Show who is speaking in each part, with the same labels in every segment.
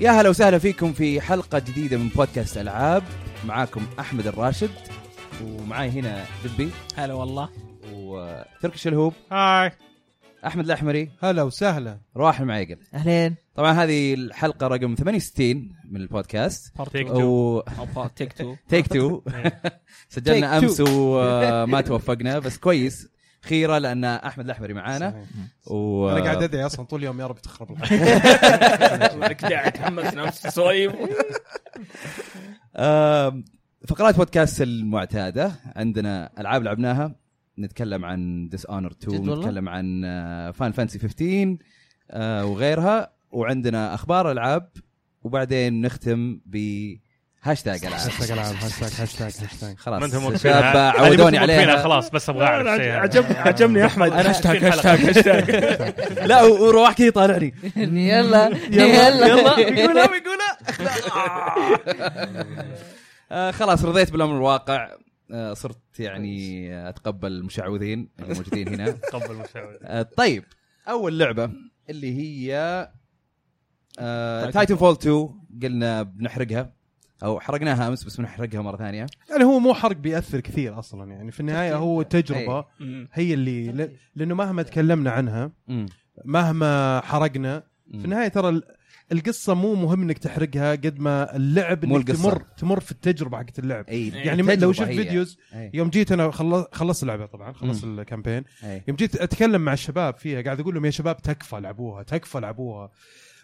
Speaker 1: يا هلا وسهلا فيكم في حلقة جديدة من بودكاست ألعاب معاكم أحمد الراشد ومعاي هنا دبي
Speaker 2: هلا والله
Speaker 1: وتركش الهوب
Speaker 3: هاي
Speaker 1: أحمد الأحمري
Speaker 3: هلا وسهلا
Speaker 1: رواح المعيقل
Speaker 2: اهلين
Speaker 1: طبعا هذه الحلقة رقم 68 من البودكاست
Speaker 3: Take two.
Speaker 1: و
Speaker 2: او تيك تو
Speaker 1: تيك تو سجلنا
Speaker 2: Take two.
Speaker 1: أمس وما توفقنا بس كويس خيرة لأن أحمد الأحمري معانا و
Speaker 3: انا قاعد ادعي اصلا طول اليوم يا رب تخرب الحلقه
Speaker 4: لك داعي تحمست نفس صايب
Speaker 1: آم، فقرات بودكاست المعتادة عندنا ألعاب لعبناها نتكلم عن ديس اونر 2
Speaker 2: جد والله؟
Speaker 1: نتكلم عن آه، فان فانسي 15 آه، وغيرها وعندنا أخبار ألعاب وبعدين نختم بهاشتاج ألعاب
Speaker 3: هاشتاج العاب هاشتاج هاشتاج هاشتاج
Speaker 1: خلاص
Speaker 5: ما انتم
Speaker 1: الشباب
Speaker 5: موقفينها هذه ما
Speaker 1: عودوني
Speaker 5: انتم موقفينها،
Speaker 1: عليها
Speaker 5: خلاص بس ابغى اعرف شيء يعني.
Speaker 4: عجبني عجبني احمد
Speaker 1: أنا
Speaker 4: هاشتاج هاشتاج هاشتاج
Speaker 1: لا و- ورواح كذا يطالعني يلا
Speaker 2: يلا
Speaker 1: يلا
Speaker 2: يلا
Speaker 1: بيقولها بيقولها أخذها. آه، خلاص رضيت بالامر الواقع آه، صرت يعني آه، اتقبل المشعوذين الموجودين هنا
Speaker 5: قبل مشاهد.
Speaker 1: آه، طيب اول لعبه اللي هي تايتن فول 2 قلنا بنحرقها او حرقناها امس بس بنحرقها مره ثانيه
Speaker 3: يعني هو مو حرق بياثر كثير اصلا يعني في النهايه هو تجربه
Speaker 1: إيه.
Speaker 4: مم.
Speaker 3: هي اللي ل- لانه مهما تكلمنا عنها
Speaker 1: مم.
Speaker 3: مهما حرقنا
Speaker 1: مم.
Speaker 3: في النهايه ترى ال- القصه مو مهم انك تحرقها قد ما اللعب
Speaker 1: مو
Speaker 3: انك
Speaker 1: القصة.
Speaker 3: تمر تمر في التجربه حقت اللعب
Speaker 1: اي
Speaker 3: يعني ما- لو
Speaker 1: إيه، تجربة
Speaker 3: شفت
Speaker 1: هي.
Speaker 3: فيديوز
Speaker 1: أي.
Speaker 3: يوم جيت انا خلص خلصت اللعبه طبعا خلصت الكامبين
Speaker 1: أي.
Speaker 3: يوم جيت اتكلم مع الشباب فيها قاعد اقول لهم يا شباب تكفى لعبوها تكفى لعبوها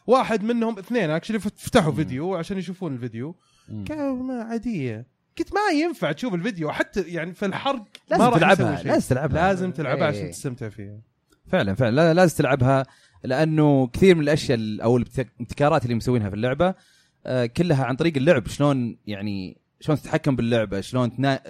Speaker 3: واحد منهم اثنين اكشلي فتحوا
Speaker 1: مم.
Speaker 3: فيديو عشان يشوفون الفيديو
Speaker 1: مم.
Speaker 3: قالوا ما عاديه قلت ما ينفع تشوف الفيديو حتى يعني في الحرق ما
Speaker 1: لازم
Speaker 3: راح
Speaker 1: تلعبها
Speaker 3: يسوي شيء.
Speaker 1: لازم تلعبها إيه.
Speaker 3: لازم تلعبها
Speaker 1: أي.
Speaker 3: عشان تستمتع فيها
Speaker 1: فعلا فعلا لا- لازم تلعبها لانه كثير من الاشياء ال- او الابتك- الابتكارات اللي مسوينها في اللعبه آه، كلها عن طريق اللعب شلون يعني شلون تتحكم باللعبه شلون تنا...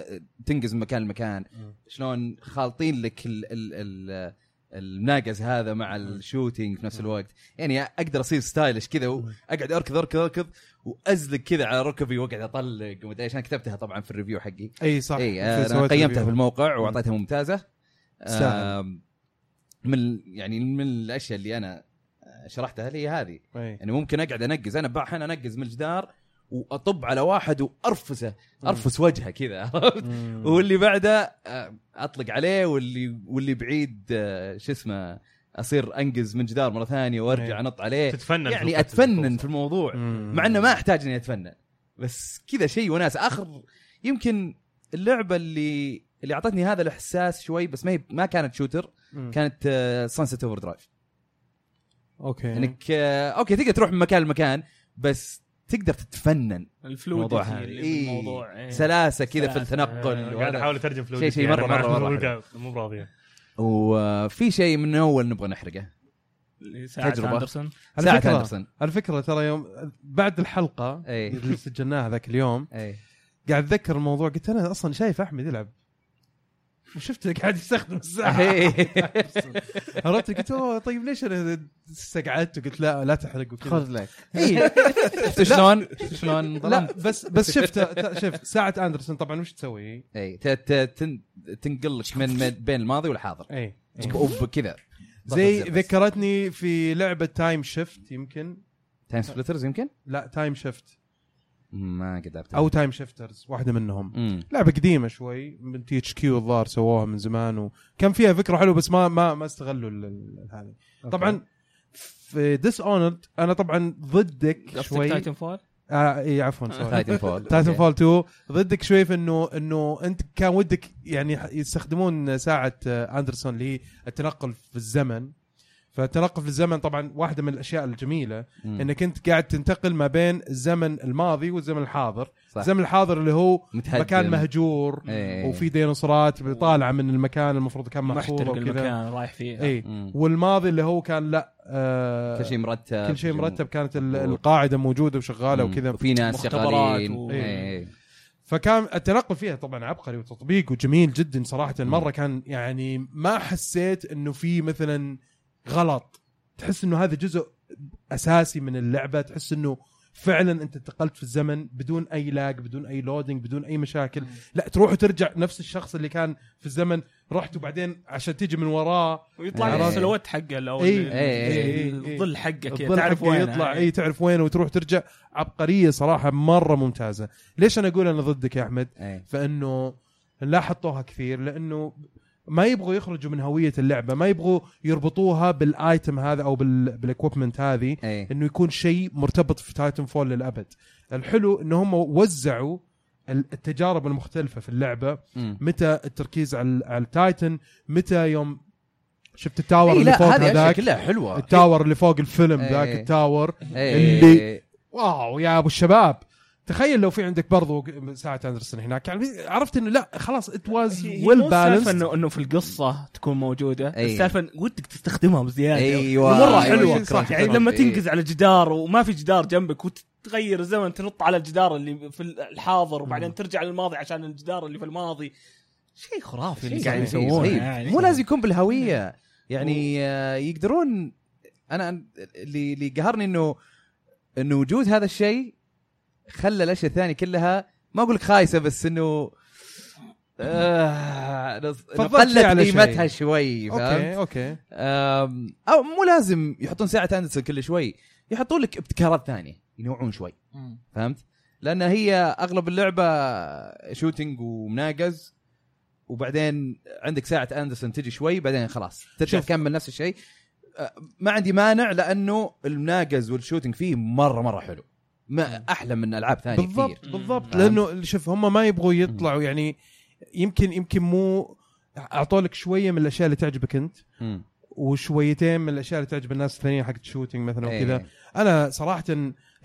Speaker 1: تنقز من مكان لمكان شلون خالطين لك ال... ال... ال... المناقز هذا مع الشوتينج في نفس الوقت يعني اقدر اصير ستايلش كذا واقعد اركض اركض اركض وازلق كذا على ركبي واقعد اطلق ومدري ايش انا كتبتها طبعا في الريفيو حقي
Speaker 3: اي صح
Speaker 1: اي
Speaker 3: في
Speaker 1: انا
Speaker 3: سويت
Speaker 1: قيمتها إيه، في
Speaker 3: ريفيو.
Speaker 1: الموقع واعطيتها ممتازه
Speaker 3: تستاهل.
Speaker 1: آم، من يعني من الاشياء اللي انا شرحتها لي هذه
Speaker 3: أي.
Speaker 1: يعني ممكن اقعد انقز انا احيانا انقز من الجدار واطب على واحد وارفسه ارفس وجهه كذا عرفت؟
Speaker 3: مم.
Speaker 1: واللي بعده آه، اطلق عليه واللي واللي بعيد آه، شو اسمه اصير انقز من جدار مره ثانيه وارجع
Speaker 3: إيه.
Speaker 1: انط عليه
Speaker 5: تتفنن في
Speaker 1: يعني
Speaker 5: الوقت
Speaker 1: اتفنن
Speaker 5: المخصوص.
Speaker 1: في الموضوع
Speaker 3: مم.
Speaker 1: مع انه ما احتاج اني اتفنن بس كذا شيء وناس اخر يمكن اللعبه اللي اللي اعطتني هذا الاحساس شوي بس ما هي ما كانت شوتر
Speaker 3: مم.
Speaker 1: كانت آه، سانست اوفر درايف
Speaker 3: اوكي
Speaker 1: انك آه، اوكي تقدر تروح من مكان لمكان بس تقدر تتفنن
Speaker 4: الفلود
Speaker 1: الموضوع
Speaker 4: اللي
Speaker 1: هذا.
Speaker 4: في
Speaker 1: إيه.
Speaker 4: الموضوع إيه.
Speaker 1: سلاسه كذا في
Speaker 4: سلاسة.
Speaker 1: التنقل
Speaker 5: آه، قاعد
Speaker 1: وهذا.
Speaker 5: احاول اترجم فلوس
Speaker 1: شيء- شيء مرة- مرة- مرة
Speaker 5: مو براضيه
Speaker 1: وفي شيء من اول نبغى نحرقه
Speaker 4: ساعة
Speaker 1: تجربة.
Speaker 4: اندرسون
Speaker 3: على
Speaker 1: ساعه
Speaker 3: فكرة-
Speaker 1: اندرسون
Speaker 3: على فكره ترى يوم بعد الحلقه
Speaker 1: أي.
Speaker 3: اللي سجلناها ذاك اليوم
Speaker 1: اي
Speaker 3: قاعد اتذكر الموضوع قلت انا اصلا شايف احمد يلعب وشفته قاعد يستخدم الساعه
Speaker 1: إيه.
Speaker 3: عرفت قلت اوه طيب ليش انا استقعدت وقلت لا لا تحرق وكذا
Speaker 2: لك
Speaker 1: إي. شفت شلون شلون
Speaker 3: لا
Speaker 1: ظلمت
Speaker 3: بس بس شفت شفت ساعه اندرسون طبعا وش تسوي؟ إيه،
Speaker 1: اي إيه. ت- ت- تن- تنقلك من من- بين الماضي والحاضر
Speaker 3: اي
Speaker 1: وب- كذا
Speaker 3: إيه. زي
Speaker 1: طيب.
Speaker 3: ذكرتني في لعبه تايم شيفت يمكن
Speaker 1: تايم سبلترز يمكن؟
Speaker 3: لا تايم شيفت
Speaker 1: ما قد
Speaker 3: او تايم شيفترز واحده منهم
Speaker 1: امم
Speaker 3: لعبه قديمه شوي من تي اتش كيو الظاهر سووها من زمان وكان فيها فكره حلوه بس ما ما ما استغلوا ال- ال- هذه طبعا في ديس اونرد انا طبعا ضدك
Speaker 4: شوي
Speaker 3: شوي
Speaker 4: تايتن فول
Speaker 3: آه اي عفوا سوري
Speaker 1: تايتن فول
Speaker 3: تايتن فول 2 ضدك شوي في انه انه انت كان ودك يعني ح- يستخدمون ساعه آه، اندرسون اللي هي التنقل في الزمن فالتنقل في الزمن طبعا واحده من الاشياء الجميله انك انت قاعد تنتقل ما بين الزمن الماضي والزمن الحاضر
Speaker 1: صح.
Speaker 3: الزمن الحاضر اللي هو
Speaker 1: متهدم.
Speaker 3: مكان مهجور
Speaker 1: إيه.
Speaker 3: وفي ديناصورات طالعه من المكان المفروض كان محفور
Speaker 4: محترق
Speaker 3: وكذا إيه.
Speaker 4: المكان رايح فيه
Speaker 3: اي
Speaker 1: مم.
Speaker 3: والماضي اللي هو كان لا آه
Speaker 1: كل شيء مرتب
Speaker 3: كل شيء مرتب كانت ال-
Speaker 1: مم.
Speaker 3: القاعده موجوده وشغاله
Speaker 1: مم.
Speaker 3: وكذا
Speaker 1: وفي ناس
Speaker 4: مختبرات
Speaker 1: شغالين
Speaker 4: و-
Speaker 1: إيه.
Speaker 3: فكان التنقل فيها طبعا عبقري وتطبيق وجميل جدا صراحه مره كان يعني ما حسيت انه في مثلا غلط تحس انه هذا جزء اساسي من اللعبه تحس انه فعلا انت انتقلت في الزمن بدون اي لاج بدون اي لودنج بدون اي مشاكل لا تروح وترجع نفس الشخص اللي كان في الزمن رحت وبعدين عشان تيجي من وراه
Speaker 4: ويطلع
Speaker 1: عرفت.
Speaker 4: لك السلوات حقه الاول
Speaker 3: إي.
Speaker 4: ال-
Speaker 1: إي.
Speaker 3: إي.
Speaker 4: ال- الظل حقه كذا
Speaker 3: إيه، الظل
Speaker 4: تعرف إيه.
Speaker 3: حقه
Speaker 4: وين
Speaker 3: يطلع اي تعرف وين وتروح ترجع عبقريه صراحه مره ممتازه ليش انا اقول انا ضدك يا احمد
Speaker 1: إيه.
Speaker 3: فانه لا حطوها كثير لانه ما يبغوا يخرجوا من هويه اللعبه ما يبغوا يربطوها بالايتم هذا او بال... بالاكوبمنت هذه
Speaker 1: إيه.
Speaker 3: انه يكون شيء مرتبط في تايتن فول للابد الحلو ان هم وزعوا التجارب المختلفه في اللعبه
Speaker 1: مم.
Speaker 3: متى التركيز على على التايتن متى يوم شفت التاور
Speaker 1: إيه
Speaker 3: اللي
Speaker 1: لا
Speaker 3: فوق
Speaker 1: هذه اشياء
Speaker 3: هذاك
Speaker 1: كلها حلوه
Speaker 3: التاور اللي فوق الفيلم
Speaker 1: إيه.
Speaker 3: ذاك التاور
Speaker 1: إيه.
Speaker 3: اللي- واو يا ابو الشباب تخيل لو في عندك برضو ساعه اندرسون هناك يعني عرفت انه لا خلاص ات واز ويل
Speaker 4: السالفه
Speaker 3: بالانس
Speaker 4: انه انه في القصه تكون موجوده
Speaker 1: إي.
Speaker 4: السالفه إن ودك تستخدمها
Speaker 3: يعني
Speaker 4: بزياده
Speaker 1: ايوه
Speaker 4: مره
Speaker 1: إيه. أيوة،
Speaker 4: حلوه
Speaker 1: شكراً،
Speaker 4: يعني
Speaker 1: شكراً.
Speaker 4: لما
Speaker 1: إيه.
Speaker 4: تنقز على جدار وما في جدار جنبك وتغير الزمن تنط على الجدار اللي في الحاضر وبعدين ترجع للماضي عشان الجدار اللي في الماضي شيء خرافي اللي
Speaker 2: شيء
Speaker 4: قاعدين
Speaker 2: صحيح.
Speaker 4: يسوونه
Speaker 1: صحيح.
Speaker 4: يعني
Speaker 1: إيه،
Speaker 4: إيه.
Speaker 1: مو لازم يكون بالهويه يعني آه، يقدرون انا اللي اللي قهرني انه انه وجود هذا الشيء خلى الاشياء الثانيه كلها ما اقول لك خايسه بس انه آه إنه
Speaker 3: فضلت شيء
Speaker 1: قلت
Speaker 3: على شيء.
Speaker 1: قيمتها شوي فهمت؟
Speaker 3: اوكي اوكي
Speaker 1: أم، او مو لازم يحطون ساعه اندرسون كل شوي يحطون لك ابتكارات ثانيه ينوعون شوي
Speaker 2: مم.
Speaker 1: فهمت؟ لان هي اغلب اللعبه شوتنج ومناقز وبعدين عندك ساعه اندرسون تجي شوي بعدين خلاص ترجع
Speaker 3: شوف.
Speaker 1: تكمل نفس الشيء أه، ما عندي مانع لانه المناقز والشوتنج فيه مره مره حلو ما احلى من العاب ثانيه
Speaker 3: بالضبط
Speaker 1: كثير
Speaker 3: بالضبط
Speaker 1: فهمت؟
Speaker 3: لانه شوف هم ما يبغوا يطلعوا يعني يمكن يمكن مو اعطوا لك شويه من الاشياء اللي تعجبك انت
Speaker 1: مم.
Speaker 3: وشويتين من الاشياء اللي تعجب الناس الثانيه حقت الشوتينج مثلا
Speaker 1: إيه.
Speaker 3: وكذا انا صراحه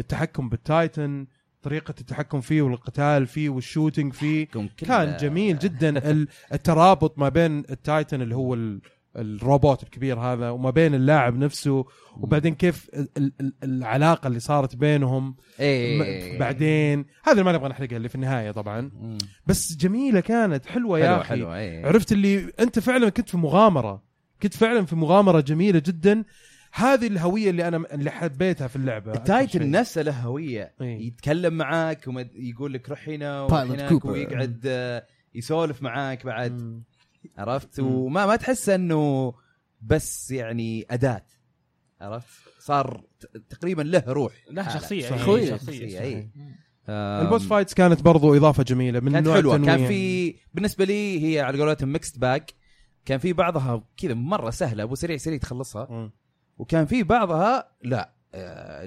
Speaker 3: التحكم بالتايتن طريقه التحكم فيه والقتال فيه والشوتينج فيه
Speaker 1: كم- كل-
Speaker 3: كان جميل جدا ال- الترابط ما بين التايتن اللي هو ال- الروبوت الكبير هذا وما بين اللاعب نفسه وبعدين كيف ال- ال- ال- العلاقه اللي صارت بينهم
Speaker 1: ايه
Speaker 3: م- بعدين هذا اللي ما نبغى نحرقها اللي في النهايه طبعا
Speaker 1: مم.
Speaker 3: بس جميله كانت حلوه يا
Speaker 1: حلوه
Speaker 3: اخي
Speaker 1: حلوه ايه
Speaker 3: عرفت اللي انت فعلا كنت في مغامره كنت فعلا في مغامره جميله جدا هذه الهويه اللي انا اللي حبيتها في اللعبه أكثر شيء.
Speaker 1: التايتن نفسه له هويه
Speaker 3: إيه.
Speaker 1: يتكلم معاك ويقول لك روح هنا
Speaker 2: Pilot
Speaker 1: وهناك
Speaker 2: Cooper.
Speaker 1: ويقعد آه، يسولف معاك بعد
Speaker 3: مم.
Speaker 1: عرفت
Speaker 3: مم.
Speaker 1: وما ما تحس انه بس يعني اداه عرفت صار ت- تقريبا له روح
Speaker 4: لا
Speaker 1: حالة.
Speaker 4: شخصيه
Speaker 3: صحيح.
Speaker 4: يعني،
Speaker 2: شخصية.
Speaker 1: شخصية،
Speaker 4: شخصيه
Speaker 1: إيه. آم،
Speaker 3: البوس فايتس كانت برضو اضافه جميله من
Speaker 1: كانت
Speaker 3: نوع
Speaker 1: حلوه كان
Speaker 3: التنويع.
Speaker 1: في بالنسبه لي هي على قولتهم ميكست باك كان في بعضها كذا مره سهله ابو سريع سريع تخلصها
Speaker 3: مم.
Speaker 1: وكان في بعضها لا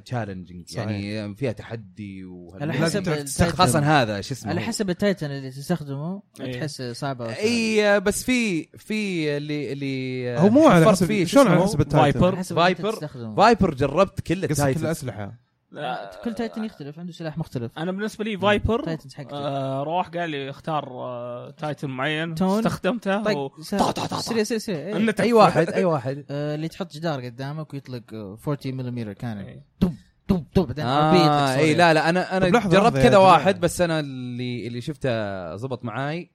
Speaker 1: تشالنجينج
Speaker 3: صحيح.
Speaker 1: يعني فيها تحدي وهال-
Speaker 2: على
Speaker 3: لازم
Speaker 2: حسب التايتن.
Speaker 1: خاصه هذا شو اسمه
Speaker 2: على
Speaker 1: هو.
Speaker 2: حسب التايتن اللي تستخدمه
Speaker 4: إيه.
Speaker 2: تحس صعبه أو سهلة.
Speaker 1: اي آه، بس في في اللي اللي
Speaker 3: هو مو على
Speaker 1: فرق
Speaker 3: حسب-
Speaker 1: فيه شو
Speaker 3: شلون على
Speaker 1: اسمه؟
Speaker 3: حسب التايتن؟
Speaker 2: على
Speaker 1: فايبر
Speaker 2: حسب اللي أنت
Speaker 1: فايبر
Speaker 2: تستخدمه.
Speaker 1: فايبر جربت كل
Speaker 3: قصدك
Speaker 1: التايتنز
Speaker 3: الاسلحه
Speaker 4: لا،
Speaker 2: كل تايتن يختلف عنده سلاح مختلف
Speaker 4: انا بالنسبه لي فايبر
Speaker 2: تايتنز حقته
Speaker 4: آه روح قال لي اختار آه تايتن معين
Speaker 2: تون. طيب.
Speaker 4: استخدمته و...
Speaker 2: طق طق سريع سريع سريع إيه.
Speaker 4: إنه
Speaker 1: اي واحد اي واحد
Speaker 2: آه، اللي تحط جدار قدامك ويطلق آه، 40 ملم كان
Speaker 4: إيه.
Speaker 2: دب دب دب بعدين
Speaker 1: آه اي لا لا انا انا
Speaker 3: طب لحظة،
Speaker 1: جربت
Speaker 3: لحظة يا
Speaker 1: كذا
Speaker 3: جماعة.
Speaker 1: واحد بس انا اللي اللي شفته زبط معاي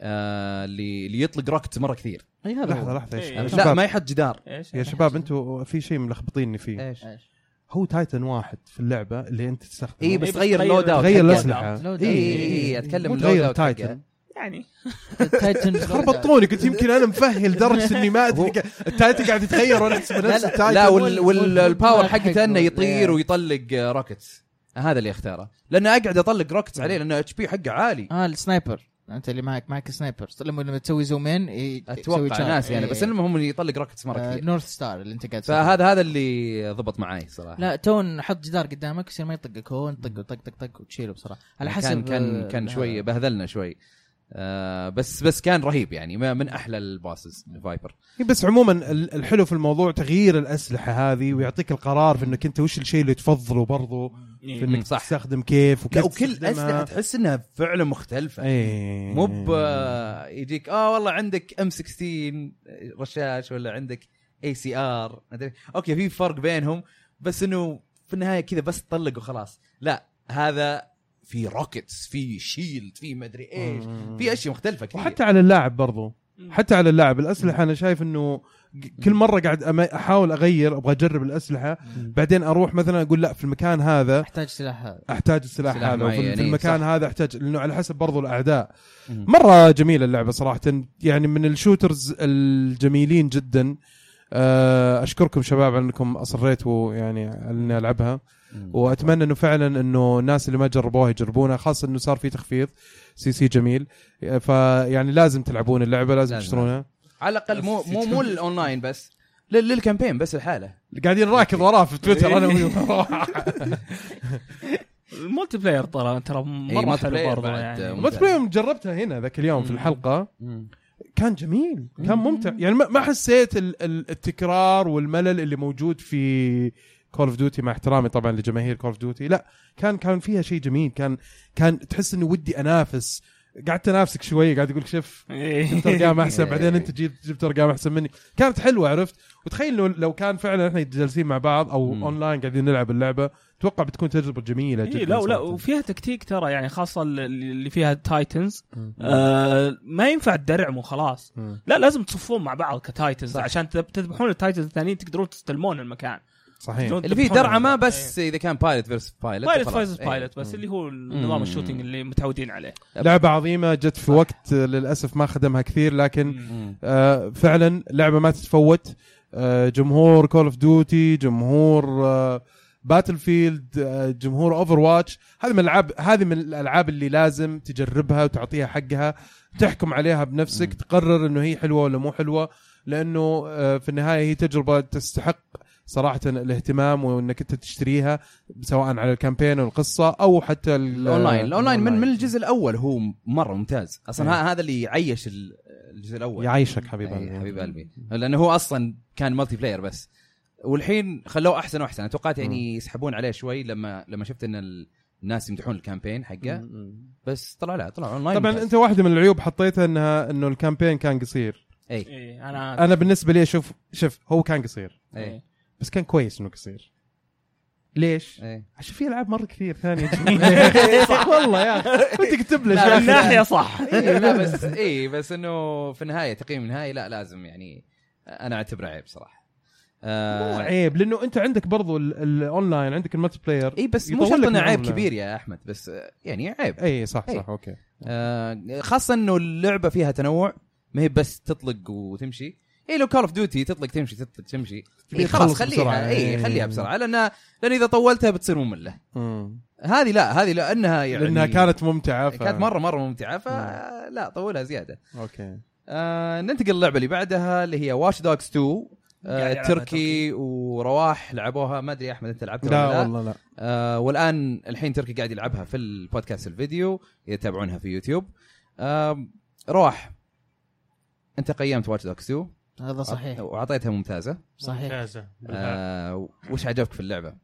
Speaker 1: آه اللي اللي يطلق روكت مره كثير
Speaker 2: اي هذا
Speaker 3: لحظه
Speaker 2: هو.
Speaker 3: لحظه يا
Speaker 4: إيه.
Speaker 3: شباب.
Speaker 1: لا ما يحط جدار
Speaker 4: ايش
Speaker 3: يا شباب انتوا في شيء ملخبطيني فيه
Speaker 1: ايش
Speaker 2: إيش.
Speaker 3: هو تايتن واحد في اللعبه اللي انت تستخدمه
Speaker 1: اي
Speaker 4: إيه،
Speaker 1: بس
Speaker 4: بس
Speaker 1: غير
Speaker 4: غير-
Speaker 1: اللود اوت
Speaker 3: غير
Speaker 1: حقه. إيه،
Speaker 3: الاسلحه
Speaker 2: لو-
Speaker 1: اي اي إي، اتكلم
Speaker 3: إيه، مو
Speaker 1: اللود
Speaker 3: تغير
Speaker 1: أوت حقه.
Speaker 3: التايتن
Speaker 4: يعني
Speaker 2: التايتن
Speaker 3: خربطوني قلت يمكن انا مفهي لدرجه اني ما ادري التايتن قاعد يتغير وانا احسب
Speaker 1: لا
Speaker 3: نفس
Speaker 1: لا,
Speaker 3: التايتن
Speaker 1: لا وال
Speaker 2: وال-
Speaker 1: وال
Speaker 2: وال-
Speaker 1: الباور
Speaker 2: وال-
Speaker 1: حقته انه
Speaker 2: حقه.
Speaker 1: يطير ويطلق آه، روكتس آه، هذا اللي اختاره لانه اقعد اطلق روكتس عليه لانه اتش بي حقه عالي
Speaker 2: اه السنايبر انت اللي معك معك سنايبر لما لما تسوي زومين ي- تسوي
Speaker 1: اتوقع
Speaker 2: charge.
Speaker 1: ناس يعني
Speaker 2: إيه.
Speaker 1: بس المهم اللي يطلق روكتس مره
Speaker 2: آه،
Speaker 1: كثير
Speaker 2: نورث ستار اللي انت قاعد تسوي.
Speaker 1: فهذا هذا اللي ضبط معاي صراحه
Speaker 2: لا تون حط جدار قدامك يصير ما يطقك هو يطق طق طق طق وتشيله بصراحه على
Speaker 1: يعني
Speaker 2: حسب
Speaker 1: كان
Speaker 2: آه،
Speaker 1: كان, كان
Speaker 2: آه،
Speaker 1: شوي بهذلنا شوي آه بس بس كان رهيب يعني ما- من احلى الباسز فايبر
Speaker 3: إيه، بس عموما ال- الحلو في الموضوع تغيير الاسلحه هذه ويعطيك القرار في انك انت وش الشيء اللي تفضله برضو في
Speaker 4: يعني
Speaker 3: انك
Speaker 1: إيه، صح.
Speaker 3: تستخدم كيف وكيف
Speaker 1: لا وكل اسلحه تحس انها فعلا مختلفه
Speaker 3: إيه.
Speaker 1: مو ب آه، يجيك اه والله عندك ام 16 رشاش ولا عندك اي سي ار اوكي في فرق بينهم بس انه في النهايه كذا بس تطلق وخلاص لا هذا في روكتس في شيلد في مدري ايش في اشياء مختلفه كثير
Speaker 3: وحتى على اللاعب برضو حتى على اللاعب الاسلحه انا شايف انه ج- كل مره قاعد أما- احاول اغير ابغى اجرب الاسلحه بعدين اروح مثلا اقول لا في المكان هذا
Speaker 2: احتاج سلاح هذا
Speaker 3: احتاج السلاح
Speaker 1: سلاح
Speaker 3: هذا وفي
Speaker 1: معين،
Speaker 3: في
Speaker 1: إيه،
Speaker 3: المكان
Speaker 1: صح.
Speaker 3: هذا احتاج لانه على حسب برضو الاعداء
Speaker 1: مم.
Speaker 3: مره جميله اللعبه صراحه يعني من الشوترز الجميلين جدا آه، اشكركم شباب على انكم اصريتوا يعني على اني العبها واتمنى انه فعلا انه الناس اللي ما جربوها يجربونها خاصه انه صار في تخفيض سي سي جميل فيعني لازم تلعبون اللعبه لازم,
Speaker 1: لازم.
Speaker 3: تشترونها
Speaker 1: على الاقل مو مو مو الاونلاين بس لل- للكامبين بس لحاله
Speaker 3: قاعدين راكض وراه في تويتر انا وياه.
Speaker 4: المولتي بلاير ترى ترى
Speaker 1: إيه،
Speaker 4: مره
Speaker 1: multiplayer
Speaker 4: حلو برضه
Speaker 1: بعد،
Speaker 4: يعني
Speaker 1: ممتع.
Speaker 3: الملتي بلاير جربتها هنا ذاك اليوم في
Speaker 4: مم.
Speaker 3: الحلقه كان جميل كان ممتع يعني ما ما حسيت ال- ال- التكرار والملل اللي موجود في كول اوف ديوتي مع احترامي طبعا لجماهير كول اوف ديوتي لا كان كان فيها شيء جميل كان كان تحس اني ودي انافس قعدت انافسك شويه قاعد اقول لك شوف
Speaker 4: إيه.
Speaker 3: جبت ارقام احسن بعدين انت جبت جبت ارقام احسن مني كانت حلوه عرفت وتخيل لو, لو كان فعلا احنا جالسين مع بعض او
Speaker 1: مم.
Speaker 3: اونلاين قاعدين نلعب اللعبه اتوقع بتكون تجربه جميله جدا
Speaker 4: إيه لا لا
Speaker 3: صراحة.
Speaker 4: وفيها تكتيك ترى يعني خاصه اللي- اللي فيها تايتنز
Speaker 3: مم.
Speaker 4: آه ما ينفع تدرعم وخلاص
Speaker 3: مم.
Speaker 4: لا لازم تصفون مع بعض كتايتنز عشان تذ- تذبحون التايتنز الثانيين تقدرون تستلمون المكان
Speaker 3: صحيح
Speaker 4: تقدرون
Speaker 1: اللي فيه
Speaker 4: تذبحون
Speaker 1: درعمه
Speaker 4: المكان.
Speaker 1: بس
Speaker 3: إيه.
Speaker 1: اذا كان بايلوت فيرس بايلوت
Speaker 4: بايلوت
Speaker 1: وخلاص.
Speaker 4: فايز
Speaker 1: إيه.
Speaker 4: بايلوت بس اللي هو نظام
Speaker 1: مم.
Speaker 4: الشوتنج اللي متعودين عليه
Speaker 3: لعبه عظيمه جت في
Speaker 4: صح.
Speaker 3: وقت آه، للاسف ما خدمها كثير لكن
Speaker 1: مم.
Speaker 3: آه، فعلا لعبه ما تتفوت آه، جمهور كول اوف ديوتي جمهور باتل فيلد جمهور اوفر واتش هذه من الالعاب هذه من الالعاب اللي لازم تجربها وتعطيها حقها تحكم عليها بنفسك
Speaker 1: مم.
Speaker 3: تقرر انه هي حلوه ولا مو حلوه لانه آه، في النهايه هي تجربه تستحق صراحه الاهتمام وانك انت تشتريها سواء على الكامبين والقصه او حتى ال-
Speaker 1: الاونلاين الاونلاين من
Speaker 3: آه،
Speaker 1: من
Speaker 3: الأونلاين.
Speaker 1: الجزء الاول هو مره ممتاز اصلا ها- هذا اللي يعيش ال- الجزء الاول
Speaker 3: يعيشك حبيب
Speaker 1: أي
Speaker 3: قلبي.
Speaker 1: حبيب قلبي لانه هو اصلا كان ملتي بلاير بس والحين خلوه احسن واحسن أنا توقعت يعني يسحبون عليه شوي لما لما شفت ان ال- الناس يمدحون الكامبين حقه بس طلع لا طلع اونلاين
Speaker 3: طبعا
Speaker 1: ممتاز.
Speaker 3: انت واحده من العيوب حطيتها انها انه الكامبين كان قصير
Speaker 1: اي
Speaker 4: إيه انا
Speaker 3: انا بالنسبه لي اشوف شوف هو كان قصير
Speaker 1: اي
Speaker 3: بس كان كويس انه قصير ليش؟
Speaker 1: اي
Speaker 3: عشان في العاب مره كثير ثانيه جميلة. صح والله يا اخي وانت كتب لي
Speaker 1: لا،
Speaker 3: شوي.
Speaker 4: من ناحيه صح
Speaker 1: إيه، لا بس اي بس انه في النهايه تقييم النهائي لا لازم يعني انا اعتبره عيب صراحه
Speaker 3: مو
Speaker 1: آه
Speaker 3: عيب لانه انت عندك برضو ال- الاونلاين عندك الملتي بلاير
Speaker 1: اي إيه، بس مو
Speaker 3: يطول
Speaker 1: شرط
Speaker 3: لك
Speaker 1: انه
Speaker 3: من
Speaker 1: عيب
Speaker 3: أونلاين.
Speaker 1: كبير يا احمد بس آه، يعني عيب
Speaker 3: اي صح
Speaker 1: إيه.
Speaker 3: صح اوكي
Speaker 1: آه، خاصه انه اللعبه فيها تنوع ما هي بس تطلق وتمشي اي لو كول اوف ديوتي تطلق تمشي تطلق تمشي
Speaker 3: تبي
Speaker 1: اي خلاص
Speaker 3: تخلص بسرعة.
Speaker 1: خليها اي
Speaker 3: إيه.
Speaker 1: خليها بسرعه لان لان اذا طولتها بتصير ممله
Speaker 3: مم.
Speaker 1: هذه لا هذه لانها يعني
Speaker 3: لانها كانت نعم. ممتعه ف...
Speaker 1: كانت مره مره ممتعه فلا طولها زياده
Speaker 3: اوكي
Speaker 1: آه ننتقل للعبه اللي بعدها اللي هي واش دوجز 2
Speaker 4: قاعد
Speaker 1: آه
Speaker 4: يلعبها
Speaker 1: تركي ورواح لعبوها ما ادري يا احمد انت لعبتها ولا
Speaker 3: لا والله لا
Speaker 1: آه والان الحين تركي قاعد يلعبها في البودكاست الفيديو اذا تتابعونها في يوتيوب آه رواح انت قيمت واتش دوكس 2
Speaker 2: هذا صحيح
Speaker 1: واعطيتها ممتازه
Speaker 2: صحيح
Speaker 5: ممتازه بالفعل.
Speaker 1: آه وش عجبك في اللعبه؟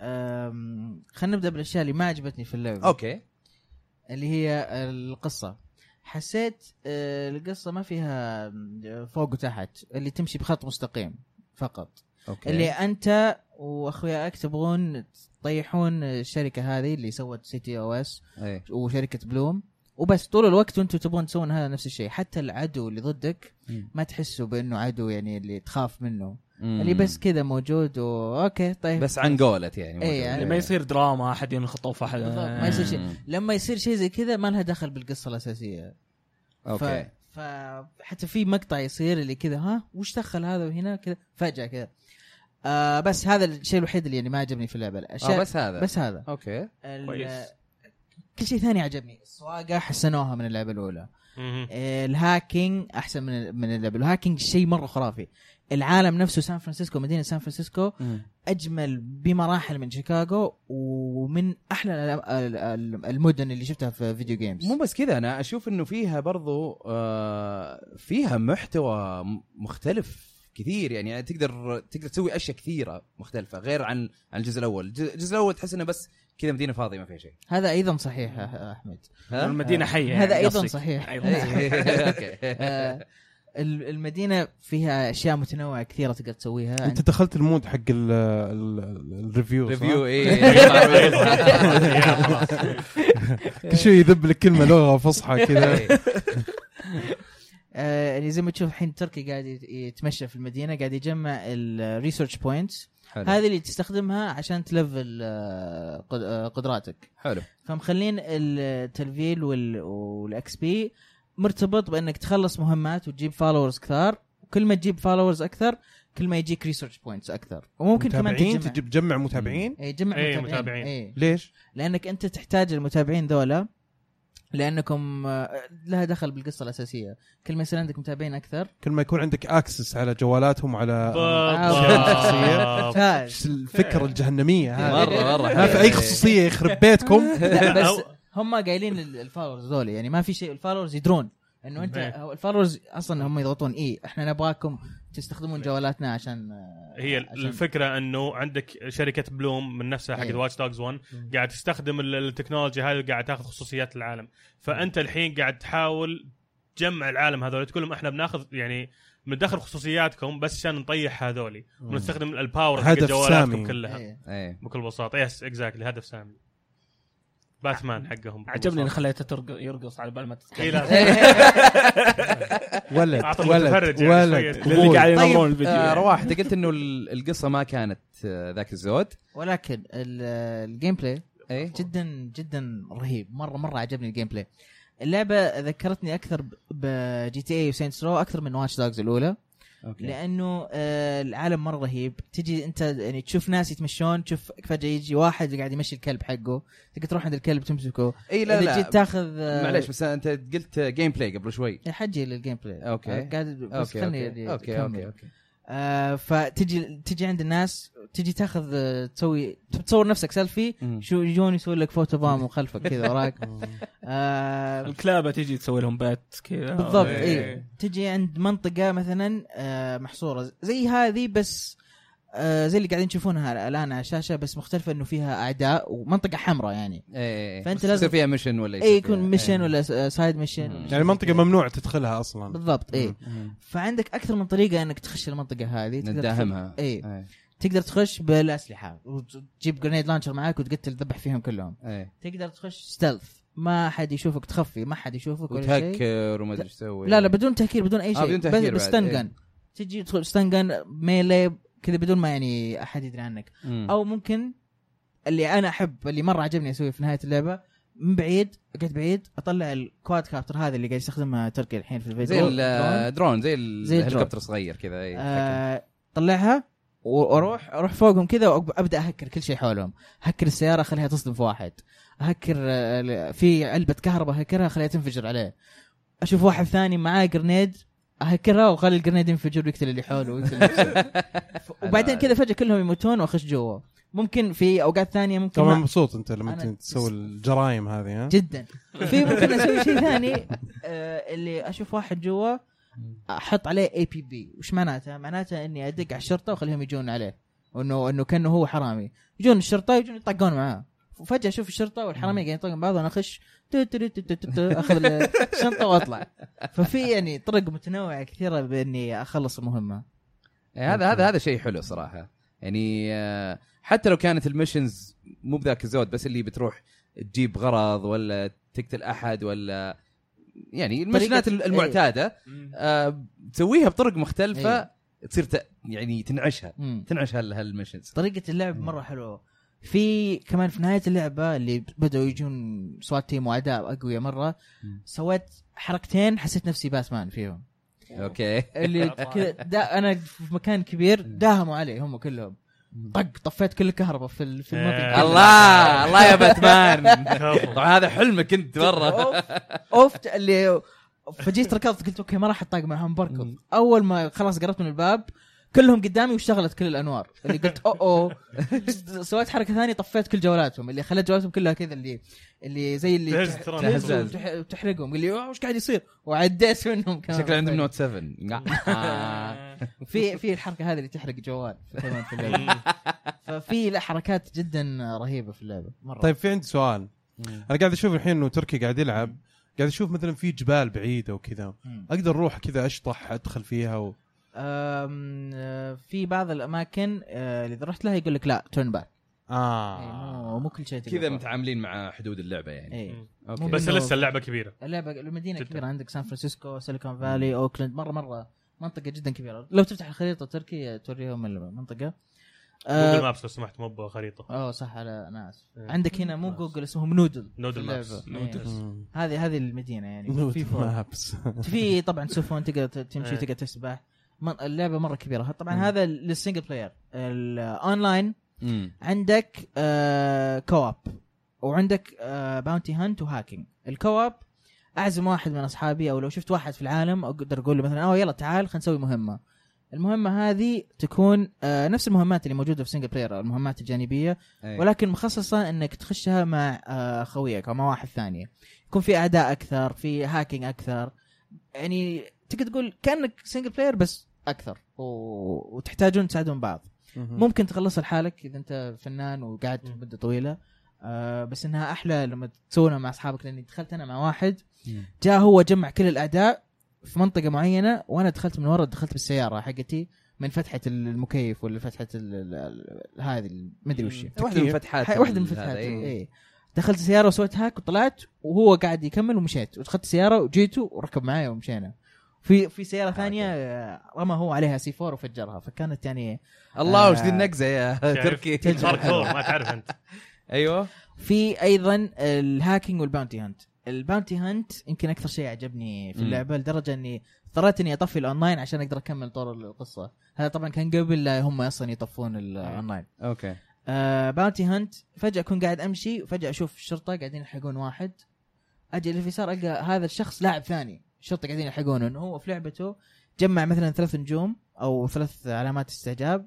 Speaker 2: أم، خلينا نبدا بالاشياء اللي ما عجبتني في اللعبه
Speaker 1: اوكي
Speaker 2: اللي هي القصه حسيت آه، القصه ما فيها آم، فوق وتحت اللي تمشي بخط مستقيم فقط
Speaker 1: اوكي
Speaker 2: اللي انت واخوياك تبغون تطيحون الشركه هذه اللي سوت سي تي او اس
Speaker 1: ايه
Speaker 2: وشركه بلوم وبس طول الوقت وانتم تبغون تسوون هذا نفس الشيء حتى العدو اللي ضدك
Speaker 1: مم.
Speaker 2: ما تحسه بانه عدو يعني اللي تخاف منه
Speaker 1: مم.
Speaker 2: اللي بس كذا موجود واوكي طيب
Speaker 1: بس عن قولت يعني
Speaker 2: إيه،
Speaker 1: موجود.
Speaker 2: يعني
Speaker 4: اللي ما يصير دراما احد ينخطف آه، احد
Speaker 2: بالضبط، ما يصير شيء.
Speaker 1: مم.
Speaker 2: لما يصير شيء زي كذا ما لها دخل بالقصه الاساسيه
Speaker 1: اوكي
Speaker 2: ف... فحتى في مقطع يصير اللي كذا ها وش دخل هذا وهنا كذا فجاه كذا آه بس هذا الشيء الوحيد اللي يعني ما عجبني في اللعبه الاشياء
Speaker 1: آه بس هذا
Speaker 2: بس هذا
Speaker 1: اوكي
Speaker 2: ال-
Speaker 4: كويس.
Speaker 2: كل شيء ثاني عجبني السواقه حسنوها من اللعبه الاولى
Speaker 5: مم.
Speaker 2: الهاكينج احسن من من اللعبه الهاكينج شيء مره خرافي العالم نفسه سان فرانسيسكو مدينه سان فرانسيسكو اجمل بمراحل من شيكاغو ومن احلى الألم- ال- ال- المدن اللي شفتها في فيديو جيمز
Speaker 1: مو بس كذا انا اشوف انه فيها برضو آه، فيها محتوى م- مختلف كثير يعني تقدر تقدر تسوي اشياء كثيره مختلفه غير عن عن الجزء الاول، الج- الجزء الاول تحس انه بس كذا مدينه فاضيه ما فيها شيء.
Speaker 2: هذا ايضا صحيح يا احمد
Speaker 1: ها؟
Speaker 4: المدينه حيه
Speaker 2: هذا
Speaker 4: يعني
Speaker 2: ايضا
Speaker 4: قصدك.
Speaker 2: صحيح
Speaker 4: أيضاً.
Speaker 1: إيه، اوكي
Speaker 2: آه، ال- المدينه فيها اشياء متنوعه كثيره تقدر تسويها
Speaker 3: انت دخلت المود حق ال- ال- الريفيو صح؟
Speaker 1: ريفيو اي
Speaker 5: يا خلاص.
Speaker 1: إيه.
Speaker 3: كل شيء يذب لك كلمه لغه فصحى كذا
Speaker 2: آه، آه، يعني زي ما تشوف الحين تركي قاعد يت- يتمشى في المدينه قاعد يجمع الريسيرش بوينتس
Speaker 1: حلو
Speaker 2: هذه اللي تستخدمها عشان تلفل آه، قد- آه، قدراتك
Speaker 1: حلو
Speaker 2: فمخلين التلفيل وال- والاكس بي مرتبط بانك تخلص مهمات وتجيب فالورز كثار وكل ما تجيب فالورز اكثر كل ما يجيك ريسيرش بوينتس اكثر وممكن كمان
Speaker 3: متابعين
Speaker 2: تجمع
Speaker 3: تجيب تجمع متابعين
Speaker 2: إيه، تجمع
Speaker 5: إيه،
Speaker 2: متابعين,
Speaker 5: متابعين.
Speaker 2: إيه.
Speaker 3: ليش؟
Speaker 2: لانك انت تحتاج المتابعين ذولا لانكم آه، لها دخل بالقصه الاساسيه كل ما يصير عندك متابعين اكثر
Speaker 3: كل ما يكون عندك اكسس على جوالاتهم وعلى
Speaker 5: بالضبط.
Speaker 2: آه، فاز
Speaker 3: إيش الفكره الجهنميه هذه
Speaker 1: مره مره
Speaker 3: ما في اي خصوصيه يخرب بيتكم
Speaker 2: لا بس
Speaker 5: أو-
Speaker 2: هم قايلين ال- الفالورز ذول يعني ما في شيء الفالورز يدرون انه انت
Speaker 5: إيه.
Speaker 2: هو الفالورز اصلا هم يضغطون اي احنا نبغاكم
Speaker 1: إيه.
Speaker 2: تستخدمون جوالاتنا عشان آه،
Speaker 5: هي
Speaker 2: عشان-
Speaker 5: الفكره انه عندك شركه بلوم من نفسها حق
Speaker 2: إيه.
Speaker 5: واتش دوجز 1 قاعد تستخدم ال- التكنولوجيا هذه وقاعد تاخذ خصوصيات العالم فانت الحين قاعد تحاول تجمع العالم هذول تقول لهم احنا بناخذ يعني بندخل خصوصياتكم بس عشان نطيح هذولي ونستخدم الباور حق
Speaker 3: هدف
Speaker 5: جوالاتكم
Speaker 3: سامي.
Speaker 5: كلها
Speaker 2: إيه.
Speaker 1: ايه
Speaker 5: بكل بساطه يس اكزاكتلي هدف سامي باتمان حقهم بكل
Speaker 4: عجبني اني
Speaker 5: بساطة.
Speaker 4: خليته ترق- يرقص على بال ما
Speaker 5: إيه،
Speaker 4: تتكلم
Speaker 5: لا،
Speaker 3: ولد
Speaker 5: أعطى
Speaker 3: ولد
Speaker 5: المتفرج يعني
Speaker 3: ولد
Speaker 5: شوية.
Speaker 4: للي قاعد ينظرون
Speaker 1: طيب
Speaker 4: الفيديو
Speaker 1: آه
Speaker 4: يعني.
Speaker 1: رواح انت قلت انه ال- القصه ما كانت آه، ذاك الزود
Speaker 2: ولكن ال- آه، الجيم بلاي
Speaker 1: ايه
Speaker 2: جدا جدا رهيب مره مره عجبني الجيم بلاي اللعبه ذكرتني اكثر بجي تي إيه اي وسينتس رو اكثر من واتش دوجز الاولى
Speaker 1: إيه. اوكي
Speaker 2: لانه آه، العالم مره رهيب تجي انت يعني تشوف ناس يتمشون تشوف فجاه يجي واحد قاعد يمشي الكلب حقه تقدر تروح عند الكلب تمسكه
Speaker 1: اي إيه، لا
Speaker 2: اذا جيت
Speaker 1: لا
Speaker 2: تاخذ آه،
Speaker 1: معليش بس انت قلت جيم بلاي قبل شوي
Speaker 2: حجي للجيم بلاي
Speaker 1: أوكي.
Speaker 2: آه، قاعد بس
Speaker 1: اوكي
Speaker 2: خلني
Speaker 1: اوكي
Speaker 2: يعني
Speaker 1: اوكي
Speaker 2: أكمل.
Speaker 1: اوكي اوكي
Speaker 2: آه، فتجي تجي عند الناس تجي تاخذ آه، تسوي تصور نفسك سيلفي
Speaker 1: مم.
Speaker 2: شو يجون يسوون لك فوتو بام وخلفك كذا وراك آه،
Speaker 4: الكلابه تجي تسوي لهم بات كذا
Speaker 2: بالضبط
Speaker 4: إيه.
Speaker 2: اي تجي عند منطقه مثلا آه، محصوره زي هذه بس آه، زي اللي قاعدين تشوفونها الان على الشاشه بس مختلفه انه فيها اعداء ومنطقه حمراء يعني
Speaker 1: ايه ايه
Speaker 2: فأنت
Speaker 1: فانت لازم
Speaker 2: لازم-
Speaker 1: فيها ميشن ولا
Speaker 2: اي
Speaker 1: فيها-
Speaker 2: يكون ميشن
Speaker 1: إيه.
Speaker 2: ولا س- آه، سايد ميشن
Speaker 1: مم.
Speaker 2: ولا شيء
Speaker 3: يعني
Speaker 2: زي
Speaker 3: منطقه
Speaker 2: كذا.
Speaker 3: ممنوع تدخلها اصلا
Speaker 2: بالضبط اي
Speaker 3: مم.
Speaker 1: مم.
Speaker 2: فعندك اكثر من طريقه انك تخش المنطقه هذه تقدر
Speaker 1: نداهمها
Speaker 2: تخش- إيه. اي
Speaker 1: ايه
Speaker 2: تقدر تخش بالاسلحه وتجيب جرينيد لانشر معاك وتقتل تذبح فيهم كلهم
Speaker 1: ايه
Speaker 2: تقدر تخش ستلث ما حد يشوفك تخفي ما حد يشوفك ولا شيء
Speaker 1: وتهكر وما ادري ايش تسوي
Speaker 2: لا لا بدون تهكير بدون اي
Speaker 1: آه،
Speaker 2: شيء
Speaker 1: بدون
Speaker 2: بدون
Speaker 1: تهكير
Speaker 2: تهكير بس
Speaker 1: بعد،
Speaker 2: ستان
Speaker 1: إيه.
Speaker 2: جن تجي تدخل ستان جن ميلي كذا بدون ما يعني احد يدري عنك
Speaker 1: مم.
Speaker 2: او ممكن اللي انا احب اللي مره عجبني اسويه في نهايه اللعبه من بعيد اقعد بعيد اطلع الكواد كابتر هذا اللي قاعد يستخدمها تركي الحين في
Speaker 1: زي
Speaker 2: الفيديو درون.
Speaker 1: الدرون زي
Speaker 2: زي الدرون.
Speaker 1: الهليكوبتر صغير كذا ايه تحكم.
Speaker 2: آه، طلعها و- واروح اروح فوقهم كذا وابدا اهكر كل شيء حولهم هكر السياره اخليها تصدم في واحد اهكر آه، ال- في علبه كهرباء اهكرها اخليها تنفجر عليه اشوف واحد ثاني معاه جرنيد اهكرها واخلي الجرنيد ينفجر ويقتل اللي حوله ويقتل نفسه. ف- وبعدين كذا فجاه كلهم يموتون واخش جوا ممكن في اوقات ثانيه ممكن
Speaker 3: طبعا
Speaker 2: ما-
Speaker 3: مبسوط انت لما
Speaker 2: أنا-
Speaker 3: تسوي الجرايم هذه ها
Speaker 2: جدا في ممكن اسوي شيء ثاني آه، اللي اشوف واحد جوا احط عليه اي بي بي وش معناتها؟ معناتها اني ادق على الشرطه واخليهم يجون عليه وانه انه كانه هو حرامي يجون الشرطه يجون يطقون معاه وفجاه اشوف الشرطه والحرامي قاعدين يطقون بعض وانا اخش تو- تو- تو- تو- تو- تو- اخذ الشنطه واطلع ففي يعني طرق متنوعه كثيره باني اخلص المهمه
Speaker 1: إيه، هذا هذا هذا شيء حلو صراحه يعني آه، حتى لو كانت المشنز مو بذاك الزود بس اللي بتروح تجيب غرض ولا تقتل احد ولا يعني المشنات
Speaker 2: طريقة- إيه.
Speaker 1: المعتاده آه، تسويها بطرق مختلفه تصير ت- يعني تنعشها
Speaker 2: إيه. مم.
Speaker 1: تنعش هال- هالمشنز
Speaker 2: طريقه اللعب مره حلوه في كمان في نهايه اللعبه اللي بداوا يجون سوات تيم واعداء اقوياء مره
Speaker 1: مم.
Speaker 2: سويت حركتين حسيت نفسي باتمان فيهم طيب.
Speaker 1: اوكي
Speaker 2: اللي كذا دا- انا في مكان كبير داهموا علي هم كلهم طق طفيت كل الكهرباء في ال- في المنطقه
Speaker 5: إيه.
Speaker 1: الله الله يا باتمان
Speaker 5: كفو.
Speaker 1: طبعا هذا حلمك انت مره
Speaker 2: اوف اوف ت- اللي فجيت ركضت قلت اوكي ما راح اطاق معهم بركض اول ما خلاص قربت من الباب كلهم قدامي واشتغلت كل الانوار اللي قلت او او سويت حركه ثانيه طفيت كل جوالاتهم اللي خليت جوالاتهم كلها كذا اللي اللي زي اللي
Speaker 5: تهز
Speaker 2: تح-
Speaker 5: ترى.
Speaker 2: تهز
Speaker 1: تهز.
Speaker 2: وتح- وتحرقهم اللي "أوه، وش قاعد يصير وعديت منهم كمان
Speaker 1: شكله عندهم نوت 7
Speaker 4: آه.
Speaker 2: في في الحركه هذه اللي تحرق جوال كمان في اللعبه ففي لا حركات جدا رهيبه في اللعبه مره
Speaker 3: طيب في عندي سؤال انا قاعد اشوف الحين انه تركي قاعد يلعب قاعد اشوف مثلا في جبال بعيده وكذا
Speaker 2: مم.
Speaker 3: اقدر اروح كذا اشطح ادخل فيها و...
Speaker 2: أم، آه، في بعض الاماكن آه، اللي اذا رحت لها يقول لك لا تيرن باك إيه،
Speaker 3: اه
Speaker 2: مو مو كل شيء تقدر
Speaker 1: كذا
Speaker 2: تروح.
Speaker 1: متعاملين مع حدود اللعبه يعني
Speaker 2: إيه.
Speaker 1: أوكي.
Speaker 2: مو
Speaker 5: بس
Speaker 2: إنه-
Speaker 5: لسه اللعبه كبيره
Speaker 2: اللعبه المدينه
Speaker 5: جداً.
Speaker 2: كبيره عندك سان فرانسيسكو سيليكون فالي اوكلاند مره مره منطقه جدا كبيره لو تفتح الخريطه التركي توريهم المنطقه
Speaker 5: جوجل
Speaker 2: آه،
Speaker 5: مابس لو سمحت مو بخريطه
Speaker 2: اوه صح على انا اسف
Speaker 5: إيه.
Speaker 2: عندك هنا مو
Speaker 5: مابس.
Speaker 2: جوجل اسمهم نودل
Speaker 5: نودل
Speaker 2: في اللعبة.
Speaker 5: مابس.
Speaker 2: إيه.
Speaker 5: نودل.
Speaker 2: هذه هذه المدينه يعني في
Speaker 3: نوت
Speaker 2: فوق
Speaker 3: مابس
Speaker 2: في طبعا سفن تقدر ت- تمشي
Speaker 5: إيه.
Speaker 2: تقدر تسبح من- اللعبه مره كبيره طبعا
Speaker 3: مم.
Speaker 2: هذا للسنجل بلاير الاونلاين
Speaker 1: مم.
Speaker 2: عندك آه كواب وعندك آه باونتي هانت وهاكينج الكواب اعزم واحد من اصحابي او لو شفت واحد في العالم اقدر اقول له مثلا اوه يلا تعال خلينا نسوي مهمه المهمه هذه تكون آه نفس المهمات اللي موجوده في سنجل بلاير المهمات الجانبيه
Speaker 1: إيه.
Speaker 2: ولكن مخصصه انك تخشها مع آه، خويك او مع واحد ثاني يكون في اعداء اكثر في هاكينج اكثر يعني تقدر تقول كانك سنجل بلاير بس اكثر و... وتحتاجون تساعدون بعض ممكن تخلصها لحالك اذا انت فنان وقعدت
Speaker 5: مم.
Speaker 2: مده طويله آه بس انها احلى لما تسوونها مع اصحابك لاني دخلت انا مع واحد
Speaker 1: مم.
Speaker 2: جاء هو جمع كل الاعداء في منطقه معينه وانا دخلت من ورا دخلت بالسياره حقتي من فتحه المكيف ولا فتحه ال- ال- ال- هذه ما ادري وش هي.
Speaker 1: واحده من الفتحات
Speaker 2: هاي واحده من
Speaker 1: هذا،
Speaker 2: الفتحات
Speaker 1: إيه.
Speaker 2: اي دخلت السياره وسويت هاك وطلعت وهو قاعد يكمل ومشيت ودخلت السياره وجيته وركب معايا ومشينا في في سياره ثانيه آه، رمى هو عليها سي 4 وفجرها فكانت يعني
Speaker 1: الله
Speaker 2: آه.
Speaker 1: وش ذي النكزه يا تركي
Speaker 5: دارك فور ما تعرف انت
Speaker 1: ايوه
Speaker 2: في ايضا الهاكينج والباونتي هانت الباونتي هانت يمكن اكثر شيء عجبني في
Speaker 1: مم.
Speaker 2: اللعبه لدرجه اني اضطريت اني اطفي الاونلاين عشان اقدر اكمل طور القصه هذا طبعا كان قبل لا هم اصلا يطفون الاونلاين
Speaker 1: اوكي
Speaker 2: آه باونتي هانت فجاه اكون قاعد امشي وفجاه اشوف الشرطه قاعدين يلحقون واحد اجي اللي في اليسار القى هذا الشخص لاعب ثاني الشرطه قاعدين يلحقونه انه هو في لعبته جمع مثلا ثلاث نجوم او ثلاث علامات استعجاب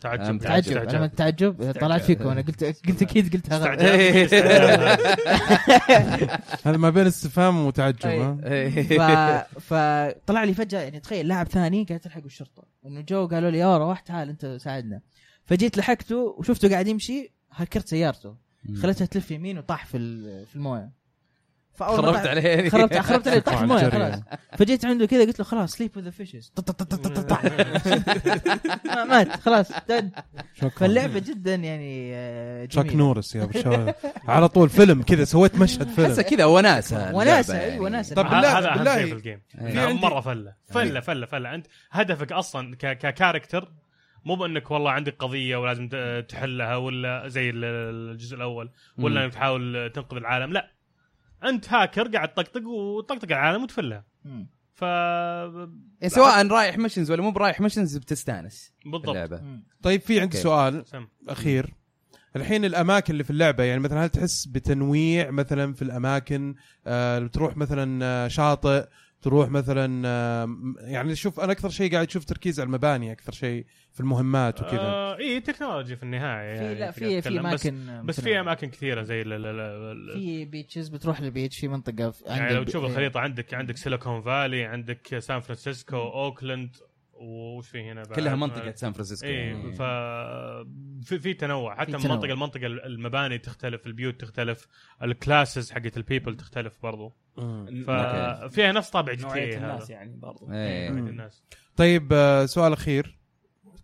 Speaker 5: تعجب
Speaker 2: تعجب علامات تعجب طلعت فيكم انا قلت قلت اكيد قلتها غلط.
Speaker 1: إيه.
Speaker 5: استعجاب. استعجاب.
Speaker 3: هذا ما بين استفهام وتعجب
Speaker 2: أي.
Speaker 3: ها
Speaker 1: إيه.
Speaker 2: ف... فطلع لي فجاه يعني تخيل لاعب ثاني قاعد تلحقوا الشرطه انه جو قالوا لي يا روح تعال انت ساعدنا فجيت لحقته وشفته قاعد يمشي هكرت سيارته خليتها تلف يمين وطاح في ال- في المويه فاول ما
Speaker 1: خربت
Speaker 2: طاح-
Speaker 1: عليه يعني.
Speaker 2: خربت خربت طيب، عليه طاح في المويه
Speaker 3: طبعاً
Speaker 2: خلاص فجيت عنده كذا قلت له خلاص سليب وذ فيشز مات خلاص done.
Speaker 3: شكرا
Speaker 2: فاللعبه جدا يعني آه،
Speaker 3: شاك
Speaker 2: جميله
Speaker 3: نورس يا أبو شباب. على طول فيلم كذا سويت مشهد
Speaker 1: احسها
Speaker 3: فيلم
Speaker 1: كذا وناسه
Speaker 2: وناسه
Speaker 1: اللعبة
Speaker 2: اي
Speaker 1: يعني.
Speaker 2: وناسه
Speaker 3: طب بالله-
Speaker 5: هذا اهم
Speaker 3: بالله.
Speaker 5: شيء في الجيم
Speaker 1: إيه.
Speaker 5: نعم
Speaker 3: عندي-
Speaker 5: مره فله فله فله فله انت هدفك اصلا ك- ككاركتر مو بانك والله عندك قضيه ولازم ت- تحلها ولا زي ال- الجزء الاول ولا انك تحاول تنقذ العالم لا انت هاكر قاعد تطقطق وتطقطق على العالم وتفلها
Speaker 2: مم.
Speaker 5: ف
Speaker 1: يعني سواء رايح مشنز ولا مو برايح مشنز بتستانس
Speaker 5: بالضبط
Speaker 1: اللعبه
Speaker 2: مم.
Speaker 3: طيب في عندي
Speaker 1: أوكي.
Speaker 3: سؤال
Speaker 5: سم.
Speaker 3: اخير الحين الاماكن اللي في اللعبه يعني مثلا هل تحس بتنويع مثلا في الاماكن آه تروح مثلا آه، شاطئ تروح مثلا آه م- يعني شوف انا اكثر شيء قاعد اشوف تركيز على المباني اكثر شيء في المهمات وكذا
Speaker 5: آه اي تكنولوجي في النهايه
Speaker 2: في
Speaker 5: يعني
Speaker 2: لا
Speaker 5: تقدر
Speaker 2: في في
Speaker 5: تتكلم. بس,
Speaker 2: اماكن
Speaker 5: بس في
Speaker 2: متنوعة.
Speaker 5: اماكن كثيره زي ال- ال- ال- ال-
Speaker 2: في بيتشز بتروح لبيتش في منطقه في
Speaker 5: يعني
Speaker 2: عند
Speaker 5: لو
Speaker 2: البي-
Speaker 5: تشوف
Speaker 2: إيه.
Speaker 5: الخريطه عندك عندك سيليكون فالي عندك سان فرانسيسكو اوكلاند وش في هنا بعد؟
Speaker 1: كلها منطقه سان فرانسيسكو
Speaker 5: ايه
Speaker 1: يعني.
Speaker 5: ف في, في تنوع حتى
Speaker 2: في
Speaker 5: من
Speaker 2: تنوع.
Speaker 5: منطقه لمنطقه المباني تختلف البيوت تختلف الكلاسز حقت البيبل تختلف برضو
Speaker 3: مم.
Speaker 1: أوكي.
Speaker 5: ففيها نفس طابع جي
Speaker 4: نوعيه
Speaker 5: تي إيه
Speaker 4: الناس
Speaker 5: هذا
Speaker 4: يعني برضو
Speaker 1: إيه.
Speaker 5: نوعية
Speaker 3: مم.
Speaker 5: الناس
Speaker 3: طيب آه سؤال اخير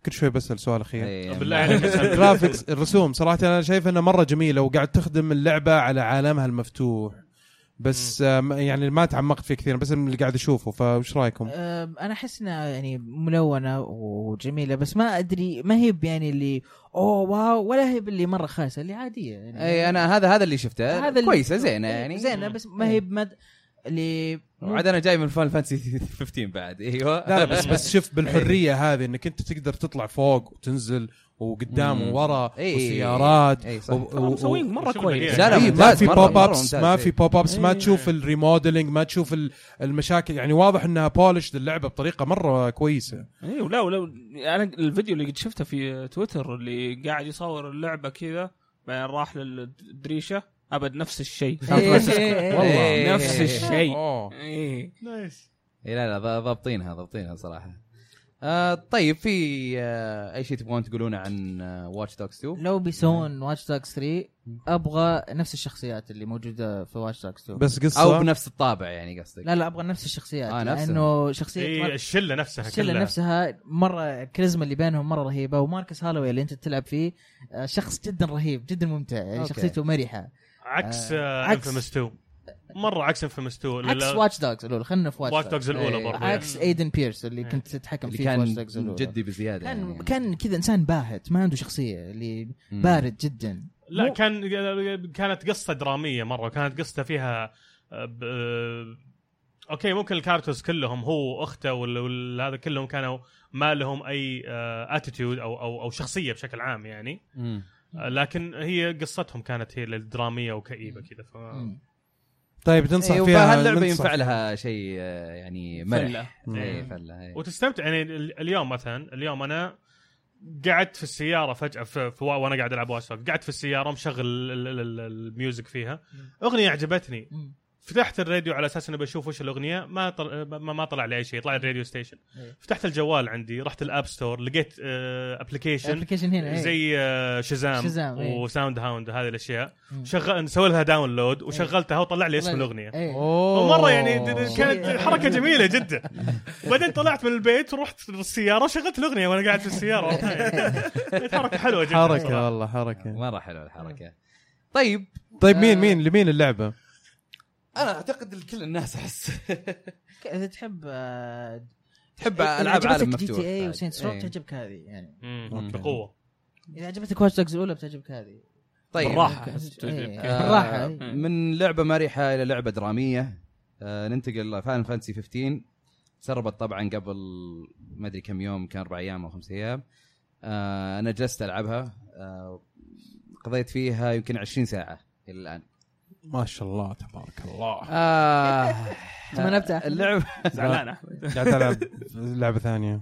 Speaker 3: كل شوي بسال سؤال اخير
Speaker 1: إيه.
Speaker 5: بالله عليك اسأل.
Speaker 3: الجرافكس الرسوم صراحه انا شايف انها مره جميله وقاعد تخدم اللعبه على عالمها المفتوح بس آه ما- يعني ما تعمقت فيه كثير بس من اللي قاعد اشوفه فايش
Speaker 1: آه،
Speaker 3: رايكم؟
Speaker 2: أم، انا احس انها يعني ملونه وجميله بس ما ادري ما هي ب- يعني اللي اوه واو ولا هي باللي مره خايسه اللي عاديه يعني
Speaker 1: اي انا إيه، هذا هذا اللي شفته
Speaker 2: هذا اللي-
Speaker 1: كويسه زينه يعني
Speaker 2: زينه بس ما هي بمد اللي مو-
Speaker 1: وعاد انا جاي من فان فانسي 15 بعد ايوه
Speaker 3: لا بس بس شوف
Speaker 1: إيه.
Speaker 3: بالحريه هذه انك انت تقدر تطلع فوق وتنزل وقدام
Speaker 1: مم.
Speaker 3: وورا
Speaker 1: إي.
Speaker 3: وسيارات
Speaker 1: إي إيه. صح.
Speaker 3: و-
Speaker 1: ترى
Speaker 3: و-
Speaker 4: ترى مسوين مره
Speaker 5: شغل
Speaker 4: كويس
Speaker 5: بديع.
Speaker 1: لا،
Speaker 3: إي، ما
Speaker 1: ممتاز،
Speaker 3: في
Speaker 1: مرة-
Speaker 3: بوب
Speaker 1: مرة
Speaker 3: ابس
Speaker 1: ممتاز، إيه.
Speaker 3: ما
Speaker 1: إي.
Speaker 3: في بوب ابس ما
Speaker 2: إي.
Speaker 3: تشوف الريموديلنج ما تشوف ال- المشاكل يعني واضح انها بولش اللعبه بطريقه مره كويسه
Speaker 1: إيه.
Speaker 4: ايوه لا ولا انا الفيديو اللي قد شفته في تويتر اللي قاعد يصور اللعبه كذا بعدين راح للدريشه ابد نفس الشيء
Speaker 2: إيه، إيه،
Speaker 1: فرانسيسكو.
Speaker 2: إيه، إيه.
Speaker 3: والله.
Speaker 1: إيه.
Speaker 4: نفس الشيء
Speaker 3: أوه.
Speaker 4: إيه.
Speaker 5: نايس
Speaker 1: إيه لا لا ضابطينها ضابطينها صراحه آه طيب في آه اي شيء تبغون تقولونه عن آه، واتش دوكس 2
Speaker 2: لو بيسوون واتش دوكس 3 ابغى نفس الشخصيات اللي موجوده في واتش دوكس 2
Speaker 3: بس قصه
Speaker 1: او بنفس الطابع يعني قصدك
Speaker 2: لا لا ابغى نفس الشخصيات
Speaker 1: آه،
Speaker 2: آه
Speaker 1: نفسها.
Speaker 2: لانه شخصيه
Speaker 5: اي
Speaker 2: مارك-
Speaker 5: الشله إيه، نفسها
Speaker 2: الشله
Speaker 5: كلها.
Speaker 2: نفسها مره الكاريزما اللي بينهم مره رهيبه وماركس هالوي اللي انت تلعب فيه آه، شخص جدا رهيب جدا ممتع يعني
Speaker 1: أوكي.
Speaker 2: شخصيته مرحه
Speaker 5: عكس
Speaker 2: آه،
Speaker 5: آه
Speaker 2: عكس-
Speaker 5: انفيمس 2 مره عكس انفيمس 2
Speaker 2: عكس واتش دوجز الاولى خلينا في
Speaker 5: Watch
Speaker 2: واتش
Speaker 5: Dogs الأولى
Speaker 2: إيه،
Speaker 5: برضه.
Speaker 2: عكس ايدن بيرس اللي
Speaker 5: إيه.
Speaker 2: كنت تتحكم
Speaker 1: اللي
Speaker 2: فيه في واتش
Speaker 1: كان
Speaker 2: دوجز الاولى
Speaker 1: جدي بزياده
Speaker 2: كان
Speaker 1: يعني.
Speaker 2: كان كذا انسان باهت ما عنده شخصيه اللي
Speaker 1: مم.
Speaker 2: بارد جدا
Speaker 5: لا
Speaker 2: مو-
Speaker 5: كان كانت قصه دراميه مره كانت قصه فيها آه، ب- آه، اوكي ممكن الكارتوس كلهم هو واخته وال- وال- هذا كلهم كانوا ما لهم آه، اي اتيتيود او او او شخصيه بشكل عام يعني
Speaker 1: مم.
Speaker 5: آه، لكن هي قصتهم كانت هي الدراميه وكئيبه كذا ف
Speaker 2: مم.
Speaker 3: طيب تنصح
Speaker 1: إيه،
Speaker 3: فيها
Speaker 1: فهاللعبه
Speaker 3: ننصح.
Speaker 1: ينفع لها شيء آه، يعني مرح
Speaker 4: فلة.
Speaker 3: مم.
Speaker 1: إيه،
Speaker 5: مم.
Speaker 1: فلة، إيه.
Speaker 5: وتستمتع يعني ال- اليوم مثلا اليوم انا قعدت في السياره فجاه في في وانا قاعد العب واتش دوغز، قعدت في السياره مشغل ال- ال- ال- الميوزك فيها اغنيه عجبتني
Speaker 2: مم.
Speaker 5: فتحت الراديو على اساس اني بشوف وش الاغنيه ما طل... ما ما طلع لي اي شيء يطلع لي الراديو ستيشن
Speaker 2: إيه.
Speaker 5: فتحت الجوال عندي رحت الاب ستور لقيت ابلكيشن
Speaker 2: الابلكيشن هنا إيه.
Speaker 5: زي آه، شزام,
Speaker 2: شزام، إيه.
Speaker 5: وساوند هاوند هذه الاشياء
Speaker 2: مم.
Speaker 5: شغل نسوي لها داونلود وشغلتها وطلع لي اسم
Speaker 2: والله.
Speaker 5: الاغنيه
Speaker 2: إيه.
Speaker 3: اوه
Speaker 5: ومره يعني د- د-
Speaker 2: شيء-
Speaker 5: كانت حركه جميله جدا وبعدين طلعت من البيت ورحت للسياره وشغلت الاغنيه وانا قاعد في السياره كانت حركه حلوه جدا
Speaker 3: حركه
Speaker 5: صراحة.
Speaker 3: والله حركه
Speaker 1: مره حلوه الحركه طيب
Speaker 3: طيب
Speaker 1: آه.
Speaker 3: مين مين لمين اللعبه؟
Speaker 1: انا اعتقد لكل الناس احس
Speaker 2: ك- اذا تحب آه،
Speaker 1: تحب
Speaker 2: إذا
Speaker 1: العاب
Speaker 2: عجبتك
Speaker 1: عالم
Speaker 2: جي
Speaker 1: مفتوح
Speaker 2: تي اي
Speaker 1: بعد.
Speaker 2: وسينتس رو
Speaker 1: إيه.
Speaker 2: تعجبك هذه يعني
Speaker 5: مم، بقوه
Speaker 2: اذا عجبتك واتش دوجز الاولى بتعجبك هذه
Speaker 1: طيب
Speaker 4: بالراحة.
Speaker 2: إيه،
Speaker 1: آه،
Speaker 2: بالراحه إيه.
Speaker 1: من لعبه مرحه الى لعبه دراميه آه ننتقل لفاين فانتسي 15 سربت طبعا قبل ما ادري كم يوم كان اربع ايام او خمس ايام آه انا جلست العبها آه قضيت فيها يمكن 20 ساعه الى الان
Speaker 3: ما شاء الله تبارك الله
Speaker 1: آه
Speaker 2: تمنى أبتع.
Speaker 1: اللعبه
Speaker 4: زعلان احمد
Speaker 3: قاعد العب لعبه ثانيه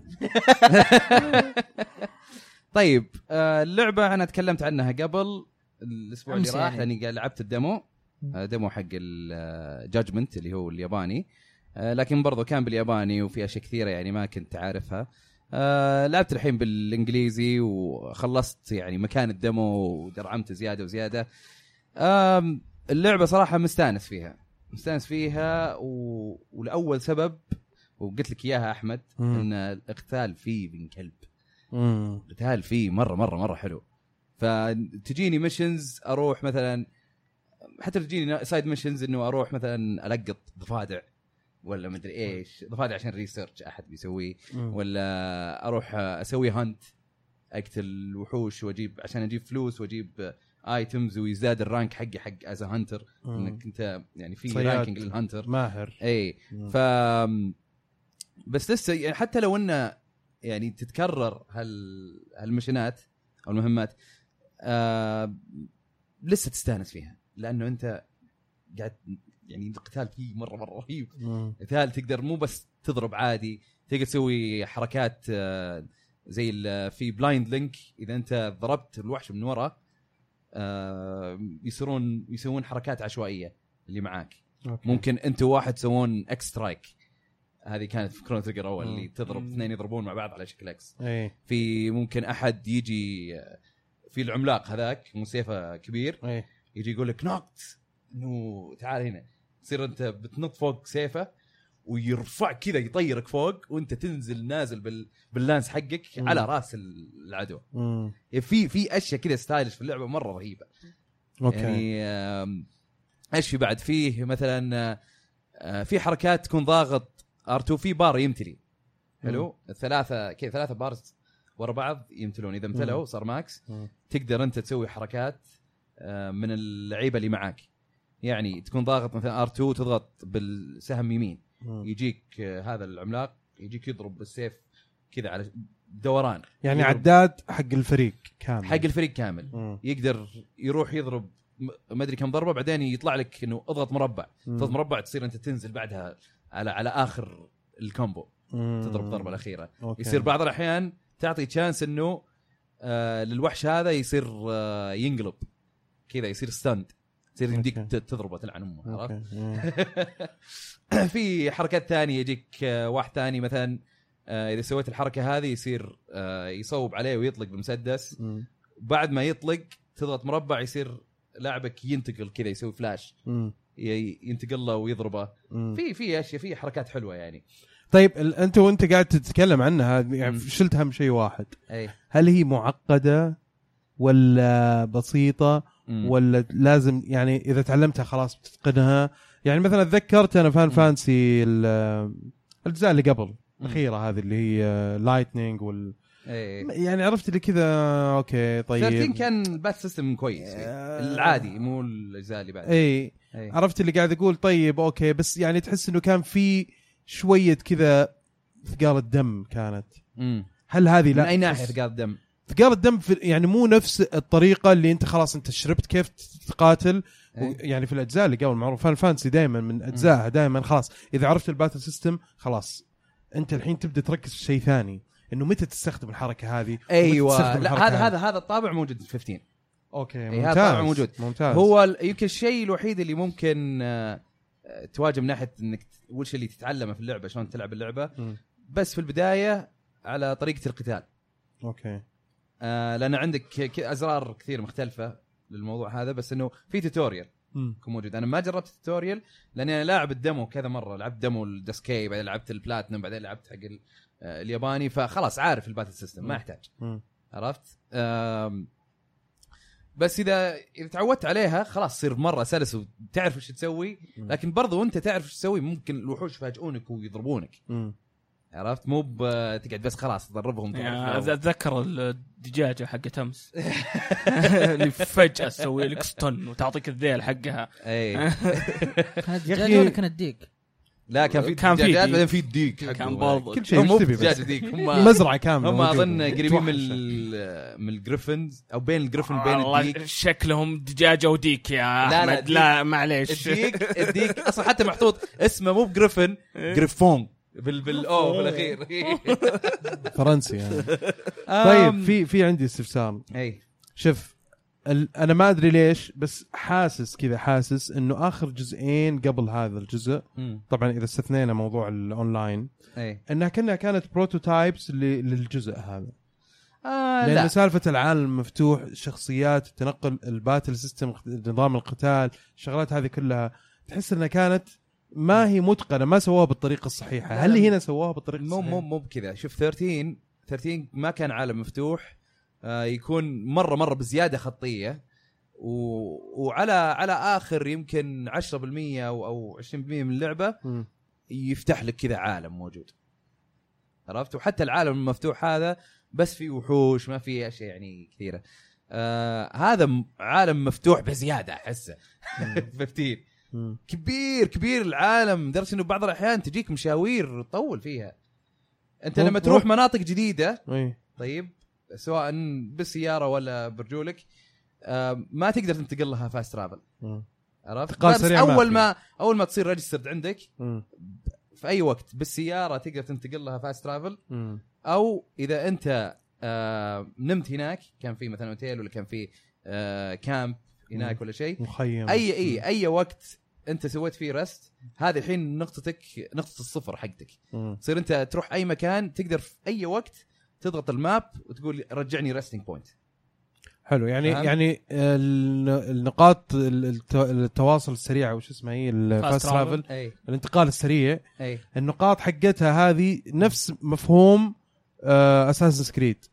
Speaker 1: طيب آه، اللعبه انا تكلمت عنها قبل الاسبوع اللي
Speaker 2: أمس
Speaker 1: راح
Speaker 2: يعني.
Speaker 1: لاني قاعد لعبت الديمو آه، ديمو حق الجاجمنت اللي هو الياباني آه، لكن برضو كان بالياباني وفي اشياء كثيره يعني ما كنت عارفها آه، لعبت الحين بالانجليزي وخلصت يعني مكان الديمو ودرعمت زياده وزياده آم، اللعبه صراحه مستانس فيها مستانس فيها و... ولاول سبب وقلت لك اياها احمد
Speaker 3: مم.
Speaker 1: ان القتال فيه من كلب
Speaker 3: مم.
Speaker 1: القتال فيه مره مره مره حلو فتجيني ميشنز اروح مثلا حتى تجيني سايد ميشنز انه اروح مثلا القط ضفادع ولا مدري ايش ضفادع عشان ريسيرش احد بيسويه
Speaker 3: مم.
Speaker 1: ولا اروح اسوي هانت اقتل وحوش واجيب عشان اجيب فلوس واجيب ايتمز ويزداد الرانك حقي حق از هانتر
Speaker 3: مم.
Speaker 1: انك انت يعني في إيه.
Speaker 3: صياد.
Speaker 1: رانكينج للهانتر
Speaker 3: ماهر
Speaker 1: اي
Speaker 3: مم.
Speaker 1: ف بس لسه يعني حتى لو انه يعني تتكرر هال هالمشينات او المهمات آه لسه تستانس فيها لانه انت قاعد يعني القتال فيه مره مره رهيب
Speaker 3: مم.
Speaker 1: قتال تقدر مو بس تضرب عادي تقدر تسوي حركات آه، زي ال- في بلايند لينك اذا انت ضربت الوحش من ورا آه، يصيرون يسوون حركات عشوائيه اللي معاك
Speaker 3: أوكي.
Speaker 1: ممكن انت وواحد تسوون اكس سترايك هذه كانت في كرونو تريجر اول
Speaker 3: مم.
Speaker 1: اللي تضرب اثنين يضربون مع بعض على شكل اكس
Speaker 3: ايه
Speaker 1: في ممكن احد يجي في العملاق هذاك مو سيفه كبير
Speaker 3: ايه
Speaker 1: يجي يقول لك نوكت انه تعال هنا تصير انت بتنط فوق سيفه ويرفع كذا يطيرك فوق وانت تنزل نازل بال... باللانس حقك
Speaker 3: مم.
Speaker 1: على راس العدو
Speaker 3: مم.
Speaker 1: يعني في في اشياء كذا ستايلش في اللعبه مره رهيبه
Speaker 3: اوكي
Speaker 1: يعني آم، ايش في بعد فيه مثلا آه، آه، في حركات تكون ضاغط ار2 في بار يمتلي حلو ثلاثه كذا ثلاثه بارز ورا بعض يمتلون اذا امتلوا
Speaker 3: مم.
Speaker 1: صار ماكس
Speaker 3: مم.
Speaker 1: تقدر انت تسوي حركات آه، من اللعيبه اللي معاك يعني تكون ضاغط مثلا ار2 تضغط بالسهم يمين
Speaker 3: مم.
Speaker 1: يجيك آه، هذا العملاق يجيك يضرب بالسيف كذا على دوران
Speaker 3: يعني
Speaker 1: يضرب
Speaker 3: عداد حق الفريق كامل
Speaker 1: حق الفريق كامل
Speaker 3: مم.
Speaker 1: يقدر يروح يضرب م- ما ادري كم ضربه بعدين يطلع لك انه اضغط مربع
Speaker 3: مم.
Speaker 1: تضغط مربع تصير انت تنزل بعدها على على اخر الكومبو
Speaker 3: مم.
Speaker 1: تضرب الضربه الاخيره
Speaker 3: أوكي.
Speaker 1: يصير بعض الاحيان تعطي تشانس انه آه للوحش هذا يصير آه ينقلب كذا يصير ستاند تصير
Speaker 3: أوكي.
Speaker 1: يمديك ت- تضربه تلعن امه
Speaker 3: أوكي.
Speaker 1: عرفت؟
Speaker 3: مم.
Speaker 1: في حركات ثانيه يجيك آه، واحد ثاني مثلا آه، اذا سويت الحركه هذه يصير آه، يصوب عليه ويطلق بمسدس بعد ما يطلق تضغط مربع يصير لاعبك ينتقل كذا يسوي فلاش ي- ينتقل له ويضربه في في اشياء في حركات حلوه يعني
Speaker 3: طيب ال- انت وانت قاعد تتكلم عنها يعني
Speaker 1: مم.
Speaker 3: شلت هم شيء واحد
Speaker 1: اي
Speaker 3: هل هي معقده ولا بسيطه
Speaker 1: وال...
Speaker 3: ولا لازم يعني اذا تعلمتها خلاص بتتقنها يعني مثلا تذكرت انا فان فانسي ال- الاجزاء اللي قبل الاخيره هذه اللي هي لايتنينج وال
Speaker 1: اي
Speaker 3: يعني عرفت اللي كذا اوكي طيب آه.
Speaker 1: 13 كان البات سيستم كويس فيه. العادي مو الاجزاء اللي بعد إيه.
Speaker 3: اي
Speaker 1: أي.
Speaker 3: عرفت اللي قاعد اقول طيب اوكي بس يعني تحس انه كان في شويه كذا ثقال الدم كانت
Speaker 1: مم.
Speaker 3: هل هذه
Speaker 1: من
Speaker 3: لا
Speaker 1: اي ناحيه ثقاب دم
Speaker 3: ثقال الدم في يعني مو نفس الطريقه اللي انت خلاص انت شربت كيف تقاتل و-
Speaker 1: إيه.
Speaker 3: يعني في الاجزاء اللي قبل معروف فان فانسي دائما من اجزائها دائما خلاص اذا عرفت الباتل سيستم خلاص انت الحين تبدا تركز في شيء ثاني انه متى تستخدم الحركه هذه ومتى
Speaker 1: ايوه
Speaker 3: تستخدم
Speaker 1: لا هذا
Speaker 3: الحركة إيه. هذه.
Speaker 1: هذا هذا الطابع موجود في 15
Speaker 3: اوكي
Speaker 1: إيه، هذا
Speaker 3: ممتاز
Speaker 1: طبعاً موجود.
Speaker 3: ممتاز
Speaker 1: هو ال- يمكن الشيء الوحيد اللي ممكن آه، آه، تواجه من ناحيه انك ت- وش اللي تتعلمه في اللعبه شلون تلعب اللعبه
Speaker 3: مم.
Speaker 1: بس في البدايه على طريقه القتال
Speaker 3: اوكي
Speaker 1: آه، لان عندك ك- ك- ازرار كثير مختلفه للموضوع هذا بس انه في توتوريال
Speaker 3: مم.
Speaker 1: يكون موجود انا ما جربت التوتوريال لاني انا لاعب الدمو كذا مره لعبت دمو الدسكي بعدين لعبت البلاتنم بعدين لعبت حق ال- آه، الياباني فخلاص عارف الباتل سيستم ما
Speaker 3: مم.
Speaker 1: يحتاج
Speaker 3: مم.
Speaker 1: عرفت؟ آم، بس اذا اذا تعودت عليها خلاص تصير مره سلس وتعرف ايش تسوي
Speaker 3: مم.
Speaker 1: لكن برضو وانت تعرف ايش تسوي ممكن الوحوش يفاجئونك ويضربونك
Speaker 3: مم.
Speaker 1: عرفت مو ب- تقعد بس خلاص تضربهم
Speaker 4: يعني
Speaker 1: تضربهم.
Speaker 4: اتذكر الدجاجه حقت امس اللي فجاه تسوي لك ستن وتعطيك الذيل حقها
Speaker 1: اي
Speaker 2: كانت
Speaker 3: يا
Speaker 2: دجاجه
Speaker 3: أخي-
Speaker 2: ولا كانت ديك؟
Speaker 1: لا كان في
Speaker 4: كان في
Speaker 1: دجاجات
Speaker 4: ديك.
Speaker 1: بعدين في الديك حقه.
Speaker 4: كان برضو
Speaker 3: كل شيء
Speaker 1: هم مو
Speaker 3: ايش تبي
Speaker 1: دجاجه
Speaker 3: بس
Speaker 1: ديك هم
Speaker 3: مزرعه كامله
Speaker 1: هم
Speaker 3: موجودة.
Speaker 1: اظن قريبين من
Speaker 3: توحشة.
Speaker 1: ال- من الجريفنز او بين الجريفن وبين
Speaker 4: والله
Speaker 1: الديك
Speaker 4: آه، شكلهم دجاجه وديك يا
Speaker 1: لا، لا،
Speaker 4: احمد
Speaker 1: ديك.
Speaker 4: لا معليش
Speaker 1: الديك الديك اصلا حتى محطوط اسمه مو بجريفن
Speaker 4: إيه.
Speaker 1: جريفون بال بالاو بالاخير
Speaker 3: فرنسي يعني طيب في في عندي استفسار
Speaker 1: اي
Speaker 3: شوف ال- انا ما ادري ليش بس حاسس كذا حاسس انه اخر جزئين قبل هذا الجزء طبعا اذا استثنينا موضوع الاونلاين
Speaker 1: اي
Speaker 3: انها كانها كانت بروتوتايبس للجزء هذا
Speaker 1: آه
Speaker 3: لان
Speaker 1: لا
Speaker 3: سالفه العالم المفتوح الشخصيات التنقل الباتل سيستم نظام القتال الشغلات هذه كلها تحس انها كانت ما هي متقنه ما سووها بالطريقه الصحيحه
Speaker 1: لا،
Speaker 3: هل
Speaker 1: لا.
Speaker 3: هنا سووها بالطريقه
Speaker 1: مو
Speaker 3: الصحيحه
Speaker 4: إيه.
Speaker 1: مو مو بكذا شوف 13 13 ما كان عالم مفتوح آه يكون مره مره بزياده خطيه و... وعلى على اخر يمكن 10% او او 20% من اللعبه
Speaker 3: مم.
Speaker 1: يفتح لك كذا عالم موجود عرفت وحتى العالم المفتوح هذا بس في وحوش ما في اشياء يعني كثيره آه هذا م- عالم مفتوح بزياده احسه 15
Speaker 3: مم.
Speaker 1: كبير كبير العالم لدرجه انه بعض الاحيان تجيك مشاوير تطول فيها انت
Speaker 3: مو-
Speaker 1: لما
Speaker 3: مو-
Speaker 1: تروح مناطق جديده
Speaker 3: اي
Speaker 1: طيب سواء بالسياره ولا برجولك آه ما تقدر تنتقل لها فاست ترافل
Speaker 3: مم.
Speaker 1: عرفت
Speaker 3: انتقال
Speaker 1: بس
Speaker 3: سريع ما
Speaker 1: اول
Speaker 3: في.
Speaker 1: ما اول ما تصير ريجسترد عندك
Speaker 3: مم.
Speaker 1: في اي وقت بالسياره تقدر تنتقل لها فاست ترافل
Speaker 3: مم.
Speaker 1: او اذا انت آه نمت هناك كان في مثلا اوتيل ولا كان في آه كامب هناك ولا شيء
Speaker 3: مخيم
Speaker 1: اي اي اي وقت انت سويت فيه رست هذه الحين نقطتك نقطه الصفر حقتك
Speaker 3: مم.
Speaker 1: تصير انت تروح اي مكان تقدر في اي وقت تضغط الماب وتقول رجعني ريستنج بوينت
Speaker 3: حلو يعني
Speaker 1: فهمت؟
Speaker 3: يعني ال- النقاط ال- الت- التواصل السريع وش اسمها هي الفاست
Speaker 4: Fast
Speaker 3: ترافل
Speaker 1: اي
Speaker 3: الانتقال السريع
Speaker 1: اي
Speaker 3: النقاط حقتها هذه نفس مفهوم آه، اساسن سكريد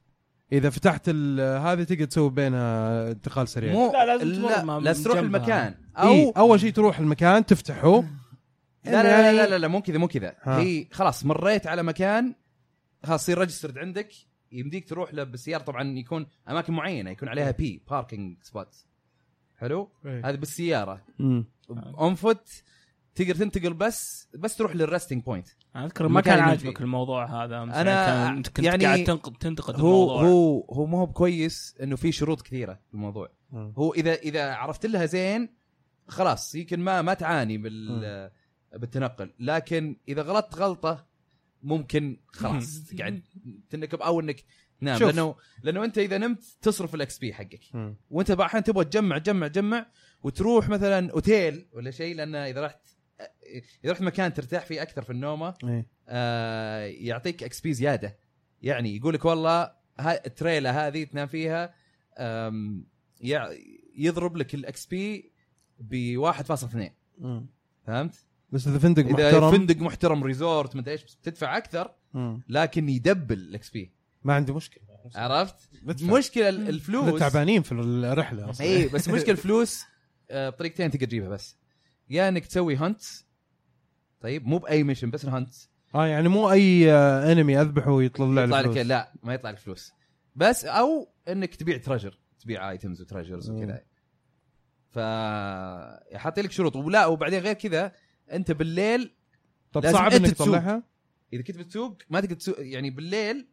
Speaker 3: اذا فتحت ال- هذه تقدر تسوي بينها انتقال سريع
Speaker 1: مو
Speaker 4: لا، لازم تمر
Speaker 1: لا
Speaker 4: مع-
Speaker 1: لازم تروح
Speaker 4: جنبها.
Speaker 1: المكان
Speaker 3: او إيه؟
Speaker 1: او
Speaker 3: اول شيء تروح المكان تفتحه
Speaker 1: لا لا لا لا, لا مو كذا مو كذا
Speaker 3: ها.
Speaker 1: هي خلاص مريت على مكان خلاص يصير ريجسترد عندك يمديك تروح له بالسياره طبعا يكون اماكن معينه يكون عليها بي باركينج سبوت حلو
Speaker 3: إيه.
Speaker 1: هذا بالسياره
Speaker 3: مم.
Speaker 1: اون فوت تقدر تنتقل بس بس تروح للرستنج بوينت
Speaker 4: أنا اذكر ما
Speaker 1: المكان
Speaker 4: كان
Speaker 1: اللي
Speaker 4: عاجبك
Speaker 1: فيه.
Speaker 4: الموضوع هذا أمس
Speaker 1: أنا
Speaker 4: يعني كنت كنت
Speaker 1: يعني
Speaker 4: قاعد تنقد تنتقد
Speaker 1: هو
Speaker 4: طيب، الموضوع
Speaker 1: هو هو ما هو بكويس انه في شروط كثيره في الموضوع
Speaker 3: مم.
Speaker 1: هو اذا اذا عرفت لها زين خلاص يمكن ما ما تعاني بال بالتنقل لكن اذا غلطت غلطه ممكن خلاص تقعد تنكب او انك تنام
Speaker 3: شوف.
Speaker 1: لانه لانه انت اذا نمت تصرف الاكس بي حقك
Speaker 3: مم.
Speaker 1: وانت بعض الاحيان تبغى تجمع تجمع تجمع وتروح مثلا اوتيل ولا شيء لان اذا رحت اذا رحت مكان ترتاح فيه اكثر في النومه
Speaker 3: إيه.
Speaker 1: آه يعطيك اكس بي زياده يعني يقول لك والله ها التريلا هذه تنام فيها آم، يع- يضرب لك الاكس بي ب 1.2
Speaker 3: مم.
Speaker 1: فهمت؟
Speaker 3: بس اذا فندق
Speaker 1: اذا
Speaker 3: محترم
Speaker 1: فندق محترم ريزورت مدري ايش بس تدفع اكثر
Speaker 3: مم.
Speaker 1: لكن يدبل الاكس بي
Speaker 3: ما عندي مشكله
Speaker 1: عرفت؟
Speaker 3: بدفع.
Speaker 1: مشكله ال-
Speaker 3: إذا
Speaker 1: الفلوس
Speaker 3: تعبانين في الرحله اصلا
Speaker 1: اي بس مشكله الفلوس آه، بطريقتين تقدر تجيبها بس يا انك تسوي هانت طيب مو باي ميشن بس الهانت
Speaker 3: اه يعني مو اي آه، انمي اذبحه ويطلع
Speaker 1: يطلع
Speaker 3: لي
Speaker 1: لك
Speaker 3: فلوس
Speaker 1: لا ما يطلع لك فلوس بس او انك تبيع تراجر تبيع ايتمز وتراجرز
Speaker 3: مم.
Speaker 1: وكذا ف حاطين لك شروط ولا وبعدين غير كذا انت بالليل
Speaker 3: طب
Speaker 1: لازم
Speaker 3: صعب
Speaker 1: أنت
Speaker 3: انك
Speaker 1: تسوق.
Speaker 3: تطلعها
Speaker 1: اذا كنت بتسوق ما تقدر تسوق يعني بالليل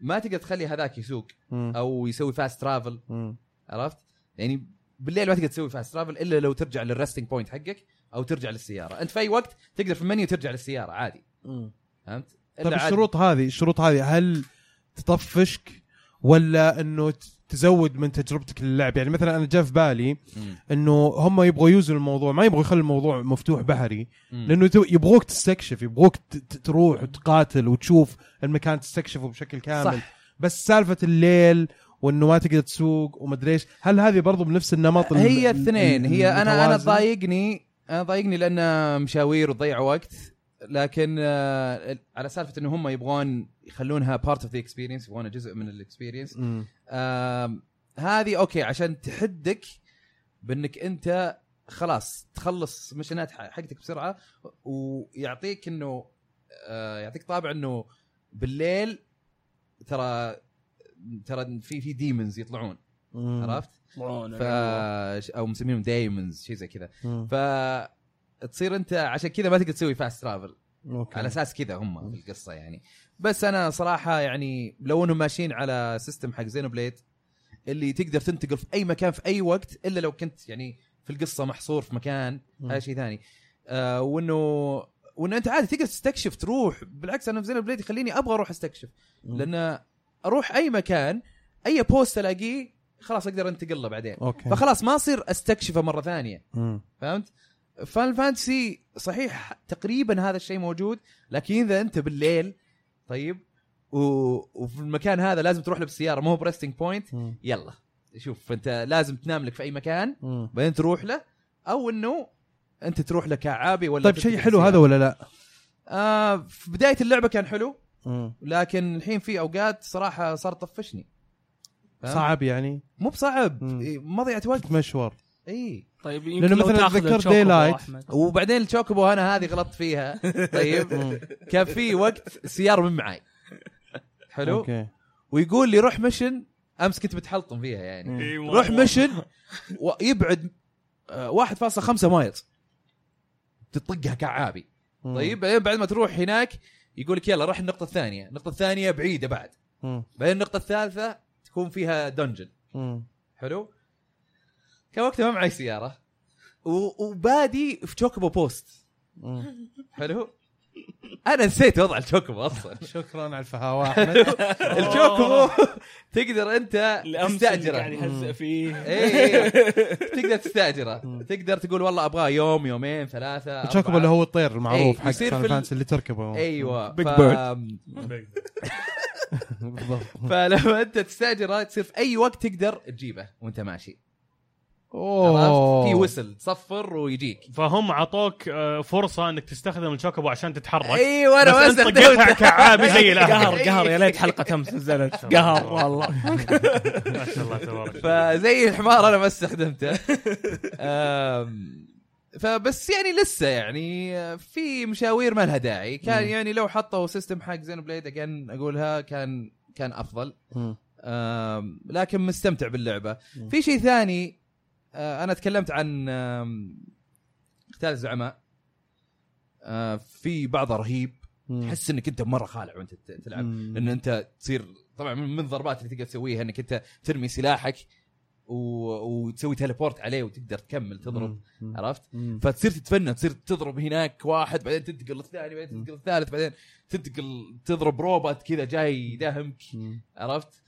Speaker 1: ما تقدر تخلي هذاك يسوق
Speaker 3: مم.
Speaker 1: او يسوي فاست ترافل
Speaker 3: مم.
Speaker 1: عرفت؟ يعني بالليل ما تقدر تسوي فاست ترافل الا لو ترجع للرستنج بوينت حقك او ترجع للسياره، انت في اي وقت تقدر في المنيو ترجع للسياره عادي،
Speaker 3: مم.
Speaker 1: فهمت؟ إلا
Speaker 3: طب
Speaker 1: عادي.
Speaker 3: الشروط هذه الشروط هذه هل تطفشك ولا انه ت- تزود من تجربتك للعب يعني مثلا انا جاء في بالي
Speaker 1: مم.
Speaker 3: انه هم يبغوا يوزنوا الموضوع ما يبغوا يخلوا الموضوع مفتوح بحري
Speaker 1: مم.
Speaker 3: لانه تو- يبغوك تستكشف يبغوك ت- ت- تروح وتقاتل وتشوف المكان تستكشفه بشكل كامل
Speaker 1: صح.
Speaker 3: بس سالفه الليل وانه ما تقدر تسوق ومدري ايش هل هذه برضو بنفس النمط الم-
Speaker 1: هي الاثنين هي انا انا
Speaker 3: المتوازن؟
Speaker 1: ضايقني انا ضايقني لان مشاوير وتضيع وقت لكن آه، على سالفه انه هم يبغون يخلونها بارت اوف ذا اكسبيرينس يبغونها جزء من الاكسبيرينس
Speaker 3: مم.
Speaker 1: آم، هذه اوكي عشان تحدك بانك انت خلاص تخلص مشنات ح- حقتك بسرعه ويعطيك انه آه، يعطيك طابع انه بالليل ترى ترى في في ديمونز يطلعون
Speaker 3: مم.
Speaker 1: عرفت؟ ف او مسمينهم دايمونز شيء زي كذا
Speaker 3: مم.
Speaker 1: ف تصير انت عشان كذا ما تقدر تسوي فاست ترافل
Speaker 3: أوكي.
Speaker 1: على اساس كذا هم في القصه يعني بس انا صراحه يعني لو انهم ماشيين على سيستم حق زينو بليد اللي تقدر تنتقل في اي مكان في اي وقت الا لو كنت يعني في القصه محصور في مكان
Speaker 3: مم.
Speaker 1: هذا شيء ثاني آه وانه وانه انت عادي تقدر تستكشف تروح بالعكس انا في زينو بليد يخليني ابغى اروح استكشف
Speaker 3: مم.
Speaker 1: لان اروح اي مكان اي بوست الاقيه خلاص اقدر انتقل له بعدين
Speaker 3: اوكي
Speaker 1: فخلاص ما اصير استكشفه مره ثانيه
Speaker 3: مم.
Speaker 1: فهمت؟ فان فانتسي صحيح تقريبا هذا الشيء موجود لكن اذا انت بالليل طيب و... وفي المكان هذا لازم تروح له بالسياره مو بريستنج بوينت
Speaker 3: مم.
Speaker 1: يلا شوف انت لازم تنام لك في اي مكان
Speaker 3: مم.
Speaker 1: بعدين تروح له او انه انت تروح له كعابي ولا
Speaker 3: طيب
Speaker 1: تترك
Speaker 3: شيء حلو هذا
Speaker 1: السيارة.
Speaker 3: ولا لا؟
Speaker 1: آه في بدايه اللعبه كان حلو لكن الحين في اوقات صراحه صار طفشني فهمت؟
Speaker 3: صعب يعني
Speaker 1: مو بصعب
Speaker 3: مم.
Speaker 1: إيه، مضيعه وقت إيه.
Speaker 3: مشوار
Speaker 1: اي
Speaker 4: طيب
Speaker 3: لأنه
Speaker 4: يمكن لو
Speaker 3: مثلاً
Speaker 4: تاخذ
Speaker 3: أتذكر
Speaker 4: الشوكولا
Speaker 3: Daylight.
Speaker 4: أحمد.
Speaker 1: وبعدين الشوكبو انا هذه غلطت فيها طيب كان في وقت السياره من معاي حلو
Speaker 3: اوكي
Speaker 1: ويقول لي روح مشن امس كنت بتحلطم فيها يعني
Speaker 3: مم.
Speaker 4: إي والله.
Speaker 1: روح مشن ويبعد آه، 1.5 مايل تطقها كعابي
Speaker 3: مم.
Speaker 1: طيب بعدين بعد ما تروح هناك يقول لك يلا روح النقطه الثانيه النقطه الثانيه بعيده بعد
Speaker 3: مم.
Speaker 1: بعدين النقطه الثالثه تكون فيها دنجن
Speaker 3: مم.
Speaker 1: حلو كان وقتها ما معي سياره و- وبادي في تشوكبو بوست
Speaker 3: مم.
Speaker 1: حلو انا نسيت وضع الشوكبو اصلا
Speaker 3: شكرا على الفهاوة احمد
Speaker 1: الشوكبو تقدر انت
Speaker 4: الامس اللي قاعد
Speaker 1: تستاجره
Speaker 3: يعني.
Speaker 4: يهزئ فيه
Speaker 1: اي تقدر تستاجره تقدر تقول والله ابغاه يوم يومين ثلاثه أربعة.
Speaker 3: الشوكبو اللي هو الطير المعروف
Speaker 1: إيه،
Speaker 3: حق
Speaker 1: يصير
Speaker 3: فان
Speaker 1: في ال-
Speaker 3: فانسي اللي تركبه
Speaker 1: ايوه
Speaker 3: Big
Speaker 1: ف-
Speaker 3: بالضبط
Speaker 1: فلما انت تستاجره تصير في اي وقت تقدر تجيبه وانت ماشي
Speaker 3: اوه
Speaker 1: عرفت في وسل تصفر ويجيك
Speaker 5: فهم عطوك آه، فرصه انك تستخدم الشوكبو عشان تتحرك
Speaker 1: ايوه انا ما
Speaker 5: بس انت قطع
Speaker 1: استخدمتها
Speaker 5: كعابي زي الاهل
Speaker 4: قهر قهر يا ليت حلقه امس نزلت قهر والله
Speaker 5: ما شاء الله تبارك الله.
Speaker 1: فزي الحمار انا ما استخدمته أم، فبس يعني لسه يعني في مشاوير ما لها داعي كان
Speaker 3: مم.
Speaker 1: يعني لو حطوا سيستم حق زين بليد again اقولها كان كان افضل
Speaker 3: مم.
Speaker 1: أم، لكن مستمتع باللعبه
Speaker 3: مم.
Speaker 1: في شيء ثاني أه، انا تكلمت عن أم، قتال الزعماء أه، في بعضه رهيب
Speaker 3: مم.
Speaker 1: تحس انك انت مره خالع وانت ت- تلعب
Speaker 3: مم.
Speaker 1: ان انت تصير طبعا من من الضربات اللي تقدر تسويها انك انت ترمي سلاحك و... وتسوي تليبورت عليه وتقدر تكمل تضرب
Speaker 3: مم.
Speaker 1: عرفت؟
Speaker 3: مم.
Speaker 1: فتصير تتفنن تصير تضرب هناك واحد بعدين تنتقل للثاني بعدين تنتقل للثالث بعدين تنتقل تضرب روبوت كذا جاي يداهمك
Speaker 3: مم.
Speaker 1: عرفت؟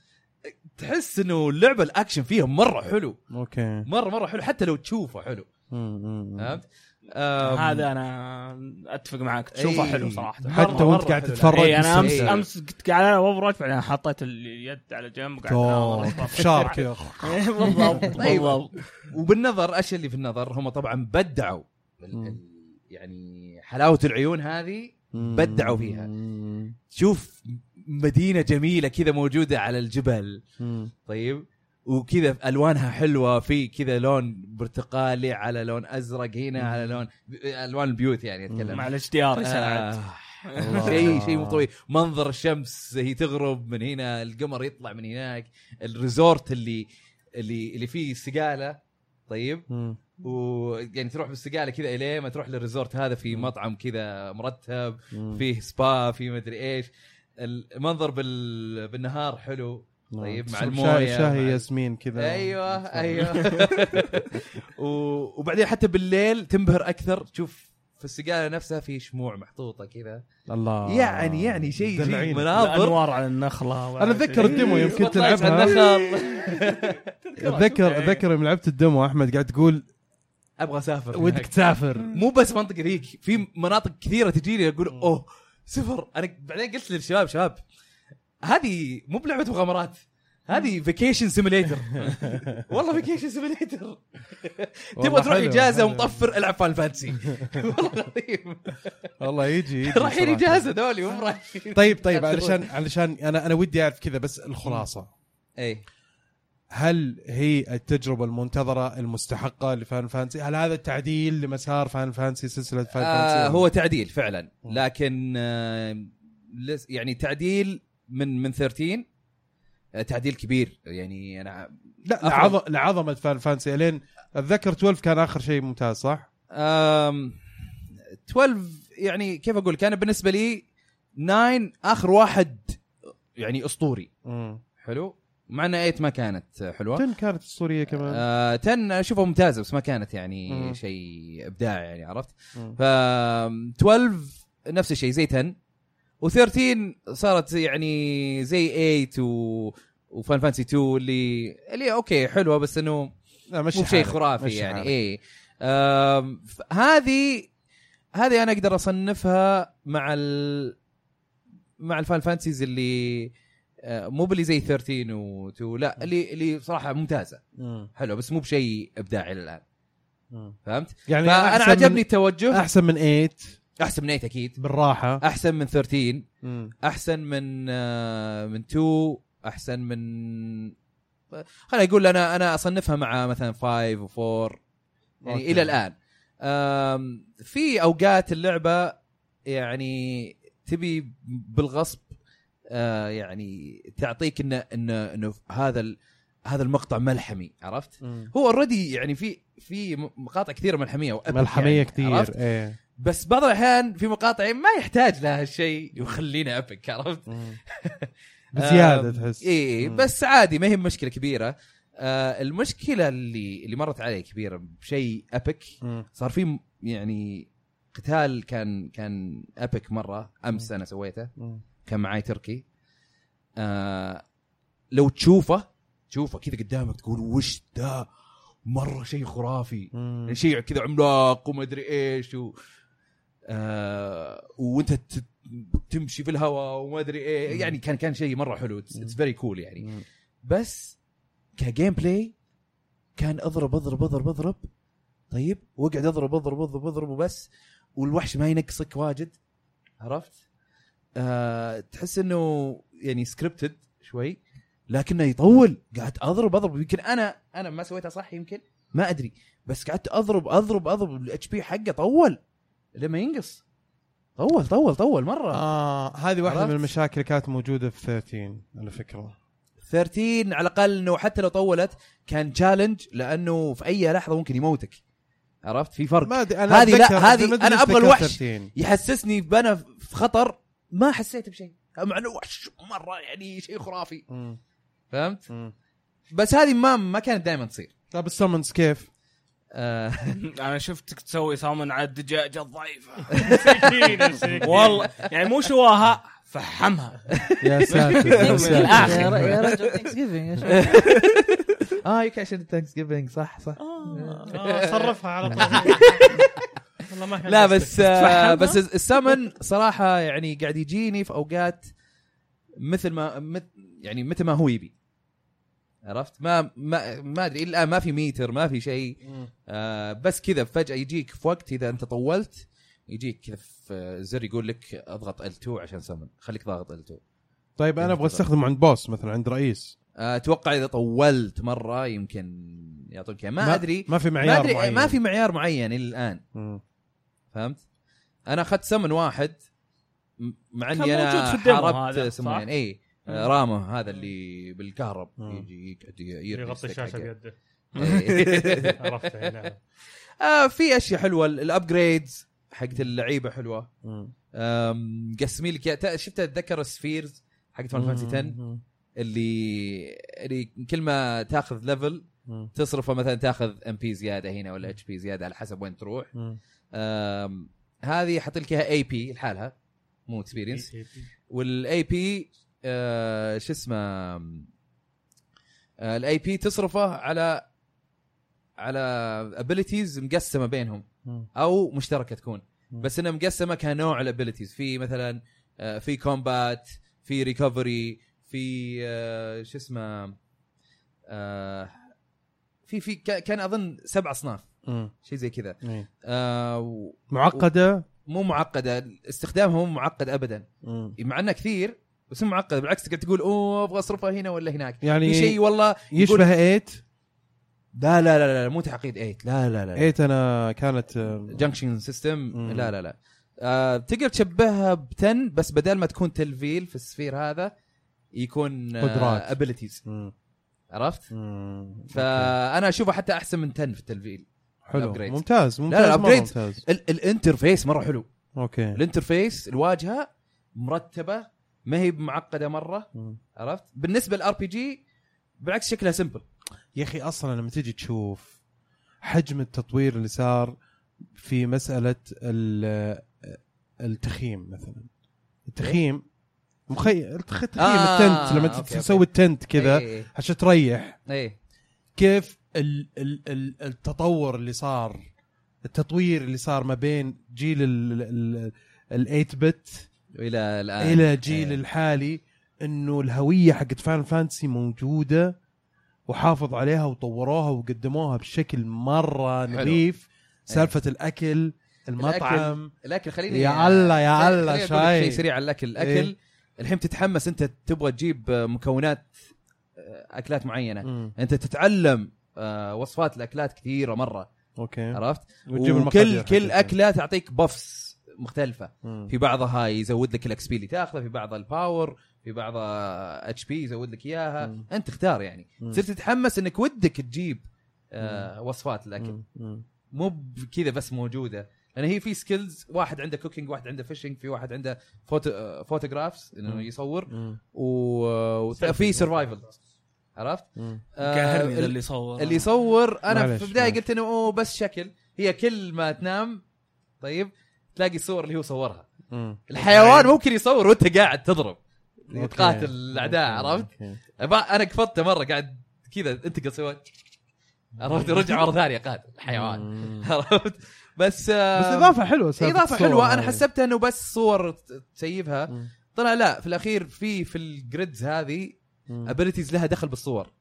Speaker 1: تحس انه اللعبه الاكشن فيها مره حلو
Speaker 3: اوكي
Speaker 1: مره مره حلو حتى لو تشوفه حلو
Speaker 3: مم. مم.
Speaker 1: فهمت؟ آم،
Speaker 4: هذا انا اتفق معك تشوفه
Speaker 1: إي.
Speaker 4: حلو صراحه
Speaker 3: حتى
Speaker 4: مرة-
Speaker 3: وانت
Speaker 4: مرة
Speaker 3: قاعد
Speaker 4: حلو.
Speaker 3: تتفرج
Speaker 1: إيه،
Speaker 4: إي، انا امس
Speaker 1: بالسلسلة.
Speaker 4: امس كنت قاعد انا وبرج بعدين حطيت اليد على جنب وقعدت
Speaker 3: أوه،
Speaker 4: أناظر.
Speaker 3: فشار كذا
Speaker 4: إي، بالضبط
Speaker 1: طيب.
Speaker 4: بالضبط
Speaker 1: وبالنظر الاشياء اللي في النظر هم طبعا بدعوا بال-
Speaker 3: مم.
Speaker 1: ال- يعني حلاوه العيون هذه بدعوا فيها.
Speaker 3: مم.
Speaker 1: تشوف مدينه جميله كذا موجوده على الجبل
Speaker 3: مم.
Speaker 1: طيب وكذا الوانها حلوه في كذا لون برتقالي على لون ازرق هنا على لون الوان البيوت يعني اتكلم
Speaker 4: مع الاشتيار يا سعد
Speaker 1: آه، شيء شيء مو طبيعي منظر الشمس هي تغرب من هنا القمر يطلع من هناك الريزورت اللي اللي اللي فيه سقاله طيب
Speaker 3: مم.
Speaker 1: ويعني تروح بالسقاله كذا الين ما تروح للريزورت هذا في مطعم كذا مرتب
Speaker 3: مم.
Speaker 1: فيه سبا فيه مدري ايش المنظر بال... بالنهار حلو
Speaker 3: نعم.
Speaker 1: طيب، مع
Speaker 3: شاي-
Speaker 1: الموية،
Speaker 3: شاهي
Speaker 1: مع-
Speaker 3: ياسمين كذا
Speaker 1: ايوه ايوه و... وبعدين حتى بالليل تنبهر اكثر تشوف في السقاله نفسها في شموع محطوطه كذا
Speaker 3: الله
Speaker 1: يعني يعني شيء يجيب
Speaker 3: دلعيني.
Speaker 1: مناظر
Speaker 4: الانوار على النخله
Speaker 3: انا اتذكر الديمو يوم كنت العبها
Speaker 1: النخل إيه.
Speaker 3: اتذكر اتذكر يوم لعبت الديمو احمد قاعد تقول
Speaker 1: ابغى اسافر
Speaker 3: ودك
Speaker 1: ودك
Speaker 3: تسافر
Speaker 1: مو بس منطقه ذيك في مناطق كثيره تجيني اقول اوه سفر انا بعدين قلت للشباب شباب هذه مو بلعبه مغامرات هذه فيكيشن سيميليتر والله فيكيشن سيميليتر تبغى
Speaker 3: والله
Speaker 1: تروح
Speaker 3: حلو،
Speaker 1: اجازه
Speaker 3: حلو.
Speaker 1: ومطفر العب فان فانسي والله العظيم
Speaker 3: والله يجي يجي
Speaker 1: رايحين
Speaker 3: صراحة.
Speaker 1: اجازه دولي مو رايحين
Speaker 3: طيب طيب علشان علشان انا انا ودي اعرف كذا بس الخلاصه إيه،
Speaker 1: اي
Speaker 3: هل هي التجربه المنتظره المستحقه لفان فانسي؟ هل هذا التعديل لمسار فان فانسي سلسله فان
Speaker 1: آه
Speaker 3: فانسي؟
Speaker 1: هو تعديل فعلا لكن آه لس- يعني تعديل من من 13 آه، تعديل كبير يعني انا
Speaker 3: لا
Speaker 1: أفضل.
Speaker 3: لعظ- لعظمه فان فانسي الين اتذكر 12 كان اخر شيء ممتاز صح؟
Speaker 1: آم 12 يعني كيف اقول كان بالنسبه لي 9 اخر واحد يعني اسطوري
Speaker 3: امم
Speaker 1: حلو مع ان 8 ما كانت حلوه
Speaker 3: 10 كانت السوريه كمان
Speaker 1: آه، تن اشوفها ممتازه بس ما كانت يعني
Speaker 3: مم.
Speaker 1: شيء ابداع يعني عرفت
Speaker 3: مم.
Speaker 1: ف 12 نفس الشيء زي 10 و13 صارت يعني زي 8 و وفان فانسي 2 اللي اللي اوكي حلوه بس انه
Speaker 3: لا مش
Speaker 1: مو شيء خرافي يعني اي آم، ف- هذه هذه انا اقدر اصنفها مع ال مع الفان فانتسيز اللي آه، مو باللي زي 13 و2 لا اللي اللي صراحه ممتازه حلو بس مو بشيء ابداعي الى الان فهمت؟
Speaker 3: يعني
Speaker 1: فانا
Speaker 3: أحسن
Speaker 1: عجبني
Speaker 3: من
Speaker 1: التوجه
Speaker 3: احسن من 8
Speaker 1: احسن من 8 اكيد
Speaker 3: بالراحه
Speaker 1: احسن من 13
Speaker 3: مم.
Speaker 1: احسن من آه، من 2 احسن من آه، خليني اقول انا انا اصنفها مع مثلا 5 و4 يعني
Speaker 3: أوكي.
Speaker 1: الى الان آم، في اوقات اللعبه يعني تبي بالغصب آه، يعني تعطيك انه انه انه هذا ال- هذا المقطع ملحمي عرفت؟
Speaker 3: مم.
Speaker 1: هو اوريدي يعني في في مقاطع كثيره ملحميه وأبك
Speaker 3: ملحميه
Speaker 1: يعني، عرفت؟
Speaker 3: كثير ايه
Speaker 1: بس بعض الاحيان في مقاطع ما يحتاج لها هالشيء وخلينا ابك عرفت؟
Speaker 3: مم. بزياده
Speaker 1: آم،
Speaker 3: تحس
Speaker 1: اي
Speaker 3: مم.
Speaker 1: بس عادي ما هي مشكله كبيره آه المشكله اللي اللي مرت علي كبيره بشيء ابك
Speaker 3: مم.
Speaker 1: صار في م- يعني قتال كان كان ابك مره امس انا سويته
Speaker 3: مم.
Speaker 1: كان معاي تركي آه لو تشوفه تشوفه كذا قدامك تقول وش ذا مره شيء خرافي
Speaker 3: مم.
Speaker 1: يعني شيء كذا عملاق وما ادري ايش و... آه... وانت ت... تمشي في الهواء وما ادري ايه يعني كان كان شيء مره حلو اتس فيري كول يعني
Speaker 3: مم.
Speaker 1: بس كجيم بلاي كان اضرب اضرب اضرب اضرب طيب واقعد اضرب اضرب اضرب اضرب وبس والوحش ما ينقصك واجد عرفت؟ آه... تحس انه يعني سكريبتد شوي لكنه يطول قعدت اضرب اضرب يمكن انا انا ما سويتها صح يمكن ما ادري بس قعدت اضرب اضرب اضرب الاتش بي حقه طول لما ينقص طول طول طول مره آه.
Speaker 3: اه هذه واحده
Speaker 1: عرفت؟
Speaker 3: من المشاكل اللي كانت موجوده في 13 على فكره
Speaker 1: 13 على الاقل انه حتى لو طولت كان تشالنج لانه في اي لحظه ممكن يموتك عرفت في فرق
Speaker 3: ما ادري
Speaker 1: هذه لا،
Speaker 3: أتذكر-
Speaker 1: هذه
Speaker 3: ما أدري
Speaker 1: أنا
Speaker 3: ليش
Speaker 1: أبغى
Speaker 3: ذكرت
Speaker 1: الوحش.
Speaker 3: 13.
Speaker 1: يحسسني بانا في خطر ما حسيت بشيء مع انه وحش مره يعني شيء خرافي
Speaker 3: مم.
Speaker 1: فهمت
Speaker 3: مم.
Speaker 1: بس هذه ما ما كانت دائما تصير
Speaker 3: طب السمنز طيب، كيف؟
Speaker 1: آه
Speaker 4: انا شفتك تسوي صامن على الدجاجه الضعيفه
Speaker 5: والله
Speaker 4: والله يعني مو شواها فحمها
Speaker 3: يا ساتر يا
Speaker 4: من الآخر.
Speaker 3: ساتر
Speaker 2: يا ر- يا رجل ثانكس جيفنج آه،
Speaker 5: آه،
Speaker 1: اه يمكن عشان ثانكس جيفنج صح صح
Speaker 5: صرفها على طول ما كان
Speaker 1: لا
Speaker 5: قصدك.
Speaker 1: بس آه بس السمن صراحه يعني قاعد يجيني في اوقات مثل ما مث يعني متى ما هو يبي عرفت ما ما ما ادري الان ما في ميتر ما في شيء آه بس كذا فجاه يجيك في وقت اذا انت طولت يجيك كذا في آه، زر يقول لك اضغط L2 عشان سمن خليك ضاغط L2
Speaker 3: طيب انا ابغى استخدمه عند بوس مثلا عند رئيس
Speaker 1: آه، اتوقع اذا طولت مره يمكن يعطوك إياه. ما ادري
Speaker 3: ما في
Speaker 1: ما
Speaker 3: معيار
Speaker 1: ادري
Speaker 3: معين
Speaker 1: ما في معيار معين الى الان
Speaker 3: مم.
Speaker 1: فهمت؟ انا اخذت سمن واحد م- مع
Speaker 4: كان
Speaker 1: اني
Speaker 4: موجود في
Speaker 1: انا
Speaker 4: الديمو
Speaker 1: حاربت
Speaker 4: هذا، صح؟ إيه.
Speaker 1: سمين اي آه، رامه هذا اللي بالكهرب
Speaker 3: مم.
Speaker 1: يجي يقعد يرمي
Speaker 5: يغطي
Speaker 1: الستيك
Speaker 5: الشاشه
Speaker 1: حقه.
Speaker 5: بيده
Speaker 1: إيه.
Speaker 5: عرفت يعني
Speaker 1: آه، في اشياء حلوه الابجريدز حقت اللعيبه حلوه
Speaker 3: مم.
Speaker 1: آم، قسمي لك إياها. تا- شفت اتذكر السفيرز حقت فان فانسي 10
Speaker 3: مم.
Speaker 1: اللي اللي كل ما تاخذ ليفل
Speaker 3: مم.
Speaker 1: تصرفه مثلا تاخذ ام بي زياده هنا ولا اتش بي زياده على حسب وين تروح
Speaker 3: مم.
Speaker 1: آم، هذه حاط لك اياها اي بي لحالها مو اكسبيرينس والاي بي آه، شو اسمه آه، الاي بي تصرفه على على ابيلتيز مقسمه بينهم
Speaker 3: مم.
Speaker 1: او مشتركه تكون
Speaker 3: مم.
Speaker 1: بس انها مقسمه كنوع الابيلتيز في مثلا آه، في كومبات في ريكفري في آه، شو اسمه آه، في في ك- كان اظن سبع اصناف
Speaker 3: مم.
Speaker 1: شيء زي كذا
Speaker 3: إيه.
Speaker 1: آه، و-
Speaker 3: معقده
Speaker 1: مو معقده استخدامها مو معقد ابدا
Speaker 3: مم.
Speaker 1: مع انه كثير بس مو معقد بالعكس تقعد تقول اوه ابغى اصرفها هنا ولا هناك
Speaker 3: يعني
Speaker 1: في شيء والله يقول-
Speaker 3: يشبه ايت
Speaker 1: لا لا لا لا مو تعقيد 8 لا لا لا
Speaker 3: ايت انا كانت آه،
Speaker 1: جنكشن سيستم
Speaker 3: مم.
Speaker 1: لا لا لا آه تقدر تشبهها ب 10 بس بدل ما تكون تلفيل في السفير هذا يكون
Speaker 3: قدرات.
Speaker 1: ابيلتيز
Speaker 3: مم.
Speaker 1: عرفت؟
Speaker 3: مم.
Speaker 1: فانا اشوفه حتى احسن من 10 في التلفيل
Speaker 3: حلو
Speaker 1: الأبجريد.
Speaker 3: ممتاز ممتاز
Speaker 1: لا،
Speaker 3: مرة
Speaker 1: الأبجريد.
Speaker 3: ممتاز
Speaker 1: ال- الانترفيس مره حلو
Speaker 3: اوكي
Speaker 1: الانترفيس الواجهه مرتبه ما هي معقده مره
Speaker 3: مم.
Speaker 1: عرفت؟ بالنسبه للار بي جي بالعكس شكلها سمبل
Speaker 3: يا اخي اصلا لما تجي تشوف حجم التطوير اللي صار في مساله ال- التخييم مثلا التخييم مخي التخ- تخييم
Speaker 1: آه،
Speaker 3: التنت لما
Speaker 1: أوكي،
Speaker 3: تت-
Speaker 1: أوكي.
Speaker 3: تسوي التنت كذا
Speaker 1: ايه
Speaker 3: عشان تريح
Speaker 1: ايه
Speaker 3: كيف ال ال ال التطور اللي صار التطوير اللي صار ما بين جيل ال 8 بت
Speaker 1: الى الان
Speaker 3: الى جيل
Speaker 1: إيه.
Speaker 3: الحالي انه الهويه حقت فان فانتسي موجوده وحافظ عليها وطوروها وقدموها بشكل مره
Speaker 1: حلو. إيه.
Speaker 3: نظيف سالفه الاكل المطعم
Speaker 1: الاكل خليني
Speaker 3: يا الله، يا
Speaker 1: خليني
Speaker 3: الله،
Speaker 1: أقول لك
Speaker 3: شاي.
Speaker 1: شيء سريع على الاكل الاكل
Speaker 3: إيه.
Speaker 1: إيه؟ الحين تتحمس انت تبغى تجيب مكونات آه، اكلات معينه
Speaker 3: مم.
Speaker 1: انت تتعلم آه، وصفات الاكلات كثيره مره
Speaker 3: اوكي
Speaker 1: عرفت
Speaker 3: إيه. وتجيب المقادير
Speaker 1: وكل كل
Speaker 3: حقتها.
Speaker 1: اكله تعطيك بفس مختلفه
Speaker 3: مم.
Speaker 1: في بعضها يزود لك الاكس بي اللي تاخذه في بعضها الباور في بعضها اتش بي يزود لك اياها
Speaker 3: مم.
Speaker 1: انت اختار يعني
Speaker 3: مم.
Speaker 1: صرت تتحمس انك ودك تجيب آه وصفات الاكل
Speaker 3: مم. مم.
Speaker 1: مو بكذا بس موجوده لان هي في سكيلز واحد عنده كوكينج واحد عنده فيشنج في واحد عنده فوتو فوتوغرافز
Speaker 3: مم.
Speaker 1: انه يصور
Speaker 3: مم.
Speaker 1: و- وفي سرفايفل عرفت
Speaker 3: مم.
Speaker 1: آه،
Speaker 4: كهرمي ذا
Speaker 1: ال-
Speaker 4: اللي صور
Speaker 1: اللي يصور انا
Speaker 3: معلش،
Speaker 1: في البدايه
Speaker 3: معلش.
Speaker 1: قلت انه اوه بس شكل هي كل ما تنام طيب تلاقي الصور اللي هو صورها
Speaker 3: مم.
Speaker 1: الحيوان ممكن يصور وانت قاعد تضرب
Speaker 3: يعني أوكي.
Speaker 1: وتقاتل الاعداء
Speaker 3: أوكي.
Speaker 1: عرفت
Speaker 3: أوكي.
Speaker 1: أبا- انا قفطته مره قاعد كذا انتقل سويت عرفت رجع مره ثانيه قاتل الحيوان
Speaker 3: مم.
Speaker 1: عرفت بس آه،
Speaker 3: بس اضافه حلوه سالفة
Speaker 1: اضافه
Speaker 3: الصور
Speaker 1: حلوه انا
Speaker 3: هذه.
Speaker 1: حسبتها انه بس صور ت- تسيفها
Speaker 3: مم.
Speaker 1: طلع لا في الاخير في في الجريدز هذه
Speaker 3: مم.
Speaker 1: ابيلتيز لها دخل بالصور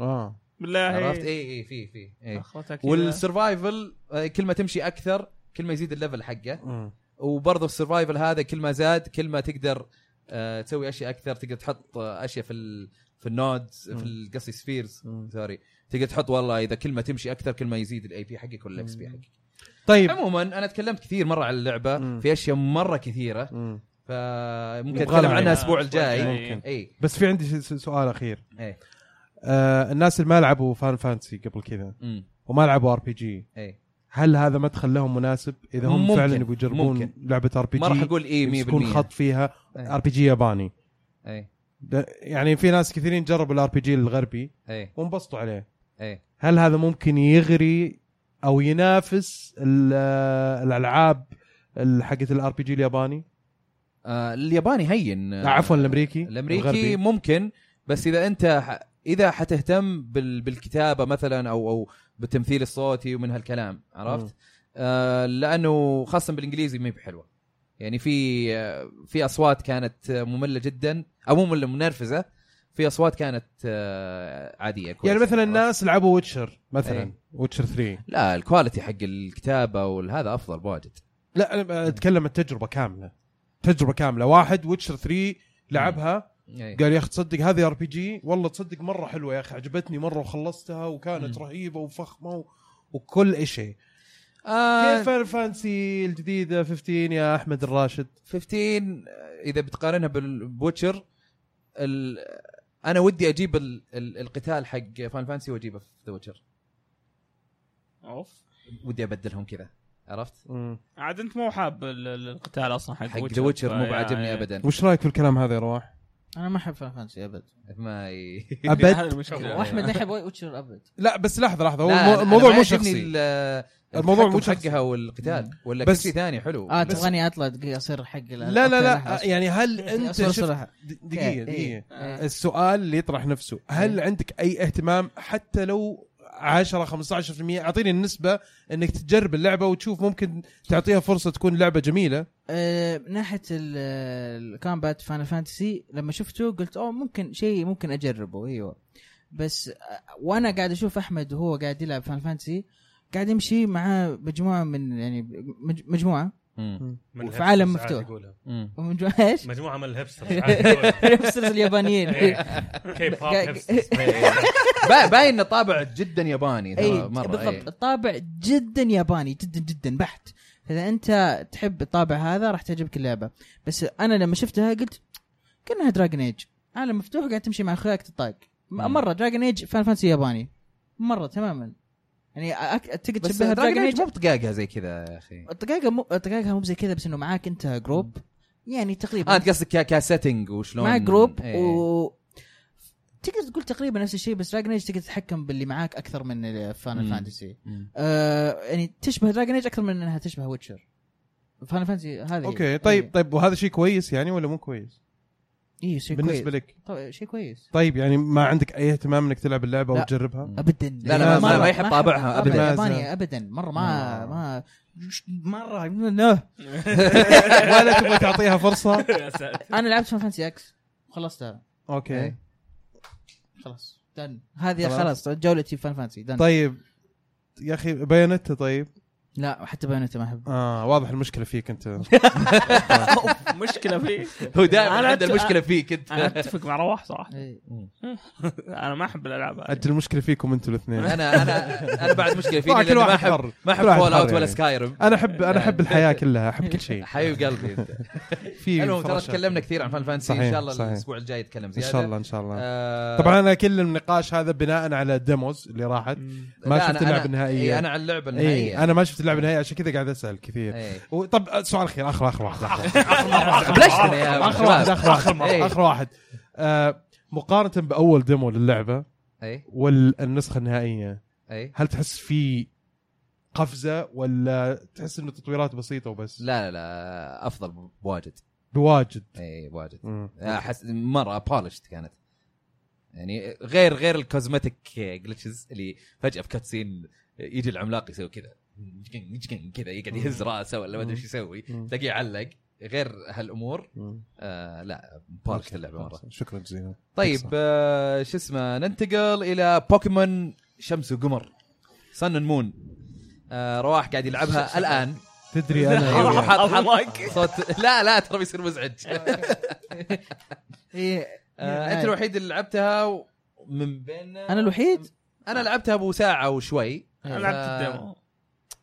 Speaker 3: اه
Speaker 4: بالله
Speaker 1: عرفت اي اي في في اي
Speaker 4: أخوتك كذا.
Speaker 1: والسرفايفل آه، كل ما تمشي اكثر كل ما يزيد الليفل حقه
Speaker 3: مم.
Speaker 1: وبرضه السرفايفل هذا كل ما زاد كل ما تقدر آه، تسوي اشياء اكثر تقدر تحط آه، اشياء في ال في النودز
Speaker 3: مم.
Speaker 1: في ال- قصدي سفيرز
Speaker 3: مم.
Speaker 1: سوري تقدر تحط والله اذا كل ما تمشي اكثر كل ما يزيد الاي بي حقك ولا الاكس بي حقك
Speaker 3: طيب
Speaker 1: عموما انا تكلمت كثير مره على
Speaker 3: مم.
Speaker 1: اللعبه في اشياء مره كثيره
Speaker 3: مم.
Speaker 1: فممكن
Speaker 3: نبغى
Speaker 1: اتكلم عنها
Speaker 3: لها يعني.
Speaker 1: الاسبوع
Speaker 4: الجاي.
Speaker 1: الجاي
Speaker 3: ممكن.
Speaker 1: اي
Speaker 3: بس في عندي س- س- سؤال اخير
Speaker 1: اي
Speaker 3: آه الناس اللي ما لعبوا فان فانسي قبل كذا
Speaker 1: أمم،
Speaker 3: وما لعبوا ار بي جي
Speaker 1: اي
Speaker 3: هل هذا مدخل لهم مناسب اذا هم
Speaker 1: ممكن.
Speaker 3: فعلا يبغوا يجربون
Speaker 1: ممكن.
Speaker 3: لعبه ار بي
Speaker 1: ما راح إيه
Speaker 3: جي
Speaker 1: اقول اي 100%
Speaker 3: يكون خط فيها
Speaker 1: إيه.
Speaker 3: ار بي جي ياباني
Speaker 1: اي
Speaker 3: ده- يعني في ناس كثيرين جربوا الار بي جي الغربي
Speaker 1: اي
Speaker 3: وانبسطوا عليه
Speaker 1: اي
Speaker 3: هل هذا ممكن يغري او ينافس ال- آه، الالعاب ال- حقت الار بي جي الياباني
Speaker 1: آه، الياباني هين
Speaker 3: لا عفوا الامريكي
Speaker 1: الامريكي
Speaker 3: الغربي.
Speaker 1: ممكن بس اذا انت ح... اذا حتهتم بال... بالكتابه مثلا او او بالتمثيل الصوتي ومن هالكلام عرفت؟ آه، لانه خاصه بالانجليزي ما هي بحلوه يعني في آه، في اصوات كانت آه، ممله جدا او مو ممله منرفزه في اصوات كانت آه، عاديه كويسة.
Speaker 3: يعني مثلا الناس لعبوا ويتشر مثلا
Speaker 1: إيه.
Speaker 3: ويتشر 3
Speaker 1: لا الكواليتي حق الكتابه والهذا افضل بواجد
Speaker 3: لا انا اتكلم عن تجربه كامله تجربه كامله واحد ويتشر 3 لعبها
Speaker 1: إيه.
Speaker 3: قال يا اخي تصدق هذه ار بي جي والله تصدق مره حلوه يا اخي عجبتني مره وخلصتها وكانت
Speaker 2: مم.
Speaker 3: رهيبه وفخمه و... وكل شيء
Speaker 1: آه،
Speaker 3: كيف الفانسي الجديده 15 يا احمد الراشد
Speaker 1: 15 اذا بتقارنها بال- بوتشر ال... انا ودي اجيب ال... ال... القتال حق فان فانسي واجيبه في ذا ويتشر
Speaker 4: اوف
Speaker 1: ودي ابدلهم كذا عرفت؟
Speaker 4: عاد انت مو حاب ال- ال- القتال اصلا حق يعني طيب.
Speaker 1: حق ذا ويتشر مو بعاجبني ابدا
Speaker 3: وش رايك في الكلام هذا يا رواح؟
Speaker 2: انا ما احب فان فانسي ابد
Speaker 1: ما ي...
Speaker 3: ابد
Speaker 4: المشكله
Speaker 2: واحمد ما يحب ويتشر ابد
Speaker 3: لا بس لحظه لحظه هو
Speaker 1: لا، أنا-
Speaker 3: المو-
Speaker 1: أنا
Speaker 3: الموضوع
Speaker 1: ما
Speaker 3: مو
Speaker 1: يعجبني
Speaker 3: شخصي
Speaker 1: ال-
Speaker 3: الموضوع مو
Speaker 1: التحكم
Speaker 3: شخصي.
Speaker 1: حقها والقتال ولا
Speaker 3: بس- آه،
Speaker 1: بس شيء ثاني حلو
Speaker 2: اه
Speaker 1: بس-
Speaker 2: تبغاني اطلع دقيقة اصير حق لا
Speaker 3: لا لا لا يعني هل انت شفت
Speaker 2: صراحه
Speaker 3: د- دقيقه
Speaker 2: إيه.
Speaker 3: دقيقه
Speaker 2: إيه.
Speaker 3: السؤال اللي يطرح نفسه هل عندك اي اهتمام حتى لو 10 15% اعطيني النسبه انك تجرب اللعبه وتشوف ممكن تعطيها فرصه تكون لعبه جميله
Speaker 2: آه، من ناحيه ال- الكومبات فانا فانتسي لما شفته قلت اوه ممكن شيء ممكن اجربه ايوه بس آه، وانا قاعد اشوف احمد وهو قاعد يلعب فان فانتسي قاعد يمشي مع مجموعه من يعني مج- مجموعه
Speaker 1: مم.
Speaker 5: من
Speaker 2: في عالم
Speaker 5: الهبسة عاد
Speaker 2: مفتوح.
Speaker 5: يقولها.
Speaker 1: مم.
Speaker 2: ومجموعه ايش؟
Speaker 5: مجموعه من الهبسترز عاد يقولها. إيه،
Speaker 2: الهبسترز اليابانيين
Speaker 5: كيب هوب
Speaker 2: قا-
Speaker 5: هبسترز.
Speaker 1: با- باين انه طابع جدا ياباني
Speaker 2: اي
Speaker 1: ترى، مره
Speaker 2: بالضبط
Speaker 1: إيه.
Speaker 2: الطابع جدا ياباني جدا جدا بحت فاذا انت تحب الطابع هذا راح تعجبك اللعبه بس انا لما شفتها قلت كانها دراجن ايج عالم مفتوح قاعد تمشي مع اخوياك تطاق م-
Speaker 1: مم.
Speaker 2: مره دراجن ايج فان فانسي ياباني مره تماما يعني أك...
Speaker 1: بس
Speaker 2: تقدر تشبهها بدراجن
Speaker 1: دراجون
Speaker 2: ايج
Speaker 1: ايج مو بطقاقها زي كذا يا اخي
Speaker 2: طقاقها مو طقاقها مو زي كذا بس انه معاك انت جروب يعني تقريبا
Speaker 1: اه انت قصدك ك- كسيتنج وشلون
Speaker 2: معك جروب
Speaker 1: إيه.
Speaker 2: و تقدر تقول تقريبا نفس الشيء بس دراجن ايج تقدر تتحكم باللي معاك اكثر من فان
Speaker 1: مم.
Speaker 2: فانتسي
Speaker 1: مم.
Speaker 2: آه يعني تشبه دراجن ايج اكثر من انها تشبه ويتشر فانا فانتسي هذه
Speaker 3: اوكي
Speaker 2: إيه.
Speaker 3: طيب طيب وهذا شيء كويس يعني ولا مو كويس
Speaker 2: اي شيء بالنسبه
Speaker 3: بالنسبه
Speaker 2: إيه، كويس.
Speaker 3: لك
Speaker 2: طيب شيء كويس
Speaker 3: طيب يعني ما عندك اي اهتمام انك تلعب اللعبه
Speaker 2: لا.
Speaker 3: وتجربها
Speaker 2: ابدا
Speaker 1: لا، لا،
Speaker 3: ما- ما-
Speaker 1: ما يحب
Speaker 2: أحب
Speaker 1: طابعها
Speaker 2: الطابع
Speaker 3: أبداً.
Speaker 2: الياباني ابدا مره ما ما مره لا
Speaker 3: ولا تبغى تعطيها فرصه
Speaker 4: يا ساتر.
Speaker 2: انا لعبت فان فانتسي اكس خلصتها
Speaker 3: اوكي
Speaker 1: إيه.
Speaker 2: خلاص دن هذه
Speaker 3: خلاص.
Speaker 2: خلاص جولتي فان فانتسي دن
Speaker 3: طيب يا اخي بيانته طيب
Speaker 2: لا حتى بايونيتا ما احب
Speaker 3: اه واضح المشكله فيك انت
Speaker 4: مشكله فيه
Speaker 1: هو دائما
Speaker 4: أنا
Speaker 1: عنده
Speaker 4: أت-
Speaker 1: المشكله فيك انت
Speaker 4: انا اتفق مع رواح
Speaker 1: آه،
Speaker 4: صراحه
Speaker 2: إيه.
Speaker 4: انا ما احب الالعاب هذه.
Speaker 3: انت المشكله فيكم انتوا الاثنين
Speaker 1: انا انا انا بعد مشكله
Speaker 3: طبعاً
Speaker 1: فيني
Speaker 3: كل
Speaker 1: لاني ما
Speaker 3: واحد
Speaker 1: احب
Speaker 3: حر.
Speaker 1: ما احب
Speaker 3: كل واحد
Speaker 1: فول
Speaker 3: حر
Speaker 1: اوت ولا
Speaker 3: يعني.
Speaker 1: سكاي ريم
Speaker 3: انا احب انا احب الحياه كلها احب كل شيء
Speaker 1: حبيب قلبي انت
Speaker 3: في
Speaker 1: المهم ترى
Speaker 3: فراشات.
Speaker 1: تكلمنا كثير عن فان فانسي ان
Speaker 3: إيه، صحيح،
Speaker 1: شاء الله
Speaker 3: صحيح.
Speaker 1: الاسبوع الجاي نتكلم
Speaker 3: ان
Speaker 1: زياده
Speaker 3: شاء الله ان شاء الله
Speaker 1: آه،
Speaker 3: طبعا انا كل النقاش هذا بناء على الديموز اللي راحت
Speaker 1: لا،
Speaker 3: ما
Speaker 1: أنا-
Speaker 3: شفت اللعبه
Speaker 1: أنا-
Speaker 3: النهائيه
Speaker 1: إيه، انا على اللعبه
Speaker 3: إيه
Speaker 1: النهائيه
Speaker 3: انا ما شفت اللعبه النهائيه عشان كذا قاعد اسال كثير
Speaker 1: إيه.
Speaker 3: و- طب آه، سؤال اخير اخر اخر واحد اخر
Speaker 1: بلشتنا يا
Speaker 3: آخر واحد
Speaker 1: شباب
Speaker 3: اخر واحد
Speaker 1: إيه.
Speaker 3: اخر واحد آه، مقارنه باول ديمو للعبه
Speaker 1: اي
Speaker 3: والنسخه النهائيه
Speaker 1: اي
Speaker 3: هل تحس في قفزه ولا تحس انه تطويرات بسيطه وبس
Speaker 1: لا لا لا إيه، افضل بواجد
Speaker 3: بواجد
Speaker 1: اي بواجد
Speaker 3: مم.
Speaker 1: احس مره ابولشت كانت يعني غير غير الكوزمتيك جلتشز اللي فجاه في كاتسين يجي العملاق يسوي كذا كذا يقعد يهز راسه ولا ما ادري ايش يسوي
Speaker 3: مم.
Speaker 1: تلاقيه يعلق غير هالامور
Speaker 3: مم.
Speaker 1: آه لا باركت اللعبه مره
Speaker 3: شكرا جزيلا
Speaker 1: طيب آه شو اسمه ننتقل الى بوكيمون شمس وقمر سن مون آه رواح قاعد يلعبها الان
Speaker 3: تدري
Speaker 1: أيوة،
Speaker 3: انا
Speaker 1: حاط- حاط
Speaker 4: الله
Speaker 1: صوت لا لا ترى بيصير مزعج
Speaker 2: إيه.
Speaker 1: آه انت الوحيد اللي لعبتها و- من بيننا
Speaker 2: انا الوحيد
Speaker 1: انا لعبتها ابو ساعه وشوي
Speaker 4: انا
Speaker 1: آه،
Speaker 4: لعبت الديمو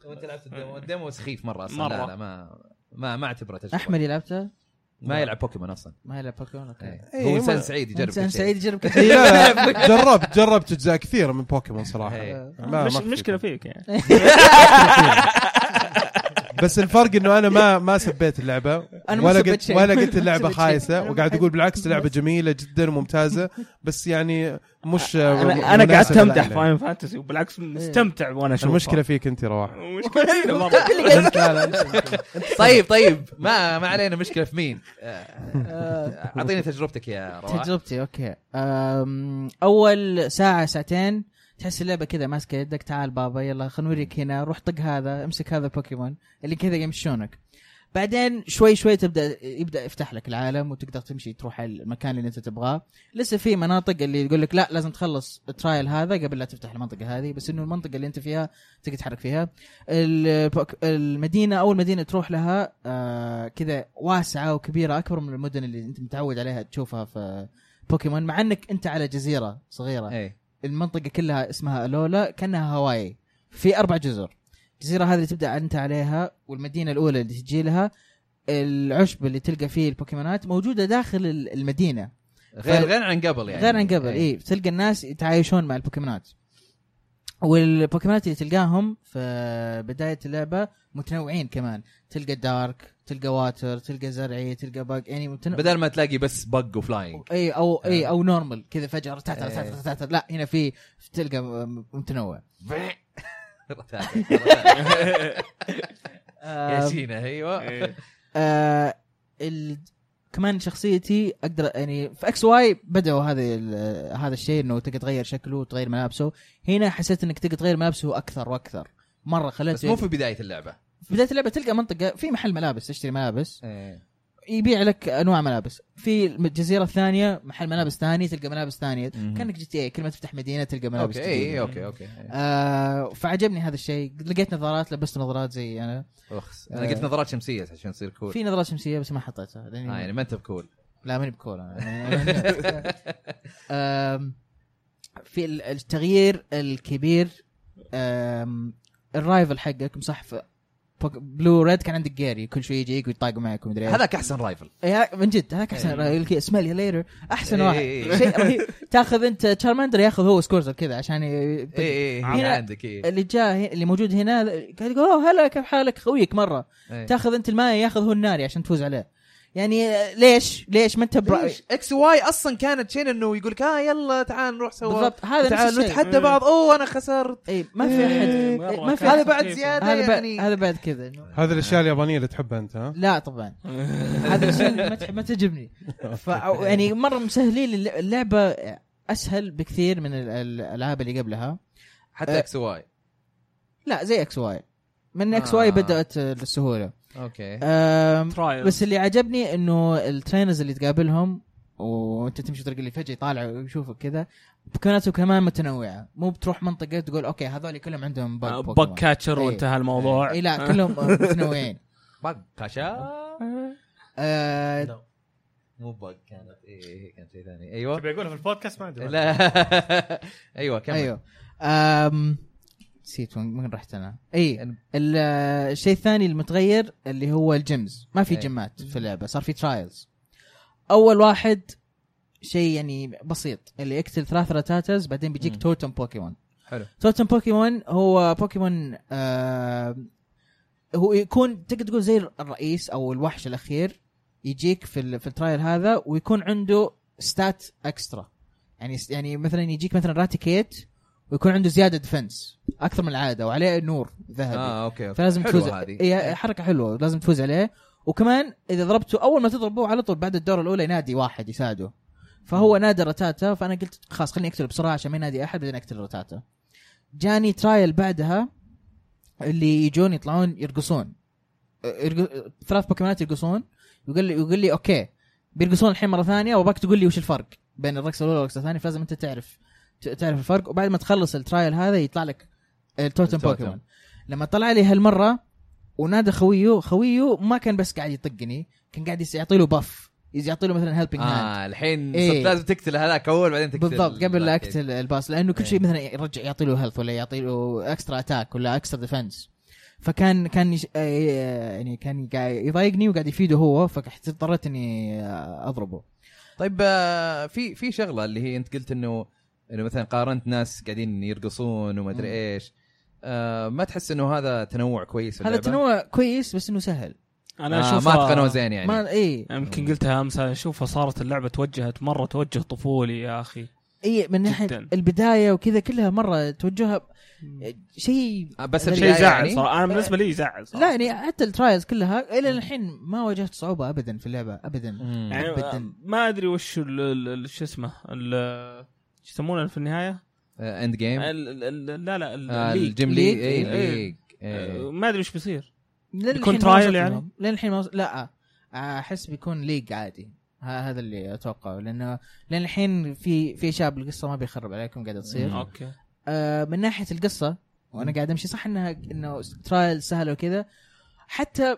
Speaker 1: وانت لعبت الديمو الديمو سخيف مره اصلا مرة. لا
Speaker 4: مرة.
Speaker 1: لا ما ما ما اعتبره تجربه
Speaker 2: احمد لعبته
Speaker 1: ما يلعب بوكيمون اصلا
Speaker 2: ما يلعب بوكيمون اوكي
Speaker 1: إيه.
Speaker 3: إيه،
Speaker 1: هو
Speaker 3: ما-
Speaker 1: انسان سعيد يجرب
Speaker 2: انسان
Speaker 1: كل شيء.
Speaker 2: سعيد يجرب
Speaker 3: إيه،
Speaker 2: كثير
Speaker 3: لا، لا، جربت جربت اجزاء كثيره من بوكيمون صراحه
Speaker 1: إيه.
Speaker 3: ما- ما
Speaker 4: مش
Speaker 3: في
Speaker 4: مشكله فيك يعني
Speaker 3: بس الفرق انه انا ما ما سبيت اللعبه
Speaker 2: أنا ما
Speaker 3: ولا
Speaker 2: سبيت
Speaker 3: قلت
Speaker 2: شيء.
Speaker 3: ولا قلت
Speaker 2: ما
Speaker 3: اللعبه
Speaker 2: سبيت شيء.
Speaker 3: خايسه
Speaker 2: أنا
Speaker 3: وقاعد
Speaker 2: بحب-
Speaker 3: اقول بالعكس اللعبه جميله جدا وممتازه بس يعني مش
Speaker 4: انا انا قاعد
Speaker 3: مناسبة
Speaker 4: استمتع
Speaker 3: لنا.
Speaker 4: فاين فانتسي وبالعكس مستمتع وانا اشوفها
Speaker 3: المشكله فيك انت رواح
Speaker 4: مشكلتنا مره
Speaker 3: لا لا
Speaker 1: طيب طيب ما ما علينا مشكله في مين آه، اعطيني تجربتك يا رواح
Speaker 2: تجربتي اوكي أم، اول ساعه ساعتين تحس اللعبه كذا ماسكه يدك تعال بابا يلا خلينا نوريك هنا روح طق هذا امسك هذا البوكيمون اللي كذا يمشونك بعدين شوي شوي تبدا يبدا يفتح لك العالم وتقدر تمشي تروح المكان اللي انت تبغاه لسه في مناطق اللي يقول لك لا لازم تخلص الترايل هذا قبل لا تفتح المنطقه هذه بس انه المنطقه اللي انت فيها تقدر تتحرك فيها البوك- المدينه اول مدينه تروح لها آه، كذا واسعه وكبيره اكبر من المدن اللي انت متعود عليها تشوفها في بوكيمون مع انك انت على جزيره صغيره
Speaker 1: ايه
Speaker 2: المنطقه كلها اسمها الولا كانها هواي في اربع جزر الجزيره هذه اللي تبدا انت عليها والمدينه الاولى اللي تجي لها العشب اللي تلقى فيه البوكيمونات موجوده داخل ال- المدينه
Speaker 1: غير
Speaker 2: فال-
Speaker 1: غير عن قبل يعني
Speaker 2: غير عن قبل اي إيه. تلقى الناس يتعايشون مع البوكيمونات والبوكيمونات اللي تلقاهم في بدايه اللعبه متنوعين كمان تلقى دارك تلقى واتر تلقى زرعي تلقى باج يعني إيه، متنوع
Speaker 1: بدل ما تلاقي بس بق وفلاينج
Speaker 2: اي او اي او نورمال كذا فجاه رتعت
Speaker 1: إيه.
Speaker 2: رتعت رتعت لا هنا في تلقى م- متنوع
Speaker 1: يا شينا ايوه
Speaker 4: إيه،
Speaker 2: آه ال... كمان شخصيتي اقدر يعني في اكس واي بدأوا هذه ال- هذا الشيء انه تقدر تغير شكله وتغير ملابسه هنا حسيت انك تقدر تغير ملابسه اكثر واكثر مره خليته
Speaker 1: بس مو في بدايه اللعبه
Speaker 2: في بدايه اللعبه تلقى منطقه في محل ملابس تشتري ملابس يبيع لك انواع ملابس في الجزيره الثانيه محل ملابس ثاني تلقى ملابس ثانيه
Speaker 1: مهم.
Speaker 2: كانك جي تي اي كل ما تفتح مدينه تلقى ملابس
Speaker 1: اوكي
Speaker 2: جديدة.
Speaker 1: اي اوكي اوكي إيه.
Speaker 2: آه فعجبني هذا الشيء لقيت نظارات لبست نظارات زي انا
Speaker 1: أخس. انا قلت نظارات شمسيه عشان تصير كول
Speaker 2: أه. في نظارات شمسيه بس ما حطيتها لأني
Speaker 1: آه يعني ما انت بكول
Speaker 2: لا ماني بكول انا أم، في ال- التغيير الكبير أم، الرايفل حقك مصحف بوك- بلو ريد كان عندك جاري كل شوي يجيك ويطاق معك ومدري إيش.
Speaker 1: هذاك احسن رايفل
Speaker 2: إيه، من جد هذاك احسن رايفل سميل ليتر احسن
Speaker 1: إيه،
Speaker 2: واحد
Speaker 1: إيه، إيه.
Speaker 2: شيء رهيب تاخذ انت تشارماندر ياخذ هو سكورزر كذا عشان ي-
Speaker 1: اي اي
Speaker 2: هنا-
Speaker 1: إيه، هنا عندك اي
Speaker 2: اللي جاء هي- اللي موجود هنا قال يقول اوه هلا كيف حالك خويك مره
Speaker 1: إيه.
Speaker 2: تاخذ انت الماي ياخذ هو الناري عشان تفوز عليه يعني آه، ليش ليش ما انت برا-
Speaker 1: ليش؟ اكس طيب، واي اصلا كانت شين انه يقول لك اه يلا تعال نروح سوا
Speaker 2: بالضبط هذا نفس
Speaker 1: تعال
Speaker 2: الشيء
Speaker 1: نتحدى بعض اوه انا خسرت
Speaker 2: اي ما في احد
Speaker 4: مرة
Speaker 2: إيه. ما في
Speaker 4: كان
Speaker 1: هذا
Speaker 2: أحد-
Speaker 1: بعد
Speaker 4: كيف.
Speaker 1: زياده
Speaker 2: هذا بعد
Speaker 1: يعني
Speaker 2: هذا بعد كذا إنه-
Speaker 3: هذه الاشياء اليابانيه اللي تحبها انت ها
Speaker 2: لا طبعا هذا الشيء اللي ما تح- ما تعجبني ف يعني مره مسهلين الل- اللعبه اسهل بكثير من ال- ال- الالعاب اللي قبلها
Speaker 1: حتى
Speaker 2: إيه.
Speaker 1: اكس واي
Speaker 2: لا زي اكس واي من اكس
Speaker 1: آه.
Speaker 2: واي بدات السهوله
Speaker 1: اوكي
Speaker 2: أم،
Speaker 4: ترايل
Speaker 2: بس اللي عجبني انه الترينرز اللي تقابلهم وانت تمشي طريق اللي فجاه يطالع ويشوفك كذا بكوناتهم كمان متنوعه مو بتروح منطقه تقول اوكي هذول كلهم عندهم بق بوكيمون.
Speaker 4: بك كاتشر
Speaker 2: إيه.
Speaker 4: آه، وانتهى الموضوع
Speaker 2: اي لا كلهم متنوعين
Speaker 1: بق كاشا
Speaker 2: آه
Speaker 5: لا.
Speaker 1: مو بق كانت اي كانت شيء ثاني ايوه
Speaker 5: تبي اقولها في البودكاست ما ادري
Speaker 1: لا ايوه كمل
Speaker 2: ايوه آم، نسيت وين وين رحت انا اي ال- آه، الشيء الثاني المتغير اللي هو الجيمز ما في
Speaker 1: أي.
Speaker 2: جيمات في اللعبه صار في ترايلز اول واحد شيء يعني بسيط اللي يقتل ثلاث رتاتز بعدين بيجيك
Speaker 1: مم.
Speaker 2: توتم بوكيمون
Speaker 1: حلو
Speaker 2: توتم بوكيمون هو بوكيمون آه هو يكون تقدر تقول زي الرئيس او الوحش الاخير يجيك في ال- في الترايل هذا ويكون عنده ستات اكسترا يعني يعني مثلا يجيك مثلا راتيكيت ويكون عنده زياده ديفنس اكثر من العاده وعليه نور ذهبي
Speaker 1: اه اوكي اوكي
Speaker 2: فلازم تفوز
Speaker 1: حلوة هذه
Speaker 2: هي حركه حلوه لازم تفوز عليه وكمان اذا ضربته اول ما تضربه على طول بعد الدور الاولى ينادي واحد يساعده فهو نادى رتاتا فانا قلت خلاص خليني اقتله بسرعه عشان ما ينادي احد بعدين اقتل رتاتا جاني ترايل بعدها اللي يجون يطلعون يرقصون يرق... ثلاث بوكيمونات يرقصون يقول لي يقول لي اوكي بيرقصون الحين مره ثانيه واباك تقول لي وش الفرق بين الرقصه الاولى والرقصه الثانيه فلازم انت تعرف ت- تعرف الفرق وبعد ما تخلص الترايل هذا يطلع لك التوتم
Speaker 1: التوتم.
Speaker 2: بوكيمون لما طلع لي هالمره ونادى خويه خويه ما كان بس قاعد يطقني كان قاعد يس- يعطي له باف يعطي له مثلا هيلبنج هاند
Speaker 1: اه الحين
Speaker 2: إيه.
Speaker 1: صرت لازم تقتل هذاك اول بعدين تقتل إيه.
Speaker 2: بالضبط قبل لا
Speaker 1: ذاك.
Speaker 2: اقتل الباص لانه كل شيء مثلا يرجع يعطي له هيلث ولا يعطي له اكسترا اتاك ولا اكسترا ديفنس فكان كان يش... آه، يعني كان قاعد يضايقني وقاعد يفيده هو فاضطريت اني آه، اضربه
Speaker 1: طيب آه، في في شغله اللي هي انت قلت انه انه مثلا قارنت ناس قاعدين يرقصون وما ادري
Speaker 2: مم.
Speaker 1: ايش آه ما تحس انه هذا تنوع كويس في
Speaker 2: هذا
Speaker 1: اللعبة؟
Speaker 2: تنوع كويس بس انه سهل
Speaker 4: انا
Speaker 1: آه
Speaker 4: اشوف
Speaker 1: ما اتقنوه زين يعني
Speaker 2: يعني ما اي
Speaker 4: يمكن قلتها امس انا اشوفها صارت اللعبه توجهت مره توجه طفولي يا اخي
Speaker 2: اي إيه، من ناحيه
Speaker 4: جداً.
Speaker 2: البدايه وكذا كلها مره توجهها شيء
Speaker 1: آه بس
Speaker 2: شيء
Speaker 4: شيء
Speaker 1: البداية
Speaker 4: يزعل
Speaker 1: يعني-
Speaker 4: صراحه انا بالنسبه لي يزعل
Speaker 2: لا
Speaker 4: صراحه
Speaker 2: يعني حتى الترايلز كلها الى الحين ما واجهت صعوبه ابدا في اللعبه ابدا
Speaker 1: مم.
Speaker 4: يعني
Speaker 2: أبداً.
Speaker 4: ما ادري وش ال- ال- ال- شو اسمه ال- شو يسمونه في النهايه
Speaker 1: اند جيم
Speaker 4: ال- ال- ال- لا لا ال- الليج.
Speaker 1: إيه. آه، الجيم
Speaker 2: ليج.
Speaker 1: ليج اي
Speaker 4: إيه.
Speaker 1: ليج إيه.
Speaker 4: ما ادري ايش بيصير
Speaker 2: للحين
Speaker 4: بيكون
Speaker 2: ما
Speaker 4: trial
Speaker 2: وصلت
Speaker 4: يعني؟
Speaker 2: لهم. للحين ما وص- لا احس بيكون ليج عادي ه- هذا اللي اتوقعه لانه لان الحين في في اشياء بالقصه ما بيخرب عليكم قاعده تصير
Speaker 1: مم.
Speaker 4: اوكي
Speaker 2: آه من ناحيه القصه وانا قاعد امشي صح انها انه ترايل سهله وكذا حتى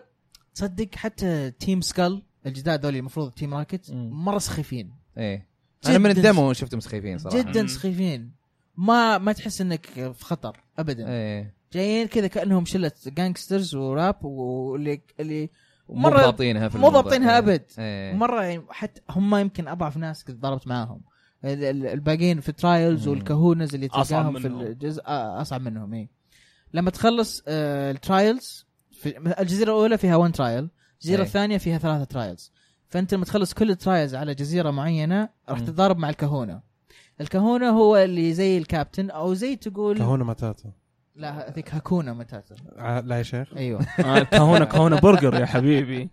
Speaker 2: تصدق حتى تيم سكال الجداد دول المفروض تيم راكت
Speaker 1: مم.
Speaker 2: مره سخيفين
Speaker 1: ايه انا من
Speaker 2: جداً
Speaker 1: الدمو شفتهم سخيفين صراحه
Speaker 2: جدا
Speaker 4: مم.
Speaker 2: سخيفين ما ما تحس انك في خطر ابدا
Speaker 1: ايه
Speaker 2: جايين كذا كانهم شله جانكسترز وراب واللي اللي
Speaker 1: مو
Speaker 2: مره
Speaker 1: ضابطينها في
Speaker 2: مو
Speaker 1: الموضوع.
Speaker 2: ضابطينها
Speaker 1: إيه.
Speaker 2: أبد.
Speaker 1: إيه.
Speaker 2: مره يعني حتى هم يمكن اضعف ناس كنت ضربت معاهم ال- ال- الباقيين في ترايلز
Speaker 1: مم.
Speaker 2: والكهونز اللي
Speaker 4: أصعب
Speaker 2: تلقاهم في
Speaker 4: منهم.
Speaker 2: الجزء آه، اصعب منهم اي لما تخلص آه، الترايلز في الجزيره الاولى فيها 1 ترايل الجزيره
Speaker 1: إيه.
Speaker 2: الثانيه فيها ثلاثه ترايلز فانت لما تخلص كل الترايلز على جزيره معينه راح
Speaker 1: مم.
Speaker 2: تتضارب مع الكهونه الكهونه هو اللي زي الكابتن او زي تقول
Speaker 3: كهونه متاتا
Speaker 2: لا هذيك هاكونا متاتا
Speaker 3: ع- لا يا شيخ
Speaker 2: ايوه
Speaker 4: كهونه كهونه آه، برجر يا حبيبي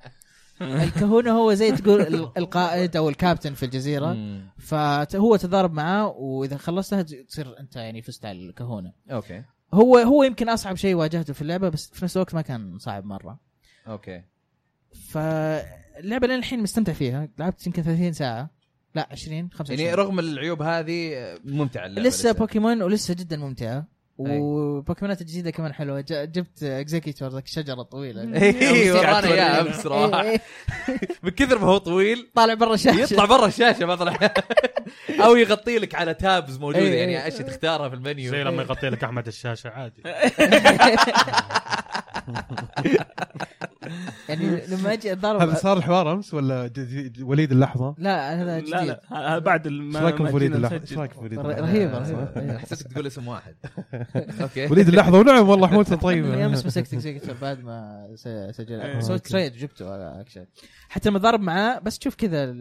Speaker 2: الكهونه هو زي تقول ال- القائد او الكابتن في الجزيره
Speaker 1: مم.
Speaker 2: فهو تضارب معاه واذا خلصتها ت- تصير انت يعني فزت على الكهونه
Speaker 1: اوكي
Speaker 2: هو هو يمكن اصعب شيء واجهته في اللعبه بس في نفس الوقت ما كان صعب مره
Speaker 1: اوكي
Speaker 2: فاللعبه لين الحين مستمتع فيها لعبت يمكن 30 ساعه لا 20 25
Speaker 1: يعني رغم العيوب هذه ممتعه اللعبه
Speaker 2: لسه بوكيمون ولسه جدا ممتعه وبوكيمونات الجديده كمان حلوه ج- جبت اكزيكيتور ذاك الشجره الطويله
Speaker 1: اي ورانا يا
Speaker 4: قاعد
Speaker 1: امس
Speaker 2: إيه،
Speaker 1: صراحه
Speaker 2: إيه،
Speaker 1: من كثر ما هو طويل
Speaker 2: طالع برا الشاشه
Speaker 1: يطلع برا الشاشه ما طلع او يغطي لك على تابز موجوده
Speaker 2: إيه،
Speaker 1: يعني
Speaker 2: إيه.
Speaker 1: اشياء تختارها في المنيو إيه.
Speaker 5: زي لما يغطي لك احمد الشاشه عادي
Speaker 2: يعني لما اجي
Speaker 3: هذا
Speaker 2: اتضارب
Speaker 3: صار الحوار امس ولا ج- ج- وليد اللحظه؟
Speaker 2: لا هذا جديد
Speaker 4: لا لا هذا بعد
Speaker 3: ايش
Speaker 4: الم-
Speaker 3: رايكم
Speaker 4: ما
Speaker 3: في وليد
Speaker 4: جينا
Speaker 3: اللحظه؟
Speaker 4: نسجل.
Speaker 3: ايش رايك في وليد
Speaker 2: رهيبة
Speaker 3: اللحظه؟
Speaker 2: رهيبة رهيبة.
Speaker 1: حسيتك تقول اسم واحد اوكي
Speaker 3: وليد اللحظه ونعم والله حمولته
Speaker 2: اللي امس
Speaker 3: طيبه
Speaker 2: مسكت اكزيكتور بعد ما س- سجل
Speaker 4: إيه.
Speaker 2: سويت تريد جبته على اكشن حتى لما ضرب معاه بس تشوف كذا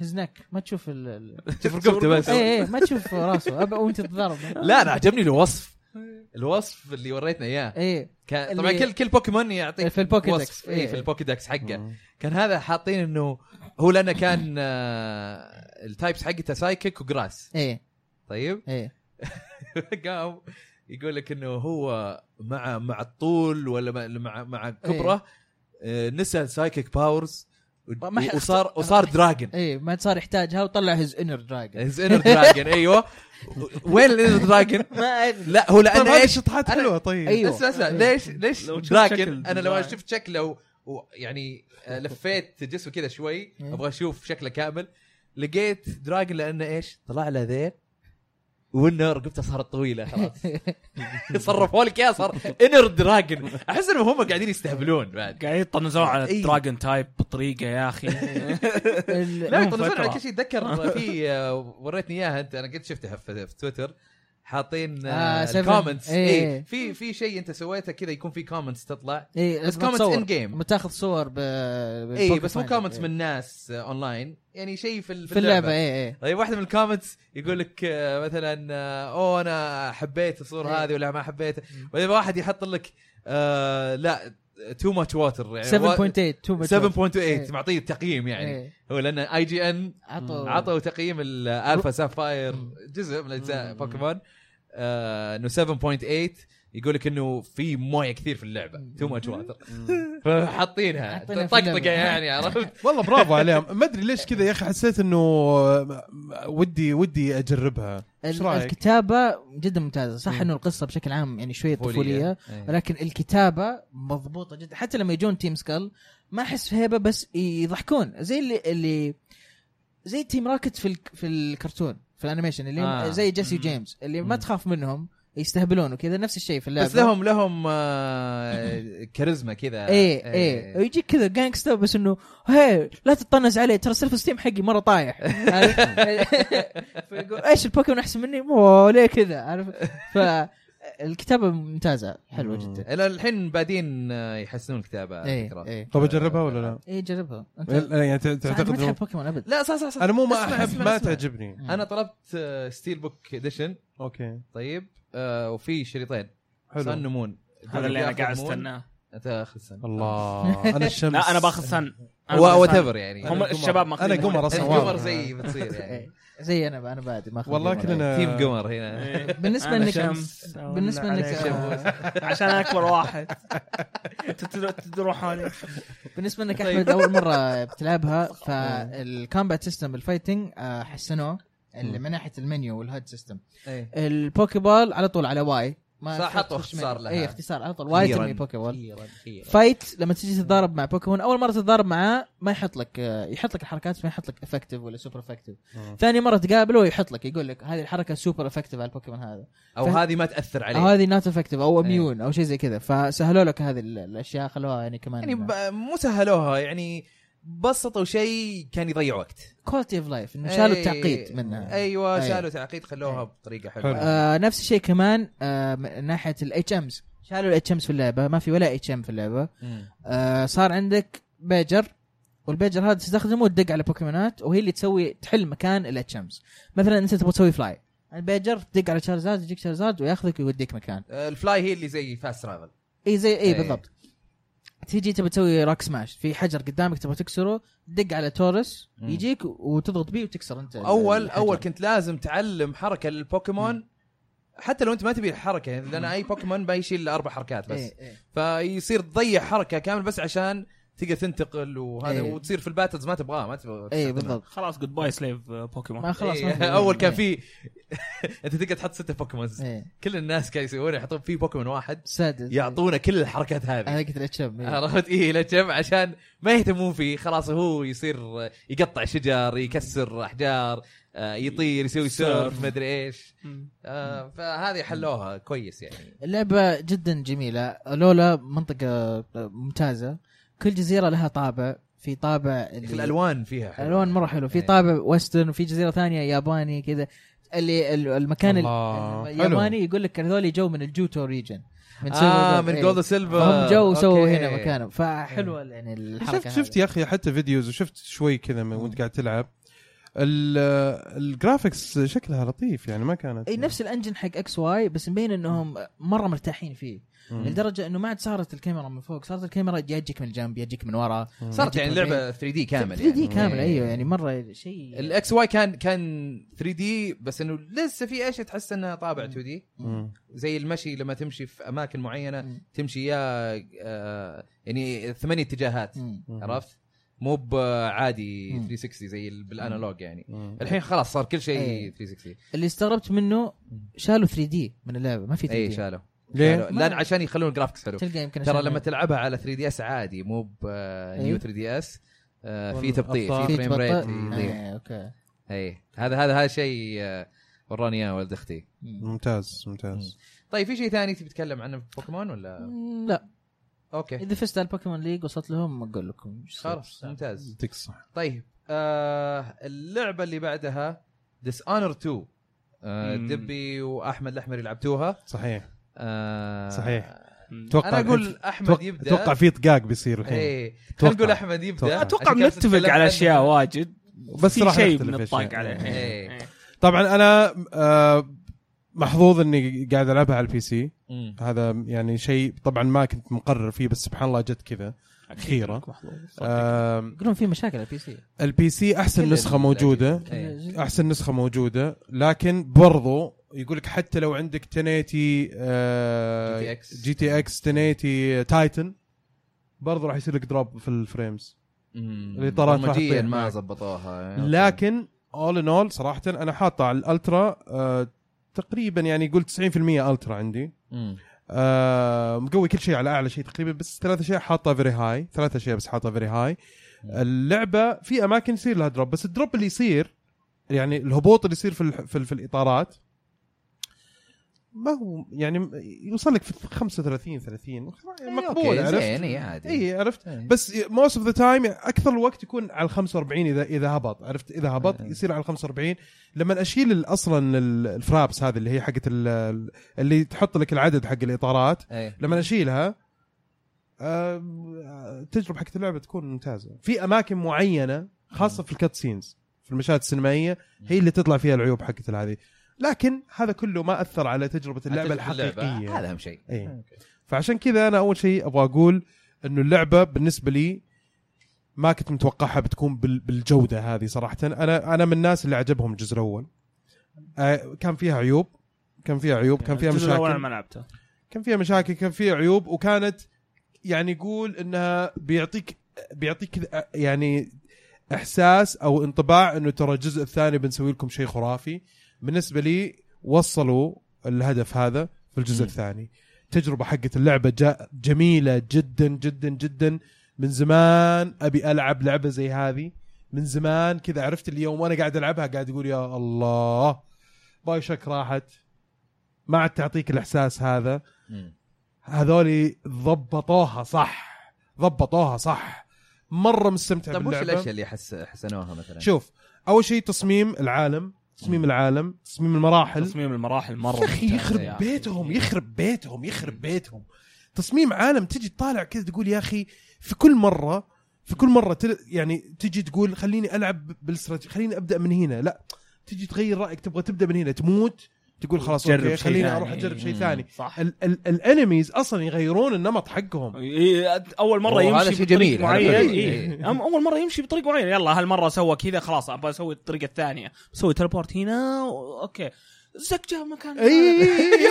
Speaker 2: هزناك ما تشوف ال- ال-
Speaker 1: شوف رقبته بس
Speaker 2: ايه ايه ما تشوف راسه أب- وانت تضرب
Speaker 1: لا انا عجبني الوصف الوصف اللي وريتنا اياه
Speaker 2: ايه
Speaker 1: كان طبعا
Speaker 2: اللي-
Speaker 1: كل كل بوكيمون يعطيك
Speaker 2: في البوكيدكس.
Speaker 1: طيب. وصف
Speaker 2: إيه.
Speaker 1: اي في البوكيدكس حقه كان هذا حاطين انه هو لانه كان آه، التايبس حقته سايكيك وجراس
Speaker 2: ايه
Speaker 1: طيب
Speaker 2: ايه
Speaker 1: قام يقول لك انه هو مع مع الطول ولا مع- مع مع كبره
Speaker 4: إيه.
Speaker 1: آه، نسى السايكيك باورز و-
Speaker 2: ما-
Speaker 1: وصار وصار دراجون
Speaker 2: ايه ما صار يحتاجها وطلع هز انر دراجون
Speaker 1: هز انر دراجون ايوه وين الانر دراجون؟
Speaker 2: ما ادري
Speaker 1: لا هو لانه
Speaker 3: طيب
Speaker 1: ايش
Speaker 3: ايش شطحات
Speaker 1: أنا-
Speaker 3: حلوه طيب
Speaker 2: أيوة.
Speaker 1: اسمع اسمع ليش ليش
Speaker 4: أيوه. لو شفت
Speaker 1: دراكن
Speaker 4: شكل
Speaker 1: انا لو
Speaker 4: دراكن.
Speaker 1: شفت شكله ويعني لفيت جسمه كذا شوي
Speaker 2: إيه.
Speaker 1: ابغى اشوف شكله كامل لقيت دراجن لانه ايش؟ طلع له ذيل وانه رقبته صارت طويله خلاص صرفوا لك اياها صار انر دراجن احس انهم هم قاعدين يستهبلون بعد
Speaker 4: قاعدين يطنزون على
Speaker 1: إيه.
Speaker 4: الدراجون تايب بطريقه يا اخي
Speaker 2: ال-
Speaker 1: لا
Speaker 4: لهم
Speaker 1: يطلعون على
Speaker 4: فترة.
Speaker 1: كل شيء اتذكر في آه، وريتني اياها انت انا قد شفتها في في تويتر حاطين
Speaker 2: آه، seven.
Speaker 1: كومنتس
Speaker 2: إيه.
Speaker 1: اي في في شيء انت سويته كذا يكون في كومنتس تطلع
Speaker 2: ايه
Speaker 1: بس
Speaker 2: بس
Speaker 1: كومنتس ان جيم
Speaker 2: متاخذ صور ب
Speaker 1: اي
Speaker 2: اي
Speaker 1: بس مو كومنتس من ناس آه، اونلاين يعني شيء في ال-
Speaker 2: إيه. في اللعبه ايه ايه
Speaker 1: طيب واحده من الكومنتس يقول لك آه، مثلا آه، اوه انا حبيت الصوره
Speaker 2: إيه.
Speaker 1: هذه ولا ما حبيتها بعدين واحد يحط لك آه لا تو ماتش واتر يعني
Speaker 2: 7.8 تو
Speaker 1: وا-
Speaker 2: much.
Speaker 1: 7.8
Speaker 2: إيه.
Speaker 1: معطيه تقييم يعني
Speaker 2: إيه.
Speaker 1: هو لان اي جي ان
Speaker 2: عطوا
Speaker 1: عطوا تقييم الالفا سافاير جزء من اجزاء بوكيمون آه، انه 7.8 يقول لك انه في مويه كثير في اللعبه تو ماتش واتر فحاطينها
Speaker 2: حاطينها في
Speaker 1: طقطقه
Speaker 2: اللعبة.
Speaker 1: يعني عرفت
Speaker 3: والله برافو عليهم ما ادري ليش كذا يا اخي حسيت انه آه، ودي ودي اجربها ايش
Speaker 2: ال-
Speaker 3: رايك؟
Speaker 2: الكتابه جدا ممتازه صح
Speaker 3: مم.
Speaker 2: انه القصه بشكل عام يعني شويه طفوليه
Speaker 1: إيه.
Speaker 2: ولكن الكتابه مضبوطه جدا حتى لما يجون تيم سكال ما احس هيبه بس يضحكون زي اللي اللي زي تيم راكت في الك- في الكرتون في الانيميشن اللي
Speaker 1: آه.
Speaker 2: آه. زي جيسي
Speaker 4: مم.
Speaker 2: جيمس اللي ما
Speaker 1: مم.
Speaker 2: تخاف منهم يستهبلون وكذا نفس الشيء في اللعبه
Speaker 1: بس لهم لهم آه، كاريزما كذا
Speaker 2: ايه
Speaker 1: إيه.
Speaker 2: ايه ويجيك كذا جانكستا بس انه هي لا تطنز علي ترى سيلف ستيم حقي مره طايح عارف؟ فيقول ايش البوكيمون احسن مني؟ مو ليه كذا عارف فالكتابه ممتازه حلوه
Speaker 3: مم.
Speaker 2: جدا
Speaker 1: إلى الحين بادين آه، يحسنون الكتابه على
Speaker 2: ايه
Speaker 1: فكره
Speaker 2: ايه
Speaker 3: طب اجربها ولا لا؟
Speaker 2: ايه جربها انت صح،
Speaker 3: يعني ت-
Speaker 2: انت ما
Speaker 3: تعتقد
Speaker 2: تحب
Speaker 3: إنه-
Speaker 2: بوكيمون ابدا
Speaker 1: لا صح صح صح
Speaker 3: انا مو ما
Speaker 1: اسمع،
Speaker 3: احب
Speaker 1: اسمع،
Speaker 3: ما
Speaker 1: اسمع.
Speaker 3: تعجبني
Speaker 1: انا طلبت آه، ستيل بوك اديشن
Speaker 3: اوكي
Speaker 1: طيب آه، وفي شريطين سن
Speaker 3: حلو
Speaker 1: ومون
Speaker 4: هذا اللي انا قاعد استناه
Speaker 1: انت اخذ سن
Speaker 3: الله انا الشمس
Speaker 4: لا انا باخذ سن
Speaker 1: وات ايفر يعني
Speaker 3: أنا
Speaker 4: هم
Speaker 3: قمر.
Speaker 4: الشباب ماخذين
Speaker 3: أنا قمر أصلاً.
Speaker 1: القمر
Speaker 3: واضح.
Speaker 1: زي بتصير يعني
Speaker 2: إيه. زي انا انا بادي ما أخذ
Speaker 3: والله
Speaker 2: قمر.
Speaker 3: كلنا
Speaker 1: تيم قمر هنا
Speaker 4: إيه.
Speaker 2: بالنسبه
Speaker 4: أنا
Speaker 2: انك
Speaker 4: شمس
Speaker 2: بالنسبة
Speaker 4: أنا
Speaker 2: إنك-
Speaker 4: شمس. عشان اكبر واحد تتر- تروح علي
Speaker 2: بالنسبه انك
Speaker 3: أيوه.
Speaker 2: احمد اول مره بتلعبها فالكومبات سيستم الفايتنج آه، حسنوه اللي من ناحيه المنيو والهاد سيستم
Speaker 1: إيه.
Speaker 2: البوكيبول على طول على واي ما
Speaker 1: صح، حطوا
Speaker 2: تخش
Speaker 1: اختصار
Speaker 2: من-
Speaker 1: لها.
Speaker 2: اي اختصار على طول واي
Speaker 1: أخيراً.
Speaker 2: تسمي بوكيبول فايت لما تيجي تتضارب مع بوكيمون اول مره تتضارب معاه ما يحط لك آه، يحط لك الحركات بس ما يحط لك افكتيف ولا سوبر افكتيف
Speaker 3: مم.
Speaker 2: ثاني مره تقابله يحط لك يقول لك هذه الحركه سوبر افكتيف على البوكيمون هذا
Speaker 1: او
Speaker 2: فهد-
Speaker 1: هذه ما تاثر
Speaker 2: او
Speaker 1: عليه
Speaker 2: هذه نوت افكتيف او
Speaker 1: إيه.
Speaker 2: اميون او شيء زي كذا فسهلوا لك هذه ال- الاشياء خلوها يعني كمان
Speaker 1: يعني ب- مو سهلوها يعني بسطوا شيء كان يضيع وقت
Speaker 2: كواليتي اوف لايف انه شالوا
Speaker 1: أي-
Speaker 2: التعقيد منها
Speaker 1: ايوه
Speaker 2: أي.
Speaker 1: شالوا تعقيد خلوها
Speaker 2: أي.
Speaker 1: بطريقه
Speaker 3: آه. أيوة. إيه. حلو.
Speaker 1: حلوه
Speaker 2: آه نفس الشيء كمان آه من ناحيه الاتش امز شالوا الاتش امز في اللعبه ما في ولا اتش ام في اللعبه
Speaker 1: مم.
Speaker 2: آه صار عندك بيجر والبيجر هذا تستخدمه تدق على بوكيمونات وهي اللي تسوي تحل مكان الاتش امز مثلا انت تبغى تسوي فلاي البيجر تدق على شارزارد يجيك شارزارد وياخذك ويوديك مكان
Speaker 1: آه، الفلاي هي اللي زي فاست ترافل
Speaker 2: اي زي اي
Speaker 1: إي.
Speaker 2: بالضبط تيجي تبي تسوي روك سماش في حجر قدامك تبغى تكسره تدق على تورس
Speaker 1: مم.
Speaker 2: يجيك وتضغط بيه وتكسر انت ال-
Speaker 1: اول
Speaker 2: الحجر.
Speaker 1: اول كنت لازم تعلم حركه للبوكيمون حتى لو انت ما تبي الحركه يعني لان اي بوكيمون ما يشيل الا اربع حركات
Speaker 3: إيه.
Speaker 1: بس
Speaker 2: إي إي.
Speaker 1: فيصير تضيع حركه كامل بس عشان تقدر تنتقل وهذا
Speaker 2: إيه.
Speaker 1: وتصير في الباتلز ما تبغاه ما تبغى
Speaker 2: اي
Speaker 1: تستخدمها.
Speaker 2: بالضبط
Speaker 4: خلاص uh, جود باي سليف بوكيمون
Speaker 2: ما خلاص ما
Speaker 1: إيه،
Speaker 2: في-
Speaker 1: اول كان
Speaker 2: إي.
Speaker 1: في انت تقدر تحط سته بوكيمونز
Speaker 2: إي.
Speaker 1: كل الناس كانوا يسوون يحطون في بوكيمون واحد
Speaker 2: سادس
Speaker 1: يعطونا كل الحركات هذه
Speaker 2: هذا قلت الاتش ام
Speaker 1: عرفت ايه لا كم عشان ما يهتمون فيه خلاص هو يصير يقطع شجر يكسر احجار آه، يطير يسوي سيرف ما ادري ايش
Speaker 2: إيه.
Speaker 1: آه، فهذه حلوها كويس يعني
Speaker 2: اللعبه جدا جميله لولا منطقه ممتازه كل جزيره لها طابع في طابع اللي-
Speaker 1: الالوان فيها حلوة.
Speaker 2: الالوان مره حلو في
Speaker 1: إيه.
Speaker 2: طابع ويسترن وفي جزيره ثانيه ياباني كذا اللي ال- المكان ال-
Speaker 3: الله.
Speaker 2: الياباني يقول لك هذول جو من الجوتو ريجن من
Speaker 1: اه من جولد إيه. سيلفر
Speaker 2: هم جو وسووا هنا مكانهم فحلوه يعني الحركه
Speaker 3: شفت شفت يا اخي حتى فيديوز وشفت شوي كذا من وانت قاعد تلعب ال- الجرافكس شكلها لطيف يعني ما كانت
Speaker 2: اي إيه، نفس الانجن حق اكس واي بس مبين انهم مره مرتاحين فيه
Speaker 3: مم.
Speaker 2: لدرجه انه ما عاد صارت الكاميرا من فوق صارت الكاميرا يا تجيك من جنب يا تجيك من ورا
Speaker 1: صارت يعني لعبه 3 دي كامل
Speaker 2: 3 دي
Speaker 1: يعني.
Speaker 2: كامله
Speaker 1: إيه.
Speaker 2: ايوه يعني مره شيء
Speaker 1: الاكس واي كان كان 3 دي بس انه لسه في اشياء تحس انها طابع 2 دي
Speaker 3: مم.
Speaker 1: زي المشي لما تمشي في اماكن معينه
Speaker 2: مم.
Speaker 1: تمشي يا آه، يعني ثمانية اتجاهات
Speaker 2: مم.
Speaker 3: مم.
Speaker 1: عرفت؟ مو بعادي
Speaker 2: مم.
Speaker 1: 360 زي ال- بالانالوج يعني
Speaker 3: مم.
Speaker 1: الحين خلاص صار كل شيء
Speaker 2: إيه.
Speaker 1: 360
Speaker 2: اللي استغربت منه
Speaker 1: مم.
Speaker 2: شالوا 3 دي من اللعبه ما في 3
Speaker 1: اي
Speaker 2: دي
Speaker 1: إيه، شالوا
Speaker 3: ليه؟
Speaker 1: شالوا. لان عشان يخلون الجرافكس حلو
Speaker 2: تلقى يمكن
Speaker 1: ترى
Speaker 2: عشان-
Speaker 1: لما تلعبها على 3 دي اس عادي مو بنيو
Speaker 2: أيوه.
Speaker 1: 3 دي اس في
Speaker 3: والله
Speaker 1: تبطيء في
Speaker 3: أبطأ.
Speaker 1: فريم ريت
Speaker 2: تبطأ.
Speaker 1: يضيع
Speaker 2: إيه، اوكي
Speaker 1: اي هذا هذا هذا شيء آه، وراني اياه ولد اختي
Speaker 2: مم.
Speaker 3: ممتاز ممتاز
Speaker 1: طيب في شيء ثاني تبي تتكلم عنه في بوكيمون ولا
Speaker 2: لا
Speaker 1: اوكي
Speaker 2: اذا فزت على البوكيمون ليج وصلت لهم اقول لكم إيش صار.
Speaker 1: خلاص ممتاز
Speaker 3: يعطيك الصحة
Speaker 1: طيب آه اللعبه اللي بعدها ديس اونر 2 آه
Speaker 5: مم.
Speaker 1: دبي واحمد الاحمر يلعبتوها
Speaker 3: صحيح
Speaker 1: آه
Speaker 3: صحيح. اتوقع
Speaker 1: انا اقول
Speaker 3: الحين-
Speaker 1: احمد
Speaker 3: أتوقع-
Speaker 1: يبدا
Speaker 3: اتوقع في طقاق بيصير الحين
Speaker 1: ايه
Speaker 3: أتوقع.
Speaker 1: خلينا نقول احمد يبدا
Speaker 4: اتوقع
Speaker 1: عشان كذا
Speaker 4: بنتفق على اشياء واجد
Speaker 3: بس
Speaker 4: في
Speaker 3: راح
Speaker 4: شيء
Speaker 3: نختلف
Speaker 4: من
Speaker 3: أشياء.
Speaker 4: الطاق عليه
Speaker 1: إيه.
Speaker 4: إيه.
Speaker 3: طبعا انا آه، محظوظ اني قاعد العبها على البي سي
Speaker 1: مم.
Speaker 3: هذا يعني شيء طبعا ما كنت مقرر فيه بس سبحان الله جت كذا أخيرة. آم،
Speaker 2: يقولون في مشاكل على البي سي
Speaker 3: البي سي احسن
Speaker 1: كل
Speaker 3: نسخه
Speaker 1: ال-
Speaker 3: موجوده
Speaker 1: إيه.
Speaker 3: احسن نسخه موجوده لكن برضو يقول لك حتى لو عندك 1080 آه
Speaker 1: GTX.
Speaker 3: جي تي اكس 1080 تايتن برضو راح يصير لك دروب في الفريمز
Speaker 1: مم.
Speaker 3: الإطارات راح
Speaker 1: برمجياً
Speaker 3: تطير
Speaker 1: ما
Speaker 3: معك.
Speaker 1: زبطوها أوكي.
Speaker 3: لكن اول ان اول صراحه انا حاطه على الالترا آه تقريبا يعني قول 90% الترا عندي
Speaker 1: مم.
Speaker 3: آه مقوي كل شيء على اعلى شيء تقريبا بس ثلاث اشياء حاطه فيري هاي ثلاث اشياء بس حاطه فيري هاي اللعبه في اماكن يصير لها دروب بس الدروب اللي يصير يعني الهبوط اللي يصير في الح- في, ال- في الاطارات ما هو يعني م- يوصل لك في 35 30 مقبول
Speaker 1: إيه، أوكي،
Speaker 3: عرفت
Speaker 1: زين إيه، عادي
Speaker 3: اي عرفت
Speaker 1: إيه.
Speaker 3: بس موست اوف ذا تايم اكثر الوقت يكون على ال 45 اذا اذا هبط عرفت اذا هبط
Speaker 1: إيه.
Speaker 3: يصير على ال 45 لما اشيل ال- اصلا ال- الفرابس هذه اللي هي حقت ال- اللي تحط لك العدد حق الاطارات
Speaker 1: إيه.
Speaker 3: لما اشيلها آه، التجربه حقت اللعبه تكون ممتازه في اماكن معينه خاصه في الكات سينز في المشاهد السينمائيه هي اللي تطلع فيها العيوب حقت هذه لكن هذا كله ما اثر على تجربه اللعبه
Speaker 1: أعتقد اللعبة،
Speaker 3: الحقيقيه
Speaker 1: هذا اهم شيء
Speaker 4: آه،
Speaker 3: إيه. فعشان كذا انا اول شيء ابغى اقول انه اللعبه بالنسبه لي ما كنت متوقعها بتكون بال- بالجوده هذه صراحه انا انا من الناس اللي عجبهم الجزء الاول آه، كان فيها عيوب كان فيها عيوب كان فيها
Speaker 4: يعني الجزء الأول أنا
Speaker 3: مشاكل
Speaker 4: ما لعبته
Speaker 3: كان فيها مشاكل كان فيها عيوب وكانت يعني يقول انها بيعطيك بيعطيك كذا يعني احساس او انطباع انه ترى الجزء الثاني بنسوي لكم شيء خرافي بالنسبه لي وصلوا الهدف هذا في الجزء
Speaker 1: مم.
Speaker 3: الثاني تجربه حقت اللعبه جا جميله جدا جدا جدا من زمان ابي العب لعبه زي هذه من زمان كذا عرفت اليوم وانا قاعد العبها قاعد اقول يا الله باي شك راحت ما عاد تعطيك الاحساس هذا هذول ضبطوها صح ضبطوها صح مره مستمتع
Speaker 1: طيب وش
Speaker 3: باللعبه
Speaker 1: الاشياء اللي حس حسنوها مثلا؟
Speaker 3: شوف اول شيء تصميم العالم تصميم العالم تصميم المراحل
Speaker 4: تصميم المراحل مره
Speaker 3: يا اخي
Speaker 4: ممتاز
Speaker 1: يا
Speaker 3: يخرب
Speaker 1: أخي.
Speaker 3: بيتهم يخرب بيتهم يخرب بيتهم تصميم عالم تجي تطالع كذا تقول يا اخي في كل مره في كل مره تل يعني تجي تقول خليني العب بالاستراتيجي خليني ابدا من هنا لا تجي تغير رايك تبغى تبدا من هنا تموت تقول خلاص
Speaker 4: جرب
Speaker 3: اوكي
Speaker 4: شيء
Speaker 3: خليني
Speaker 4: ثاني.
Speaker 3: اروح اجرب شيء
Speaker 1: مم.
Speaker 3: ثاني
Speaker 4: صح
Speaker 3: ال- ال- الانميز اصلا يغيرون النمط حقهم
Speaker 4: إيه، اول مره
Speaker 1: أوه،
Speaker 4: يمشي
Speaker 1: هذا شيء
Speaker 4: بطريق
Speaker 1: جميل، هذا
Speaker 4: معين
Speaker 1: جميل.
Speaker 4: إيه.
Speaker 1: إيه.
Speaker 4: أم- اول مره يمشي بطريق معين يلا هالمره سوى كذا خلاص ابغى اسوي الطريقه الثانيه بسوي تلبورت هنا و- اوكي زك جاب مكان
Speaker 3: اي اي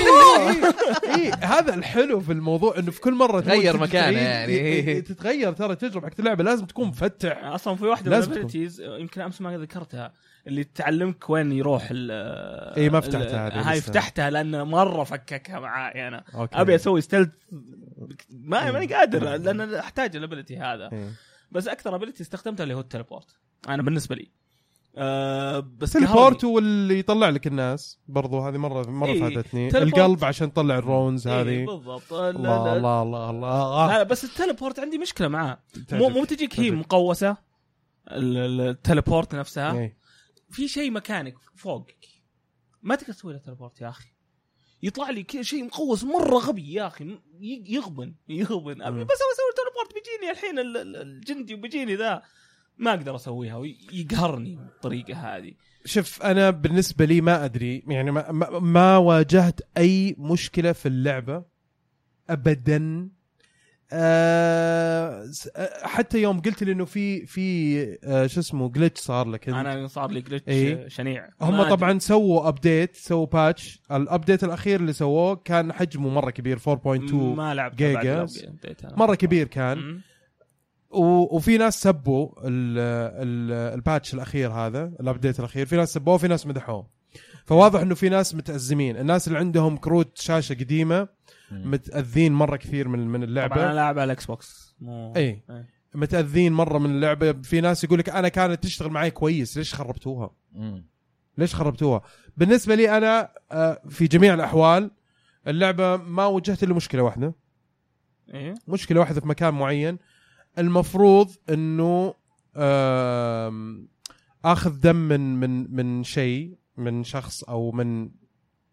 Speaker 3: اي هذا الحلو في الموضوع انه في كل مره تموت
Speaker 1: غير
Speaker 3: تجي
Speaker 1: مكانه
Speaker 3: تغير-
Speaker 1: يعني.
Speaker 3: إي- إي- تتغير ترى تجربه حقت اللعبه لازم تكون مفتح
Speaker 4: اصلا في واحده من
Speaker 3: لازم تكون.
Speaker 4: الابيلتيز يمكن امس ما ذكرتها اللي تعلمك وين يروح ال آه،
Speaker 3: إي، إيه، ما فتحتها
Speaker 4: ال-
Speaker 3: هذه
Speaker 4: هاي
Speaker 3: لسه. إيه.
Speaker 4: فتحتها لان مره فككها معاي انا ابي اسوي ستيلث ما ماني قادر
Speaker 3: إيه.
Speaker 4: لان احتاج الابيلتي هذا
Speaker 3: إي.
Speaker 4: بس اكثر ابيلتي استخدمتها اللي هو التليبورت انا بالنسبه لي أه بس
Speaker 3: تليبورت واللي يطلع لك الناس برضو هذه مره مره
Speaker 4: إي،
Speaker 3: فادتني
Speaker 4: تليبورت.
Speaker 3: القلب عشان تطلع الرونز
Speaker 4: قهرني. إيه،
Speaker 3: هذه
Speaker 4: بالضبط لا
Speaker 3: الله
Speaker 4: لا
Speaker 3: الله الله الله آه،
Speaker 4: لا بس التليبورت عندي مشكله معاه مو
Speaker 3: تعجبك،
Speaker 4: مو تجيك هي
Speaker 3: تعجبك.
Speaker 4: مقوسه ال- ال- التليبورت نفسها
Speaker 3: إي.
Speaker 4: في شيء مكانك فوقك ما تقدر تسوي له تليبورت يا اخي يطلع لي كذا شيء مقوس مره غبي يا اخي م- ي- يغبن يغبن أبي
Speaker 3: مم.
Speaker 4: بس ابغى اسوي تليبورت بيجيني الحين ال- ال- الجندي وبيجيني ذا ما اقدر اسويها ويقهرني بالطريقه هذه
Speaker 3: شوف انا بالنسبه لي ما ادري يعني ما, ما, ما واجهت اي مشكله في اللعبه ابدا أه س- آه، حتى يوم قلت لي انه في في آه، شو اسمه جلتش صار لك أنت.
Speaker 4: انا صار لي جلتش
Speaker 3: إيه.
Speaker 4: شنيع ما
Speaker 3: هم
Speaker 4: أدري.
Speaker 3: طبعا سووا ابديت سووا باتش الابديت الاخير اللي سووه كان حجمه مره كبير 4.2
Speaker 4: ما لعبت
Speaker 3: جيجا. مره كبير كان و- وفي ناس سبوا ال ال الباتش الاخير هذا الابديت الاخير في ناس سبوه وفي ناس مدحوه فواضح انه في ناس متازمين الناس اللي عندهم كروت شاشه قديمه
Speaker 1: مم.
Speaker 3: متاذين مره كثير من من
Speaker 4: طبعا انا
Speaker 3: اللعبه
Speaker 4: لاعب على الاكس بوكس مو
Speaker 3: اي
Speaker 4: إيه.
Speaker 3: متاذين مره من اللعبه في ناس يقول لك انا كانت تشتغل معي كويس ليش خربتوها
Speaker 1: مم.
Speaker 3: ليش خربتوها بالنسبه لي انا آه، في جميع الاحوال اللعبه ما واجهت الا مشكله واحده
Speaker 4: إيه؟
Speaker 3: مشكله واحده في مكان معين المفروض انه آم، اخذ دم من من من شيء من شخص او من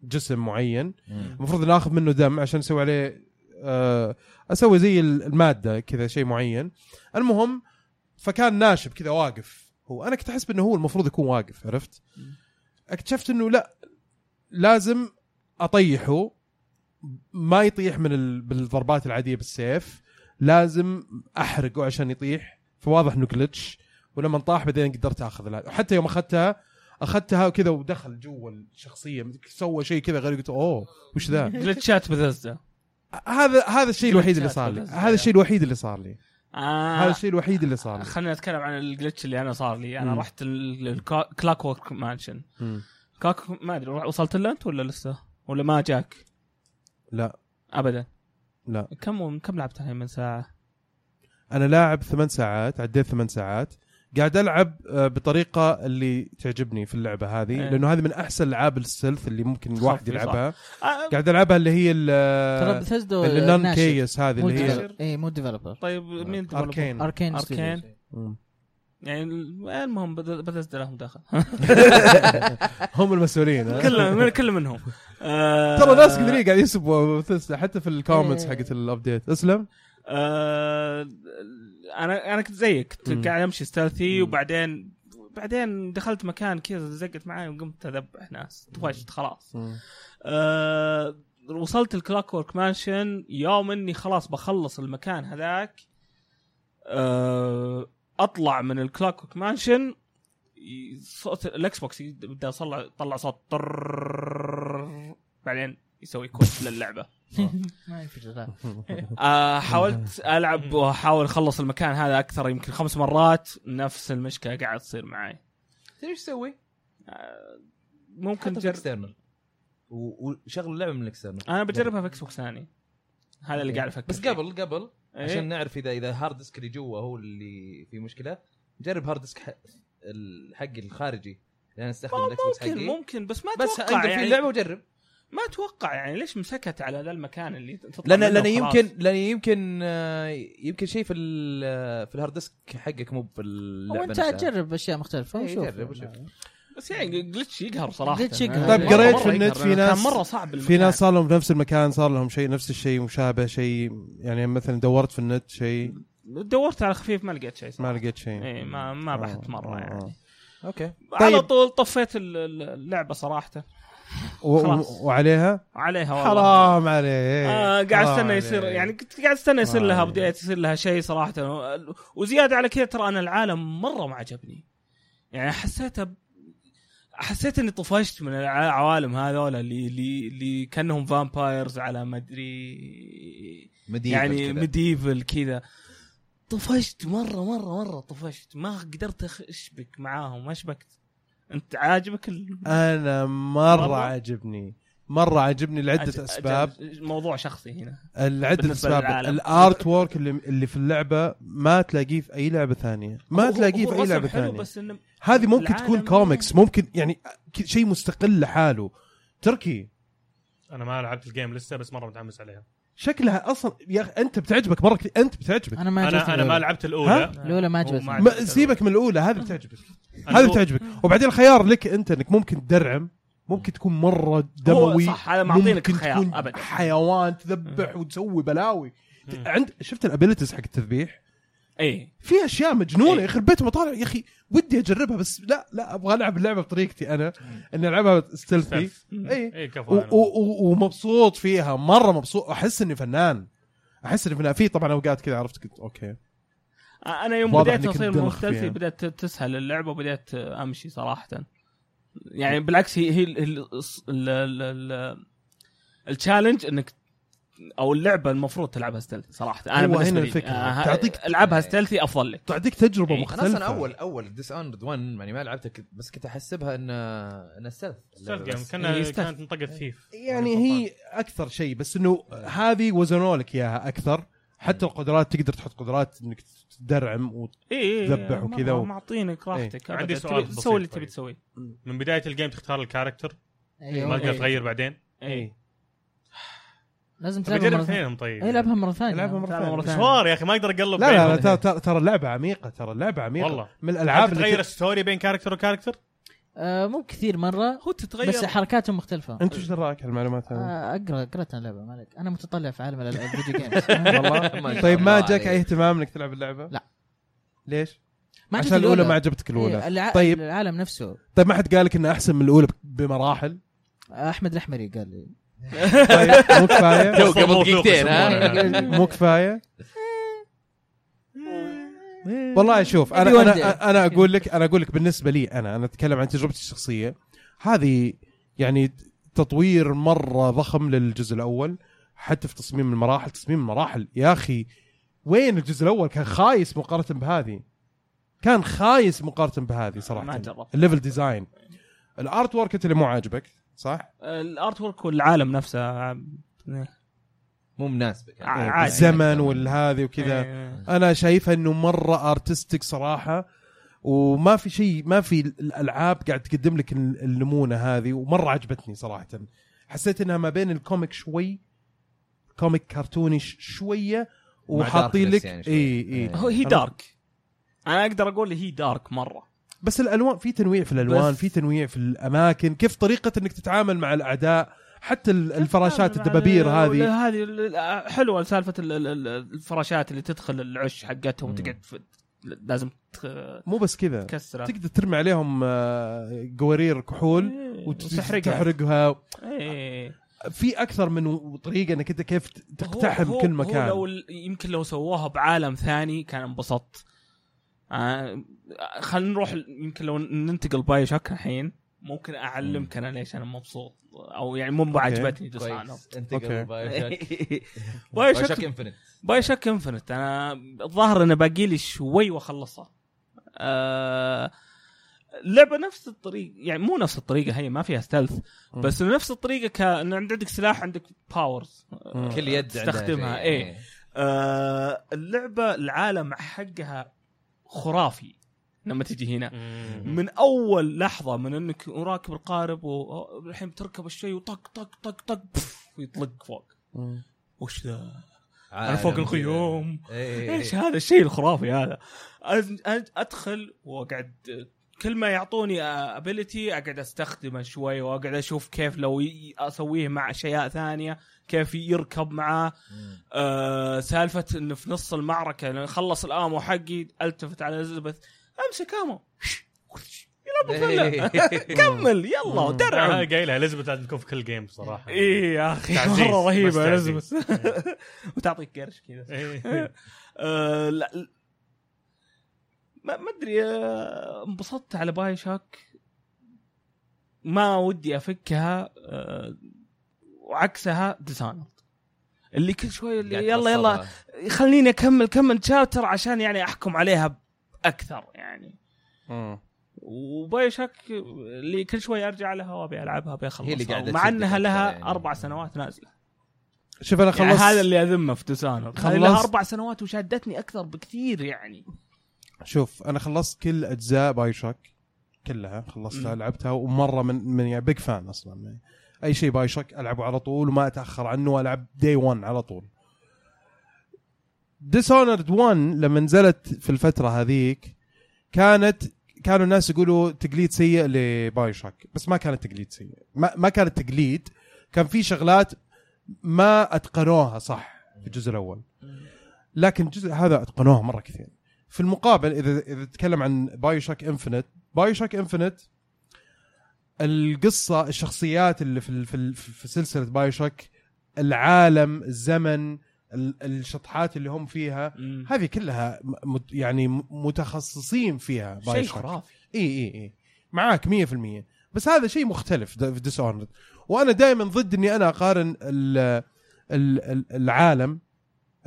Speaker 3: جسم معين
Speaker 1: مم.
Speaker 3: المفروض اني اخذ منه دم عشان اسوي عليه آه، اسوي زي ال- الماده كذا شيء معين المهم فكان ناشب كذا واقف هو انا كنت احسب انه هو المفروض يكون واقف عرفت اكتشفت انه لا لازم اطيحه ما يطيح من ال... بالضربات العاديه بالسيف لازم احرقه عشان يطيح فواضح انه جلتش ولما طاح بعدين قدرت اخذ الهدف حتى يوم اخذتها اخذتها وكذا ودخل جوا الشخصيه سوى شيء كذا غريب قلت اوه وش ذا
Speaker 4: جلتشات بثزة
Speaker 3: هذا هذا الشيء الوحيد اللي صار لي
Speaker 4: جلتشات
Speaker 3: هذا الشيء الوحيد اللي صار لي هذا
Speaker 4: آه
Speaker 3: الشيء الوحيد اللي صار لي
Speaker 4: خليني اتكلم عن الجلتش اللي انا صار لي انا
Speaker 3: مم.
Speaker 4: رحت الكلاك وورك مانشن
Speaker 3: مم.
Speaker 4: كلاك ما ادري وصلت له انت ولا لسه ولا ما جاك
Speaker 3: لا
Speaker 4: ابدا
Speaker 3: لا
Speaker 4: كم كم لعبت الحين من ساعه
Speaker 3: انا لاعب ثمان ساعات عديت ثمان ساعات قاعد العب آه، بطريقه اللي تعجبني في اللعبه هذه
Speaker 4: إيه.
Speaker 3: لانه هذه من احسن العاب السيلث اللي ممكن الواحد
Speaker 4: صح،
Speaker 3: يلعبها
Speaker 4: آه
Speaker 3: قاعد العبها اللي هي ال-
Speaker 1: آه،
Speaker 3: آه،
Speaker 2: ترى بثزدا
Speaker 3: اللي
Speaker 2: الناشر.
Speaker 3: النون كيس هذه
Speaker 2: مو
Speaker 3: اللي هي
Speaker 2: ديفلوبر. اي مو ديفلوبر
Speaker 4: طيب مين developer؟
Speaker 3: اركين
Speaker 2: اركين
Speaker 4: أركين.
Speaker 2: ستوديوز.
Speaker 3: مم.
Speaker 4: يعني المهم بثزة لهم دخل
Speaker 3: هم المسؤولين ها؟
Speaker 4: كل من كل منهم آه،
Speaker 3: ترى ناس كثيرين قاعد يسبوا Bethesda، حتى في الكومنتس
Speaker 4: إيه.
Speaker 3: حقت الابديت اسلم
Speaker 4: آه، انا انا كنت زيك
Speaker 3: مم.
Speaker 4: كنت قاعد امشي ستالثي
Speaker 3: مم.
Speaker 4: وبعدين بعدين دخلت مكان كذا زقت معاي وقمت اذبح ناس توجت خلاص أه وصلت الكلاك وورك مانشن يوم اني خلاص بخلص المكان هذاك أه أط... اطلع من الكلاك مانشن ي- صوت الاكس بوكس ي- بدي اطلع طلع صوت طر بعدين يسوي كوت للعبه
Speaker 2: ما ينفع لا.
Speaker 4: آه حاولت العب واحاول اخلص المكان هذا اكثر يمكن خمس مرات نفس المشكله قاعد تصير معي
Speaker 6: تدري ايش تسوي؟
Speaker 4: ممكن
Speaker 6: حتى في
Speaker 4: جرب
Speaker 6: اكسترنال وشغل اللعبه من الاكسترنال
Speaker 4: انا بجربها في اكس بوكس ثاني هذا اللي قاعد افكر
Speaker 6: بس
Speaker 4: فيه.
Speaker 6: قبل قبل
Speaker 4: إيه.
Speaker 6: عشان نعرف اذا اذا هارد ديسك اللي جوا هو اللي فيه مشكله جرب هارد ديسك ح- الحقي الخارجي لان استخدم الاكس بوكس
Speaker 4: ممكن
Speaker 6: حقي
Speaker 4: ممكن بس ما
Speaker 6: بس
Speaker 4: اتوقع
Speaker 6: انقل في
Speaker 4: يعني
Speaker 6: اللعبه وجرب
Speaker 4: ما اتوقع يعني ليش مسكت على ذا المكان اللي تطلع
Speaker 6: لان
Speaker 4: منه
Speaker 6: لان
Speaker 4: وخلاص؟
Speaker 6: يمكن لان يمكن آه، يمكن شيء في ال- في الهارد ديسك حقك مو في اللعبه
Speaker 2: او انت
Speaker 6: نفسها.
Speaker 2: جرب اشياء مختلفه
Speaker 6: إيه،
Speaker 2: وشوف
Speaker 6: جرب وشوف.
Speaker 4: بس يعني جلتش يقهر صراحه
Speaker 2: glitch يقهر.
Speaker 3: طيب،
Speaker 4: مرة-
Speaker 3: قريت
Speaker 4: مرة
Speaker 3: في النت
Speaker 4: يقهر،
Speaker 3: في
Speaker 4: لأنه
Speaker 3: ناس-
Speaker 4: كان مره صعب
Speaker 3: في
Speaker 4: المكان.
Speaker 3: ناس صار لهم في نفس المكان صار لهم شيء نفس الشيء مشابه شيء يعني مثلا دورت في النت شيء
Speaker 4: دورت على خفيف ما لقيت شيء صراحة.
Speaker 3: ما لقيت شيء
Speaker 4: اي ما ما بحثت مره يعني
Speaker 6: اوكي
Speaker 4: على
Speaker 3: آه. طيب.
Speaker 4: طول طفيت ال- ال- اللعبه صراحه
Speaker 3: و-
Speaker 4: خلاص.
Speaker 3: و- وعليها
Speaker 4: عليها والله
Speaker 3: حرام عليه
Speaker 4: آه قاعد
Speaker 3: حرام
Speaker 4: استنى
Speaker 3: عليه.
Speaker 4: يصير يعني كنت قاعد استنى يصير
Speaker 3: آه.
Speaker 4: لها بديت يصير لها شيء صراحه وزياده على كذا ترى انا العالم مره ما عجبني يعني حسيتها ب... حسيت اني طفشت من العوالم هذول اللي اللي اللي كانهم فامبايرز على ما ادري
Speaker 6: مديفل
Speaker 4: يعني
Speaker 6: كذا.
Speaker 4: ميديفل كذا طفشت مره مره مره طفشت ما قدرت أخ- اشبك معاهم ما شبكت انت عاجبك ال...
Speaker 3: انا مره,
Speaker 4: مرة؟
Speaker 3: عجبني مره عجبني
Speaker 4: أج-
Speaker 3: لعده
Speaker 4: أج-
Speaker 3: اسباب
Speaker 4: موضوع شخصي هنا
Speaker 3: لعده
Speaker 4: بالنسبة
Speaker 3: اسباب
Speaker 4: للعالم.
Speaker 3: الارت وورك اللي, اللي في اللعبه ما تلاقيه في اي لعبه ثانيه ما
Speaker 4: هو-
Speaker 3: تلاقيه
Speaker 4: هو
Speaker 3: في اي
Speaker 4: الرسم
Speaker 3: لعبه
Speaker 4: حلو
Speaker 3: ثانيه
Speaker 4: بس انه
Speaker 3: هذه ممكن تكون
Speaker 4: العالم-
Speaker 3: كوميكس ممكن يعني ك- شيء مستقل لحاله تركي
Speaker 5: انا ما لعبت الجيم لسه بس مره متحمس عليها
Speaker 3: شكلها اصلا يا اخي انت بتعجبك مره كثير انت بتعجبك
Speaker 2: انا ما
Speaker 5: انا
Speaker 2: عجبتني
Speaker 5: انا ما لعبت الاولى
Speaker 2: الاولى ما عجبتني
Speaker 5: وما-
Speaker 3: ما سيبك من الاولى هذه بتعجبك
Speaker 5: أنا
Speaker 3: هذه
Speaker 5: هو-
Speaker 3: بتعجبك وبعدين الخيار لك انت انك ممكن تدرعم ممكن تكون مره
Speaker 4: هو
Speaker 3: دموي
Speaker 4: صح هذا معطينك
Speaker 3: ممكن
Speaker 4: الخيار
Speaker 3: تكون
Speaker 4: ابدا
Speaker 3: حيوان تذبح وتسوي بلاوي عند شفت الابيلتيز حق التذبيح
Speaker 4: اي
Speaker 3: في اشياء مجنونه
Speaker 4: إيه.
Speaker 3: يخرب بيت بطالع يا اخي ودي اجربها بس لا لا ابغى العب اللعبه بطريقتي انا اني العبها ستيلثي
Speaker 5: ستيلث.
Speaker 3: اي
Speaker 5: اي إيه، كفو
Speaker 3: إيه. و-
Speaker 5: أنا.
Speaker 3: و- و- ومبسوط فيها مره مبسوط احس اني فنان احس اني فنان في طبعا اوقات كذا عرفت كنت اوكي
Speaker 4: انا يوم
Speaker 3: واضح
Speaker 4: بديت
Speaker 3: إنك
Speaker 4: اصير
Speaker 3: تدرخ
Speaker 4: مختلفي
Speaker 3: فيها.
Speaker 4: بدات تسهل اللعبه وبدات امشي صراحه يعني بالعكس هي هي ال- ال- الص- ال- ال- ال- التشالنج انك او اللعبه المفروض تلعبها ستيلثي صراحه انا
Speaker 3: هو
Speaker 4: بالنسبه
Speaker 3: أيوة، هنا
Speaker 4: لي
Speaker 3: الفكرة.
Speaker 4: آه،
Speaker 3: تعطيك-
Speaker 4: العبها ستيلثي افضل لك
Speaker 3: تعطيك تجربه
Speaker 4: إيه.
Speaker 3: مختلفه
Speaker 6: انا اصلا اول اول ديس اونرد 1 يعني ما لعبتها كنت- بس كنت احسبها ان ان السلف
Speaker 5: ستيلث جيم
Speaker 4: إيه،
Speaker 5: كان
Speaker 4: ستيلث.
Speaker 5: كانت منطقه ثيف
Speaker 3: يعني هي اكثر شيء بس انه هذه وزنوا لك اياها اكثر حتى القدرات تقدر تحط قدرات انك تدرعم و...
Speaker 4: اي
Speaker 3: تذبح وكذا و- إيه.
Speaker 4: معطينك راحتك
Speaker 5: عندي
Speaker 4: عندي
Speaker 5: سؤال
Speaker 4: سؤال
Speaker 5: بسيط
Speaker 4: تسوي اللي
Speaker 5: طيب.
Speaker 4: تبي تسويه
Speaker 5: من بدايه الجيم تختار الكاركتر ما
Speaker 2: أيوه.
Speaker 5: تقدر
Speaker 4: إيه.
Speaker 5: تغير بعدين
Speaker 4: اي
Speaker 2: لازم تلعبها
Speaker 5: بجرب
Speaker 2: مرة ثانية.
Speaker 5: اثنينهم طيب
Speaker 2: إيه، العبها مره ثانيه
Speaker 3: العبها مرة ثانية.
Speaker 5: مشوار يا اخي ما اقدر اقلب
Speaker 3: لا لا, لا
Speaker 5: بينهم.
Speaker 3: ترى- ترى ترى اللعبه عميقه ترى اللعبه عميقه
Speaker 5: والله.
Speaker 3: من
Speaker 5: هل
Speaker 3: الالعاب
Speaker 5: تتغير
Speaker 3: اللي
Speaker 5: الستوري بين كاركتر وكاركتر؟
Speaker 2: آه، مو كثير مره
Speaker 4: هو تتغير
Speaker 2: بس حركاتهم مختلفه
Speaker 3: انت ايش رايك هالمعلومات هذه؟
Speaker 2: آه، اقرا قرأت اللعبه مالك انا متطلع في عالم ال- الفيديو جيمز
Speaker 6: والله
Speaker 3: طيب ما جاك اي اهتمام انك تلعب اللعبه؟
Speaker 2: لا.
Speaker 3: ليش؟
Speaker 2: ما
Speaker 3: عشان
Speaker 2: عجبتني
Speaker 3: الاولى ما عجبتك
Speaker 2: إيه،
Speaker 3: الاولى
Speaker 2: الع...
Speaker 3: طيب.
Speaker 2: طيب العالم نفسه
Speaker 3: طيب ما حد قالك انها احسن من الاولى ب- بمراحل
Speaker 2: احمد الاحمري قال لي
Speaker 3: طيب مو كفايه
Speaker 6: تو قبل دقيقتين ها
Speaker 5: يسمونه.
Speaker 3: مو كفايه Mm.
Speaker 4: إيه.
Speaker 3: والله شوف انا
Speaker 2: أبي
Speaker 3: انا انا اقول لك انا اقول لك بالنسبه لي انا انا اتكلم عن تجربتي الشخصيه هذه يعني تطوير مره ضخم للجزء الاول حتى في تصميم المراحل تصميم المراحل يا اخي وين الجزء الاول كان خايس مقارنه بهذه كان خايس مقارنه بهذه
Speaker 4: ما
Speaker 3: صراحه
Speaker 4: جربت.
Speaker 3: الليفل ديزاين الارت وورك انت اللي مو عاجبك صح؟
Speaker 4: الارت ورك والعالم نفسه آه، ع-
Speaker 6: مو مناسبك يعني.
Speaker 4: ع- عادي.
Speaker 3: الزمن والهذه وكذا
Speaker 4: إيه.
Speaker 3: انا شايفها انه مره ارتستيك صراحه وما في شيء ما في الالعاب قاعد تقدم لك ال- النمونه هذه ومره عجبتني صراحه حسيت انها ما بين الكوميك شوي كوميك كرتوني ش- شويه
Speaker 6: مع
Speaker 3: وحاطين
Speaker 6: داركنس
Speaker 3: لك
Speaker 6: يعني شوي.
Speaker 3: اي
Speaker 6: إيه.
Speaker 4: هو
Speaker 3: اي
Speaker 4: هي دارك انا اقدر اقول هي دارك مره
Speaker 3: بس الالوان في تنويع في الالوان
Speaker 4: بس-
Speaker 3: في تنويع في الاماكن كيف طريقه انك تتعامل مع الاعداء حتى ال- الفراشات الدبابير هذه
Speaker 4: آه، هذه ال- حلوه سالفه ال- ال- ال- الفراشات اللي تدخل العش حقتهم
Speaker 6: مم.
Speaker 4: وتقعد في- لازم تخ-
Speaker 3: مو بس كذا
Speaker 4: تكسرها
Speaker 3: تقدر ترمي عليهم آه، قوارير كحول
Speaker 4: إيه، وتحرقها
Speaker 3: وتحرقها
Speaker 4: إيه.
Speaker 3: في اكثر من طريقه انك انت كيف تقتحم
Speaker 4: هو-
Speaker 3: كل
Speaker 4: هو- هو
Speaker 3: مكان
Speaker 4: لو ال- يمكن لو سووها بعالم ثاني كان انبسطت آه خلينا نروح ل- يمكن لو ننتقل باي شك الحين ممكن اعلمك انا ليش انا مبسوط او يعني مو عجبتني جزء عنه
Speaker 6: كويس انتقل
Speaker 3: أوكي.
Speaker 6: باي شك
Speaker 4: باي
Speaker 6: باي
Speaker 4: شك
Speaker 6: شك انفنت
Speaker 4: باي شك انفنت انا الظاهر انه باقي لي شوي واخلصها آه... لعبة نفس الطريقة يعني مو نفس الطريقة هي ما فيها ستلث بس إنه نفس الطريقة ك... إن عند- عندك سلاح عندك باورز آه،
Speaker 6: كل يد عندها
Speaker 4: تستخدمها
Speaker 6: شيء.
Speaker 4: ايه آه... اللعبة العالم حقها خرافي لما تجي هنا من اول لحظه من انك راكب القارب والحين بتركب الشيء وطق طق طق طق بف، ويطلق فوق وش ذا؟ انا
Speaker 6: عالم
Speaker 4: فوق
Speaker 6: كذا.
Speaker 4: القيوم
Speaker 6: إيه.
Speaker 4: ايش هذا الشيء الخرافي هذا أز- أز- ادخل واقعد كل ما يعطوني ابيلتي اقعد استخدمه شوي واقعد اشوف كيف لو ي- اسويه مع اشياء ثانيه كيف يركب معاه
Speaker 6: مم.
Speaker 4: آه سالفه انه في نص المعركه لما خلص الامو حقي التفت على اليزابيث امسك امو يلا بفلة.
Speaker 6: إيه.
Speaker 4: كمل يلا درع
Speaker 5: هاي آه، قايلها اليزابيث لازم تكون في كل جيم صراحه
Speaker 3: إيه.
Speaker 4: اي إيه يا اخي
Speaker 5: تعزيز،
Speaker 4: مره
Speaker 5: بس
Speaker 4: رهيبه
Speaker 5: تعزيز.
Speaker 4: لازم وتعطيك قرش كذا
Speaker 5: إيه.
Speaker 4: آه، لا لا. ما ما ادري آه، انبسطت على باي شاك ما ودي افكها آه، وعكسها ديسانت اللي كل شوي اللي
Speaker 6: قاعد
Speaker 4: يلا يلا
Speaker 6: تفصلها.
Speaker 4: خليني اكمل كم شابتر عشان يعني احكم عليها اكثر يعني وباي شك اللي كل شوي ارجع لها وابي العبها ابي اخلصها
Speaker 6: هي اللي قاعدة
Speaker 4: مع
Speaker 6: تشدك
Speaker 4: انها
Speaker 6: أكثر
Speaker 4: لها
Speaker 6: يعني.
Speaker 4: اربع سنوات نازله
Speaker 3: شوف انا
Speaker 4: يعني
Speaker 3: خلصت
Speaker 4: هذا اللي اذمه في تسانر
Speaker 3: خلصت.
Speaker 4: لها اربع سنوات وشادتني اكثر بكثير يعني
Speaker 3: شوف انا خلصت كل اجزاء باي شوك كلها خلصتها
Speaker 4: مم.
Speaker 3: لعبتها ومره من من يعني بيج فان اصلا يعني اي شيء باي شوك العبه على طول وما اتاخر عنه والعب دي 1 على طول ديسونرد 1 لما نزلت في الفتره هذيك كانت كانوا الناس يقولوا تقليد سيء لباي شوك بس ما كانت تقليد سيء ما, ما كانت تقليد كان في شغلات ما اتقنوها صح في الجزء الاول لكن الجزء هذا اتقنوها مره كثير في المقابل اذا اذا تتكلم عن بايو شوك انفنت بايو شوك انفنت القصه الشخصيات اللي في ال- في, ال- في سلسله بايو شوك العالم الزمن ال- الشطحات اللي هم فيها هذه كلها م- مت- يعني م- متخصصين فيها باي
Speaker 4: شيء
Speaker 3: شوك.
Speaker 4: خرافي
Speaker 3: اي اي اي معاك 100% بس هذا شيء مختلف د- في ديس اونرد وانا دائما ضد اني انا اقارن ال ال العالم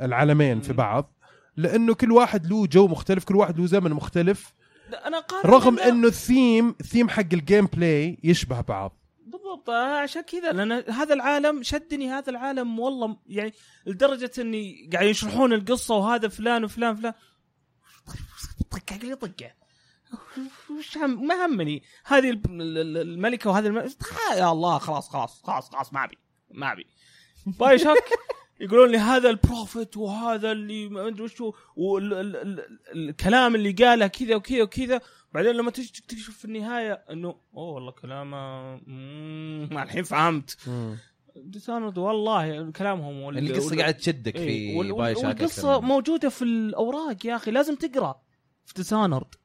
Speaker 3: العالمين في
Speaker 4: مم.
Speaker 3: بعض لانه كل واحد له جو مختلف كل واحد له زمن مختلف
Speaker 4: لا، انا قارن
Speaker 3: رغم انه الثيم الثيم حق الجيم بلاي يشبه بعض
Speaker 4: بالضبط آه، عشان كذا لان هذا العالم شدني هذا العالم والله يعني لدرجه اني قاعد يشرحون القصه وهذا فلان وفلان فلان طق علي طقه وش هم ما همني هذه الب- ال- ال- الملكه وهذه الم... يا الله خلاص خلاص خلاص خلاص ما ابي ما ابي باي شك يقولون لي هذا البروفيت وهذا اللي ما ادري وش هو والكلام اللي قاله كذا وكذا وكذا بعدين لما تجي تكتشف في النهايه انه اوه والله كلامه مم، ما الحين فهمت ديسانود والله كلامهم وال-
Speaker 6: القصه
Speaker 4: وال-
Speaker 6: قاعد تشدك
Speaker 4: إيه،
Speaker 6: في
Speaker 4: وال-
Speaker 6: باي شاك
Speaker 4: والقصه موجوده في الاوراق يا اخي لازم تقرا في ديسانورد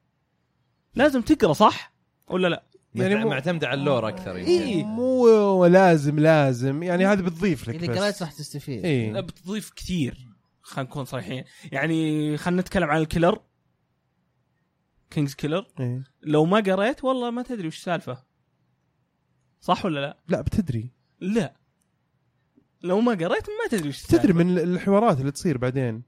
Speaker 4: لازم تقرا صح ولا لا؟
Speaker 3: يعني
Speaker 6: يعني
Speaker 3: مو-
Speaker 6: معتمده على اللور يعني. اكثر يمكن.
Speaker 4: إيه.
Speaker 3: يعني مو لازم لازم يعني هذا بتضيف لك
Speaker 2: اذا قريت
Speaker 3: بس
Speaker 2: راح تستفيد
Speaker 4: لا،
Speaker 3: اي
Speaker 4: إيه. بتضيف كثير خلينا نكون صريحين يعني خلينا نتكلم عن الكيلر كينجز كيلر
Speaker 3: إي.
Speaker 4: لو ما قريت والله ما تدري وش السالفه صح ولا لا؟
Speaker 3: لا بتدري
Speaker 4: لا لو ما قريت ما تدري وش السالفه
Speaker 3: تدري من الحوارات اللي تصير بعدين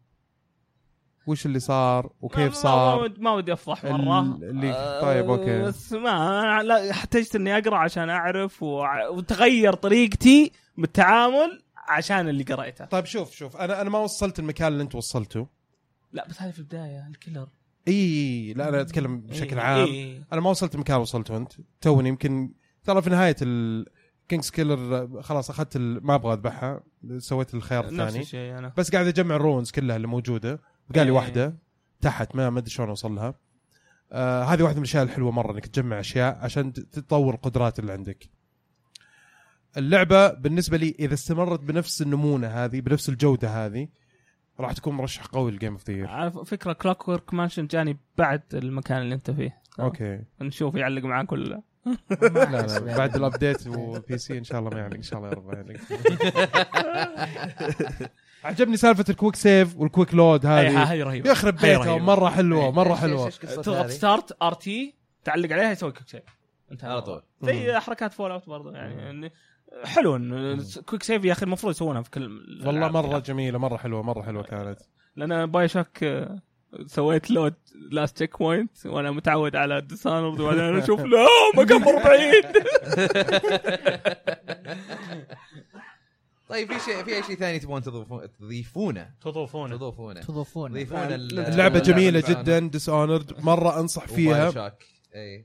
Speaker 3: وش اللي صار
Speaker 4: ما-
Speaker 3: وكيف
Speaker 4: ما-
Speaker 3: صار
Speaker 4: ما ود- ما ودي افضح
Speaker 3: ال-
Speaker 4: مره
Speaker 3: اللي-
Speaker 4: آه،
Speaker 3: طيب، أوكي.
Speaker 4: بس ما أنا لا احتجت اني اقرا عشان اعرف وع- وتغير طريقتي بالتعامل عشان اللي قريته
Speaker 3: طيب شوف شوف انا انا ما وصلت المكان اللي انت وصلته
Speaker 4: لا بس هذه في البدايه الكيلر
Speaker 3: اي لا انا اتكلم بشكل عام
Speaker 4: إيه.
Speaker 3: انا ما وصلت المكان اللي وصلته انت توني يمكن ترى في نهايه الكينجز كيلر خلاص اخذت ال- ما ابغى اذبحها سويت الخيار
Speaker 4: نفس
Speaker 3: الثاني
Speaker 4: الشيء انا
Speaker 3: بس قاعد اجمع الرونز كلها اللي موجوده بقى
Speaker 4: إيه.
Speaker 3: لي واحده تحت ما ما ادري شلون اوصل لها آه هذه واحده من الاشياء الحلوه مره انك تجمع اشياء عشان ت- تطور القدرات اللي عندك اللعبه بالنسبه لي اذا استمرت بنفس النمونه هذه بنفس الجوده هذه راح تكون مرشح قوي لجيم اوف
Speaker 6: آه.
Speaker 3: ذا
Speaker 4: على فكره كلاك ورك مانشن جاني بعد المكان اللي انت فيه
Speaker 3: اوكي
Speaker 6: يعني
Speaker 4: نشوف يعلق معاك ولا لا
Speaker 2: ما
Speaker 3: لا
Speaker 2: أحس يعني
Speaker 3: لا
Speaker 2: بهذا.
Speaker 3: بعد الابديت وبي سي ان شاء الله ما يعلق ان شاء الله يا رب يعلق عجبني سالفه الكويك سيف والكويك لود
Speaker 4: هذه
Speaker 3: هذه
Speaker 4: إيه، هذه رهيبه
Speaker 3: يخرب
Speaker 4: هاي
Speaker 3: بيتها
Speaker 4: رهيبة.
Speaker 3: مره حلوه مره
Speaker 6: إيش- إيش-
Speaker 3: حلوه
Speaker 6: إيش قصة
Speaker 4: تضغط
Speaker 6: هذه؟
Speaker 4: ستارت ار تي تعلق عليها يسوي كويك سيف انتهى
Speaker 6: على طول
Speaker 4: زي حركات فول اوت برضه يعني إن- حلو إن كويك سيف يا اخي المفروض يسوونها في كل الألعاب.
Speaker 3: والله مره جميله مره حلوه مره حلوه كانت
Speaker 4: لان باي شوك آه، سويت لود لاست تشيك بوينت وانا متعود على ديسانورد وبعدين أنا اشوف لا مقمر بعيد
Speaker 6: طيب في شيء في اي شيء ثاني تبغون تضيفون- تضيفونه
Speaker 5: تضوفونه
Speaker 6: تضيفونه
Speaker 2: تضيفون
Speaker 6: تضيفون ال-
Speaker 3: اللعبه جميله
Speaker 6: الفعل.
Speaker 3: جدا ديس اونرد مره انصح
Speaker 6: وبايو إيه.
Speaker 3: فيها
Speaker 6: شوك. اي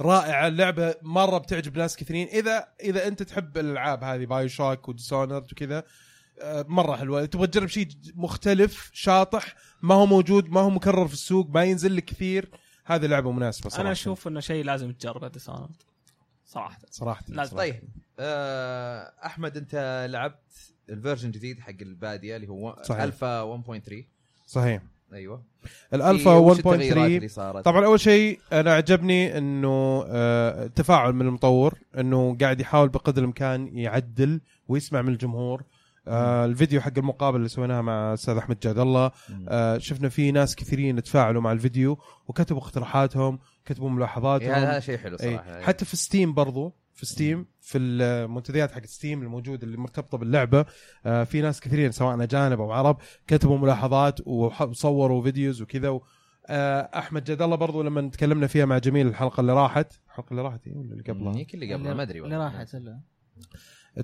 Speaker 3: رائعه اللعبه مره بتعجب ناس كثيرين اذا اذا انت تحب الالعاب هذه بايو شوك وديسونرد وكذا آه، مره حلوه تبغى تجرب شيء مختلف شاطح ما هو موجود ما هو مكرر في السوق ما ينزل لك كثير هذه لعبه مناسبه صراحه
Speaker 4: انا اشوف انه شيء لازم تجربه ديسانورد صراحه
Speaker 3: صراحه
Speaker 4: لازم.
Speaker 3: صراحة.
Speaker 6: طيب آه، احمد انت لعبت الفيرجن جديد حق الباديه اللي هو
Speaker 3: صحيح.
Speaker 6: الفا 1.3
Speaker 3: صحيح
Speaker 6: ايوه إيه،
Speaker 3: الالفا
Speaker 6: وش التغييرات
Speaker 3: 1.3
Speaker 6: اللي صارت
Speaker 3: طبعا اول شيء انا عجبني انه آه، التفاعل من المطور انه قاعد يحاول بقدر الامكان يعدل ويسمع من الجمهور آه الفيديو حق المقابله اللي سويناها مع الاستاذ احمد جاد الله
Speaker 6: مم.
Speaker 3: آه شفنا فيه ناس كثيرين تفاعلوا مع الفيديو وكتبوا اقتراحاتهم كتبوا
Speaker 6: إيه، هذا هذا
Speaker 3: ملاحظاتهم
Speaker 6: شيء حلو
Speaker 3: أي.
Speaker 6: صراحه
Speaker 3: حتى في ستيم برضو في ستيم في المنتديات حق ستيم الموجوده اللي مرتبطه باللعبه آه في ناس كثيرين سواء اجانب او عرب كتبوا ملاحظات وح- وصوروا فيديوز وكذا و... آه، احمد جد الله برضو لما تكلمنا فيها مع جميل الحلقه اللي راحت الحلقه اللي راحت إيه ولا اللي قبلها
Speaker 6: هي اللي قبلها ما ادري
Speaker 2: اللي
Speaker 6: والله.
Speaker 2: راحت لا.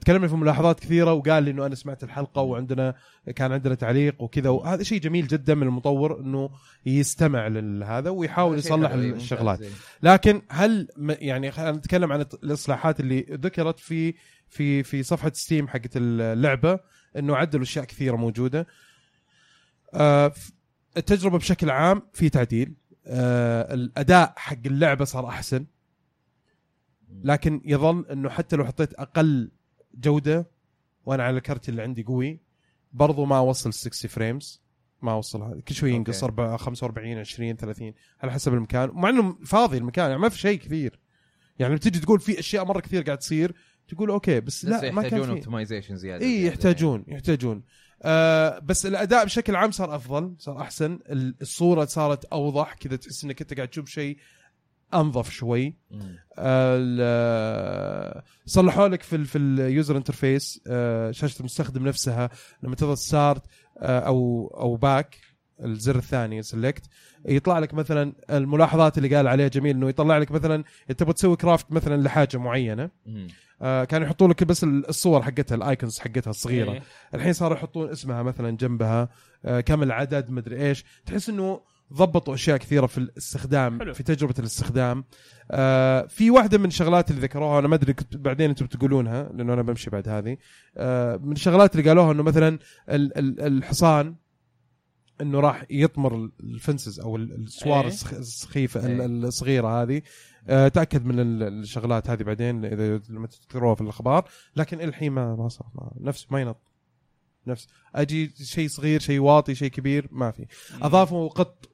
Speaker 3: تكلمنا في ملاحظات كثيره وقال لي انه انا سمعت الحلقه وعندنا كان عندنا تعليق وكذا وهذا شيء جميل جدا من المطور انه يستمع لهذا ويحاول
Speaker 6: هذا شيء
Speaker 3: يصلح
Speaker 6: حلو، إيه، ممتاز،
Speaker 3: الشغلات
Speaker 6: زين.
Speaker 3: لكن هل م- يعني خلينا نتكلم عن الت- الاصلاحات اللي ذكرت في في في صفحه ستيم حقت اللعبه انه عدلوا اشياء كثيره موجوده آه، ف- التجربه بشكل عام في تعديل آه، الاداء حق اللعبه صار احسن لكن يظل انه حتى لو حطيت اقل جوده وانا على الكرت اللي عندي قوي برضو ما اوصل 60 فريمز ما اوصل هذا كل شوي ينقص
Speaker 6: أوكي.
Speaker 3: أربعة- 45 20 30 على حسب المكان مع انه فاضي المكان يعني ما في شيء كثير يعني لما تجي تقول في اشياء مره كثير قاعد تصير تقول اوكي بس
Speaker 6: لسه
Speaker 3: لا ما كان
Speaker 6: يحتاجون
Speaker 3: في
Speaker 6: اوبتمايزيشن زياده
Speaker 3: اي
Speaker 6: زيادة.
Speaker 3: يحتاجون يحتاجون آه بس الاداء بشكل عام صار افضل صار احسن ال- الصوره صارت اوضح كذا تحس انك انت قاعد تشوف شيء انظف شوي
Speaker 6: مم.
Speaker 3: ال- صلحوا لك في ال في اليوزر انترفيس شاشه المستخدم نفسها لما تضغط آه، ستارت او او باك الزر الثاني سلكت يطلع لك مثلا الملاحظات اللي قال عليها جميل انه يطلع لك مثلا انت تبغى تسوي كرافت مثلا لحاجه معينه
Speaker 6: مم.
Speaker 3: آه، كانوا يحطوا لك بس الصور حقتها الايكونز حقتها الصغيره
Speaker 4: إيه.
Speaker 3: الحين صاروا يحطون اسمها مثلا جنبها آه، كم العدد مدري ايش تحس انه ضبطوا اشياء كثيره في الاستخدام
Speaker 4: حلو.
Speaker 3: في تجربه الاستخدام آه، في واحده من الشغلات اللي ذكروها انا ما ادري كنت بعدين انتم بتقولونها لانه انا بمشي بعد هذه آه، من الشغلات اللي قالوها انه مثلا ال- ال- الحصان انه راح يطمر الفنسز او ال- السوار
Speaker 4: إيه.
Speaker 3: السخ- السخيفه ال-
Speaker 6: إيه.
Speaker 3: الصغيره هذه آه، تاكد من ال- الشغلات هذه بعدين اذا لما تذكروها في الاخبار لكن الحين ما ما صار ما- نفس ما ينط نفس اجي شيء صغير شيء واطي شيء كبير ما في اضافوا قط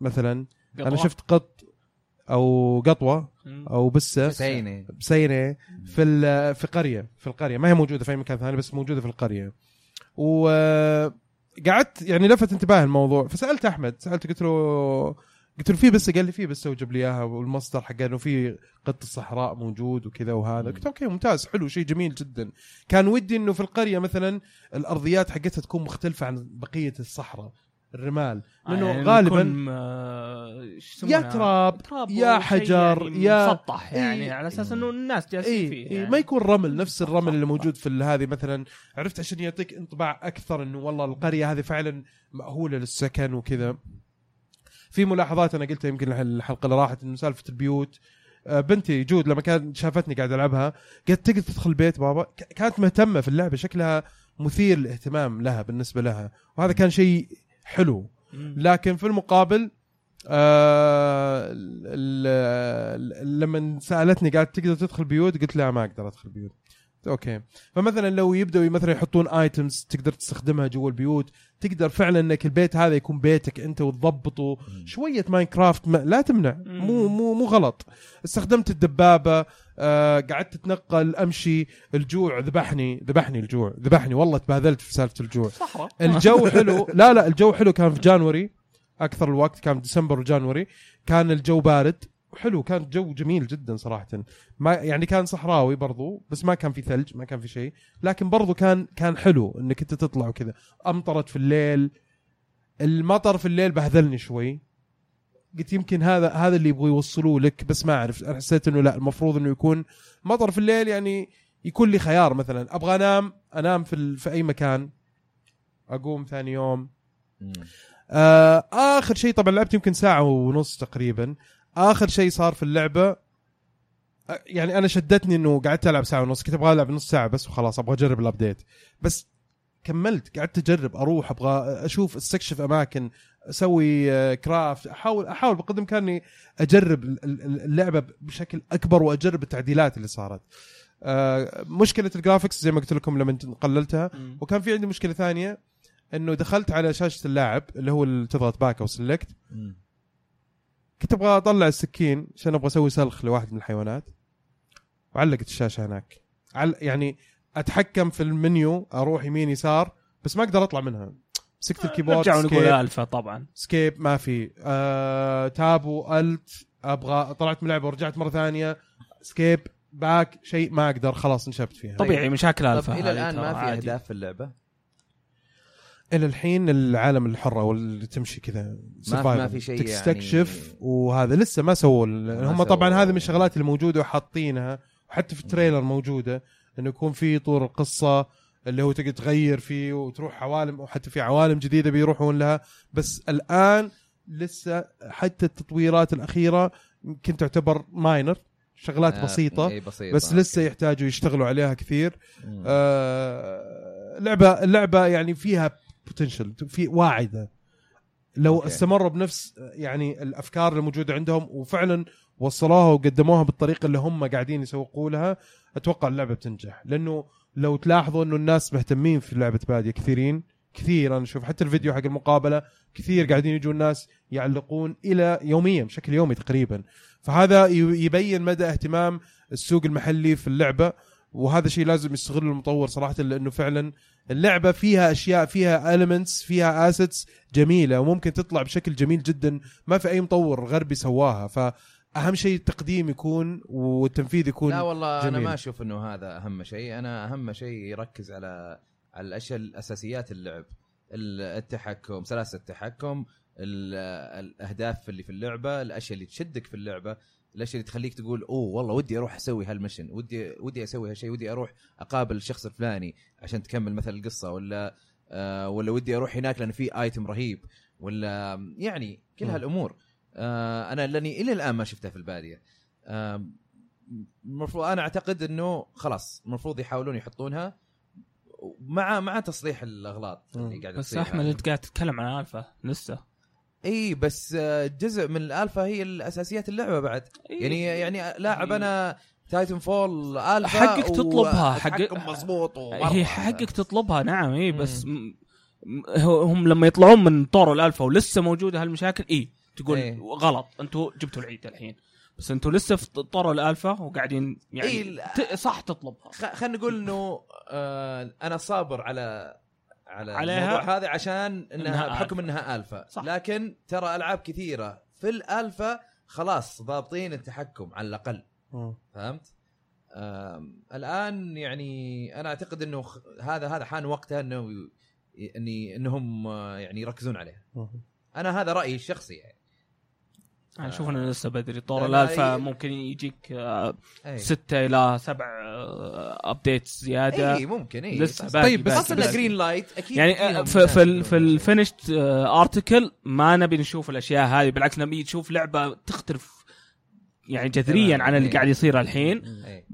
Speaker 3: مثلا انا
Speaker 4: قطوة.
Speaker 3: شفت قط او قطوه
Speaker 4: مم.
Speaker 3: او بسه
Speaker 6: سيني
Speaker 3: بسينه في ال- في قريه في القريه ما هي موجوده في اي مكان ثاني بس موجوده في القريه و آه، قعدت يعني لفت انتباهي الموضوع فسالت احمد سالته قلت له قلت له في بس قال لي في بس وجب لي اياها والمصدر حقه انه في قط الصحراء موجود وكذا وهذا قلت اوكي ممتاز حلو شيء جميل جدا كان ودي انه في القريه مثلا الارضيات حقتها تكون مختلفه عن بقيه الصحراء الرمال
Speaker 4: آه،
Speaker 3: لانه
Speaker 4: يعني
Speaker 3: غالبا
Speaker 4: نكون، آه، إيش
Speaker 3: يا
Speaker 4: يسمونها؟
Speaker 3: تراب
Speaker 4: تراب
Speaker 3: يا
Speaker 4: أو شيء
Speaker 3: حجر،
Speaker 4: يعني
Speaker 3: يا-
Speaker 4: مسطح يعني
Speaker 3: إيه.
Speaker 4: على اساس انه الناس جالسين
Speaker 3: اي
Speaker 4: فيه
Speaker 3: إيه
Speaker 4: يعني.
Speaker 3: ما يكون رمل نفس الرمل اللي موجود في ال- هذه مثلا عرفت عشان يعطيك انطباع اكثر انه والله القريه هذه فعلا مأهوله للسكن وكذا في ملاحظات انا قلتها يمكن الح- الحلقه اللي راحت انه سالفه البيوت آه، بنتي جود لما كانت شافتني قاعد العبها قالت تقدر تدخل البيت بابا ك- كانت مهتمه في اللعبه شكلها مثير للاهتمام لها بالنسبه لها وهذا كان شيء حلو
Speaker 4: مم.
Speaker 3: لكن في المقابل آه ال- ال- ال- لما سالتني قالت تقدر تدخل بيوت قلت لا ما اقدر ادخل بيوت اوكي فمثلا لو يبداوا مثلا يحطون ايتمز تقدر تستخدمها جوا البيوت تقدر فعلا انك البيت هذا يكون بيتك انت وتضبطه شويه ماينكرافت ما لا تمنع
Speaker 4: مم.
Speaker 3: مو مو مو غلط استخدمت الدبابه آه قعدت اتنقل امشي الجوع ذبحني ذبحني الجوع ذبحني والله تبهذلت في سالفه الجوع
Speaker 4: صحراء
Speaker 3: الجو حلو لا لا الجو حلو كان في جانوري اكثر الوقت كان في ديسمبر وجانوري كان الجو بارد وحلو كان جو جميل جدا صراحه ما يعني كان صحراوي برضو بس ما كان في ثلج ما كان في شيء لكن برضو كان كان حلو انك انت تطلع وكذا امطرت في الليل المطر في الليل بهذلني شوي قلت يمكن هذا هذا اللي يبغوا يوصلوه لك بس ما اعرف انا حسيت انه لا المفروض انه يكون مطر في الليل يعني يكون لي خيار مثلا ابغى انام انام في ال- في اي مكان اقوم ثاني يوم آه اخر شيء طبعا لعبت يمكن ساعه ونص تقريبا اخر شيء صار في اللعبه آه، يعني انا شدتني انه قعدت العب ساعه ونص كنت ابغى العب نص ساعه بس وخلاص ابغى اجرب الابديت بس كملت قعدت اجرب اروح ابغى اشوف استكشف اماكن اسوي آه، كرافت احاول احاول بقدر امكاني اجرب ال- ال- اللعبه بشكل اكبر واجرب التعديلات اللي صارت آه، مشكله الجرافكس زي ما قلت لكم لما قللتها وكان في عندي مشكله ثانيه انه دخلت على شاشه اللاعب اللي هو اللي تضغط باك او سلكت كنت ابغى اطلع السكين عشان ابغى اسوي سلخ لواحد من الحيوانات وعلقت الشاشه هناك عل... يعني اتحكم في المنيو اروح يمين يسار بس ما اقدر اطلع منها مسكت
Speaker 1: آه،
Speaker 3: الكيبورد
Speaker 4: نرجع ونقول
Speaker 3: سكيب,
Speaker 4: الفا طبعا
Speaker 3: سكيب ما في آه... تاب والت ابغى طلعت من لعبه ورجعت مره ثانيه سكيب باك شيء ما اقدر خلاص نشبت فيها
Speaker 4: طبيعي مشاكل
Speaker 1: طيب. طب
Speaker 4: الفا
Speaker 1: الى
Speaker 4: هذه
Speaker 1: الان
Speaker 4: ترى
Speaker 1: ما في
Speaker 4: عادي.
Speaker 1: اهداف في اللعبه
Speaker 3: الى الحين العالم الحر او اللي تمشي كذا
Speaker 1: ما- ما في شيء يعني-
Speaker 3: تستكشف وهذا لسه ما سووا ال-
Speaker 1: ما
Speaker 3: هم
Speaker 1: سووا.
Speaker 3: طبعا هذه من الشغلات اللي موجوده وحاطينها وحتى في التريلر موجوده انه يكون في طور القصه اللي هو تقدر تغير فيه وتروح عوالم وحتى في عوالم جديده بيروحون لها بس الان لسه حتى التطويرات الاخيره يمكن تعتبر ماينر شغلات
Speaker 1: آه،
Speaker 3: بسيطه
Speaker 1: إيه، بسيطه
Speaker 3: بس لسه يحتاجوا يشتغلوا عليها كثير
Speaker 1: مم.
Speaker 3: آه، لعبه اللعبه يعني فيها بوتنشل في واعده لو
Speaker 1: أوكي.
Speaker 3: استمروا بنفس يعني الافكار الموجوده عندهم وفعلا وصلوها وقدموها بالطريقه اللي هم قاعدين يسوقوا لها اتوقع اللعبه بتنجح لانه لو تلاحظوا انه الناس مهتمين في لعبه باديه كثيرين كثير انا اشوف حتى الفيديو حق المقابله كثير قاعدين يجوا الناس يعلقون الى يوميا بشكل يومي تقريبا فهذا ي- يبين مدى اهتمام السوق المحلي في اللعبه وهذا شيء لازم يستغله المطور صراحه لانه فعلا اللعبه فيها اشياء فيها elements فيها assets جميله وممكن تطلع بشكل جميل جدا ما في اي مطور غربي سواها فاهم شيء التقديم يكون والتنفيذ يكون
Speaker 1: لا والله
Speaker 3: جميل.
Speaker 1: انا ما اشوف انه هذا اهم شيء انا اهم شيء يركز على على الاشياء الاساسيات اللعب ال- التحكم سلاسل التحكم ال- الاهداف اللي في اللعبه الاشياء اللي تشدك في اللعبه الاشياء اللي تخليك تقول اوه والله ودي اروح اسوي هالمشن ودي ودي اسوي هالشيء ودي اروح اقابل الشخص الفلاني عشان تكمل مثلا القصه ولا آه ولا ودي اروح هناك لان في ايتم رهيب ولا يعني كل
Speaker 3: مم.
Speaker 1: هالامور آه انا لاني الى الان ما شفتها في الباديه آه المفروض انا اعتقد انه خلاص المفروض يحاولون يحطونها مع مع تصليح الاغلاط اللي
Speaker 3: مم.
Speaker 1: قاعده
Speaker 4: بس
Speaker 1: تصير. يعني.
Speaker 4: احمد انت قاعد تتكلم عن الفا لسه
Speaker 1: اي بس آه، جزء من الالفا هي الاساسيات اللعبه بعد
Speaker 4: إيه.
Speaker 1: يعني يعني لاعب انا تايتن فول الفا
Speaker 4: حقك تطلبها، حق-
Speaker 1: حقك مضبوط ومرة.
Speaker 4: هي حقك تطلبها نعم اي بس م... م- هو- هم لما يطلعون من طور الالفا ولسه موجوده هالمشاكل اي تقول
Speaker 1: إيه.
Speaker 4: غلط انتوا جبتوا العيد الحين بس انتوا لسه في طور الالفا وقاعدين يعني
Speaker 1: إيه، لا.
Speaker 4: ت... صح تطلبها
Speaker 1: خ- خلينا نقول انه آه انا صابر على على
Speaker 4: عليها؟
Speaker 1: الموضوع هذا عشان انها,
Speaker 4: إنها
Speaker 1: إنها بحكم
Speaker 4: ألفا.
Speaker 1: انها الفا
Speaker 4: صح.
Speaker 1: لكن ترى العاب كثيره في الالفا خلاص ضابطين التحكم على الاقل
Speaker 3: مم.
Speaker 1: فهمت؟ آم، الان يعني انا اعتقد انه خ- هذا هذا حان وقتها انه ي- اني انهم آه، يعني يركزون عليها.
Speaker 3: مم.
Speaker 1: انا هذا رايي الشخصي يعني.
Speaker 4: انا اشوف انه يعني لسه بدري طور
Speaker 1: لا،
Speaker 4: الالفا
Speaker 1: إيه.
Speaker 4: ممكن يجيك آه،
Speaker 1: أي.
Speaker 4: ستة الى سبع آه، ابديتس زياده
Speaker 1: اي إيه، ممكن اي
Speaker 4: لسه
Speaker 1: صح.
Speaker 4: باقي
Speaker 3: طيب، بس-
Speaker 1: خاصه
Speaker 3: بس-
Speaker 1: إن جرين لايت اكيد
Speaker 4: يعني
Speaker 1: فيهم
Speaker 4: في في ال-
Speaker 1: ناس
Speaker 4: في
Speaker 1: يقولون
Speaker 4: الفينشت ارتكل ما نبي نشوف الاشياء هذه بالعكس نبي نشوف لعبه تختلف يعني جذريا
Speaker 1: تمام،
Speaker 4: عن اللي
Speaker 1: إيه.
Speaker 4: قاعد يصير الحين
Speaker 1: أي.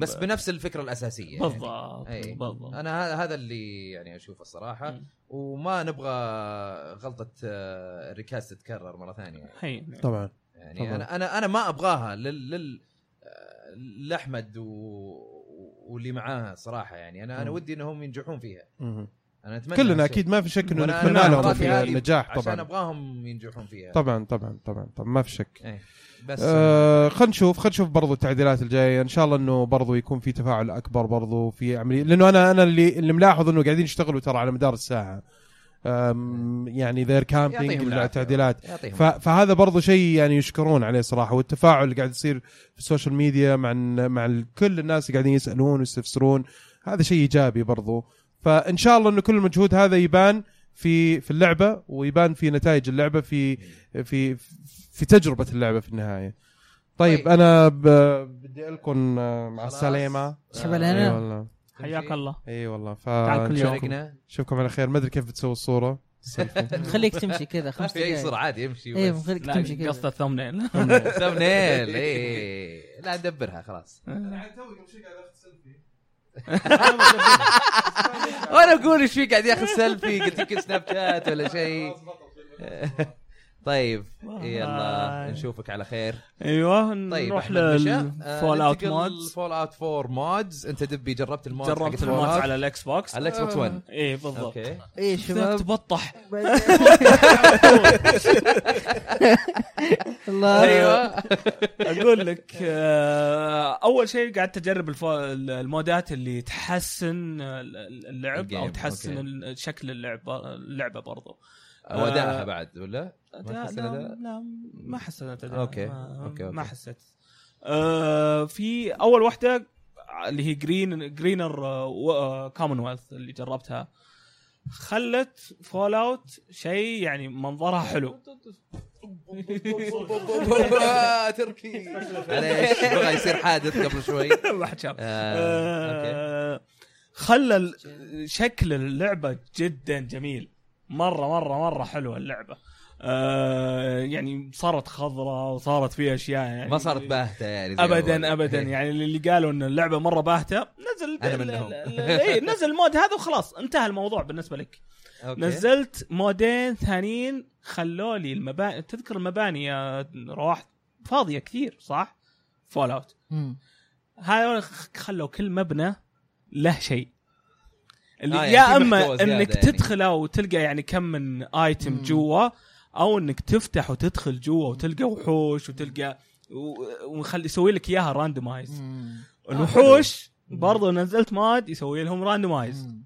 Speaker 1: بس بنفس الفكره الاساسيه يعني.
Speaker 4: بالضبط
Speaker 1: أي.
Speaker 4: بالضبط إيه.
Speaker 1: انا هذا- هذا اللي يعني اشوفه الصراحه
Speaker 4: مم.
Speaker 1: وما نبغى غلطه آه، ريكاست تتكرر مره ثانيه
Speaker 4: هي
Speaker 3: طبعا
Speaker 1: يعني
Speaker 3: طبعاً.
Speaker 1: انا انا انا ما ابغاها لل لل آه، لاحمد و... واللي معاها صراحه يعني انا انا
Speaker 3: مم.
Speaker 1: ودي انهم ينجحون فيها
Speaker 3: مم.
Speaker 1: انا اتمنى
Speaker 3: كلنا
Speaker 1: هالشيء.
Speaker 3: اكيد ما في شك انه
Speaker 1: وأنا-
Speaker 3: نتمنى
Speaker 1: أنا
Speaker 3: لهم
Speaker 1: مراتي
Speaker 3: في
Speaker 1: هذه
Speaker 3: النجاح
Speaker 1: عشان
Speaker 3: طبعا
Speaker 1: ابغاهم ينجحون فيها
Speaker 3: طبعا طبعا طبعا طبعا ما في شك
Speaker 1: إيه. بس
Speaker 3: آه خلينا نشوف خلينا نشوف برضو التعديلات الجايه ان شاء الله انه برضو يكون في تفاعل اكبر برضو في عمليه لانه انا انا اللي اللي ملاحظ انه قاعدين يشتغلوا ترى على مدار الساعه آم، يعني ذير
Speaker 1: يعطيهم
Speaker 3: كامبينج
Speaker 1: العافية.
Speaker 3: التعديلات
Speaker 1: يعطيهم
Speaker 3: ف- فهذا برضو شيء يعني يشكرون عليه صراحه والتفاعل اللي قاعد يصير في السوشيال ميديا مع ال- مع ال- كل الناس اللي قاعدين يسالون ويستفسرون هذا شيء ايجابي برضو فان شاء الله انه كل المجهود هذا يبان في في اللعبه ويبان في نتائج اللعبه في في في تجربه اللعبه في النهايه طيب,
Speaker 1: طيب.
Speaker 3: طيب. انا ب... بدي الكم آه، مع
Speaker 1: خلاص.
Speaker 3: السلامه
Speaker 2: شباب
Speaker 1: آه،
Speaker 3: اي
Speaker 2: أنا-
Speaker 3: والله
Speaker 4: حياك الله
Speaker 3: اي والله
Speaker 4: تعال كل يوم.
Speaker 3: فنشوفكم
Speaker 1: شاركنا
Speaker 3: نشوفكم على خير ما ادري كيف بتسوي الصوره
Speaker 2: خليك تمشي كذا
Speaker 1: ما
Speaker 2: خمس
Speaker 1: في اي
Speaker 2: دقايق
Speaker 1: صوره عادي يمشي
Speaker 3: أيوه.
Speaker 2: ايه
Speaker 1: بس
Speaker 2: خليك تمشي
Speaker 4: لا قصد
Speaker 2: كذا
Speaker 4: الثمنيل
Speaker 1: ثمنيل اي إيه، لا ندبرها خلاص وانا اقول ايش في قاعد ياخذ سيلفي قلت يمكن سناب شات ولا شيء
Speaker 4: آه،
Speaker 1: طيب يلا نشوفك على خير
Speaker 4: ايوه
Speaker 1: طيب آه،
Speaker 4: نروح للفول
Speaker 1: للفول
Speaker 4: اوت مودز
Speaker 1: فول اوت 4 مودز انت دبي جربت المودز
Speaker 4: جربت المودز على الاكس بوكس
Speaker 1: على الاكس بوكس 1
Speaker 4: ايه بالضبط
Speaker 1: اوكي
Speaker 2: ايه
Speaker 4: بدك
Speaker 2: شباب
Speaker 4: تبطح
Speaker 2: الله
Speaker 1: ايوه
Speaker 4: اقول لك آه، اول شيء قعدت اجرب الفو- المودات اللي تحسن اللعب او
Speaker 1: الجيم،
Speaker 4: تحسن
Speaker 1: أوكي.
Speaker 4: ال- شكل اللعبه اللعبه برضو
Speaker 1: وداعها بعد ولا؟ ما
Speaker 4: لا
Speaker 1: تحسن
Speaker 4: لا,
Speaker 1: أداء؟
Speaker 4: لا ما حسنت اداء
Speaker 1: أوكي،
Speaker 4: ما,
Speaker 1: أوكي، أوكي.
Speaker 4: ما حسيت آه في اول واحده اللي هي جرين جرينر كومنولث آه، اللي جربتها خلت فول اوت شيء يعني منظرها حلو
Speaker 1: آه، تركي معليش بغى يصير حادث قبل شوي
Speaker 4: ما حد شاف
Speaker 1: آه، اوكي
Speaker 4: آه، خلى ال- شكل اللعبه جدا جميل مره مره مره حلوه اللعبه آه، يعني صارت خضراء وصارت فيها اشياء يعني
Speaker 1: ما صارت باهته يعني زي أول.
Speaker 4: ابدا ابدا
Speaker 1: إيه.
Speaker 4: يعني اللي قالوا ان اللعبه مره باهته نزل
Speaker 1: أنا منهم.
Speaker 4: اي إيه، نزل المود هذا وخلاص انتهى الموضوع بالنسبه لك
Speaker 1: أوكي.
Speaker 4: نزلت مودين ثانيين خلوا لي المباني تذكر المباني يا رواح فاضيه كثير صح؟ فول اوت
Speaker 2: مم.
Speaker 4: هذول خلوا كل مبنى له شيء اللي
Speaker 1: آه،
Speaker 4: آه
Speaker 1: يعني
Speaker 4: يا
Speaker 1: في
Speaker 4: اما
Speaker 1: محتوى زيادة
Speaker 4: انك
Speaker 1: يعني.
Speaker 4: تدخله وتلقى يعني كم من ايتم
Speaker 2: مم.
Speaker 4: جوا او انك تفتح وتدخل جوا وتلقى وحوش وتلقى و- ويخلي يسوي لك اياها راندمايز
Speaker 2: مم.
Speaker 1: آه،
Speaker 4: الوحوش برضو نزلت ماد يسوي لهم راندمايز
Speaker 2: مم.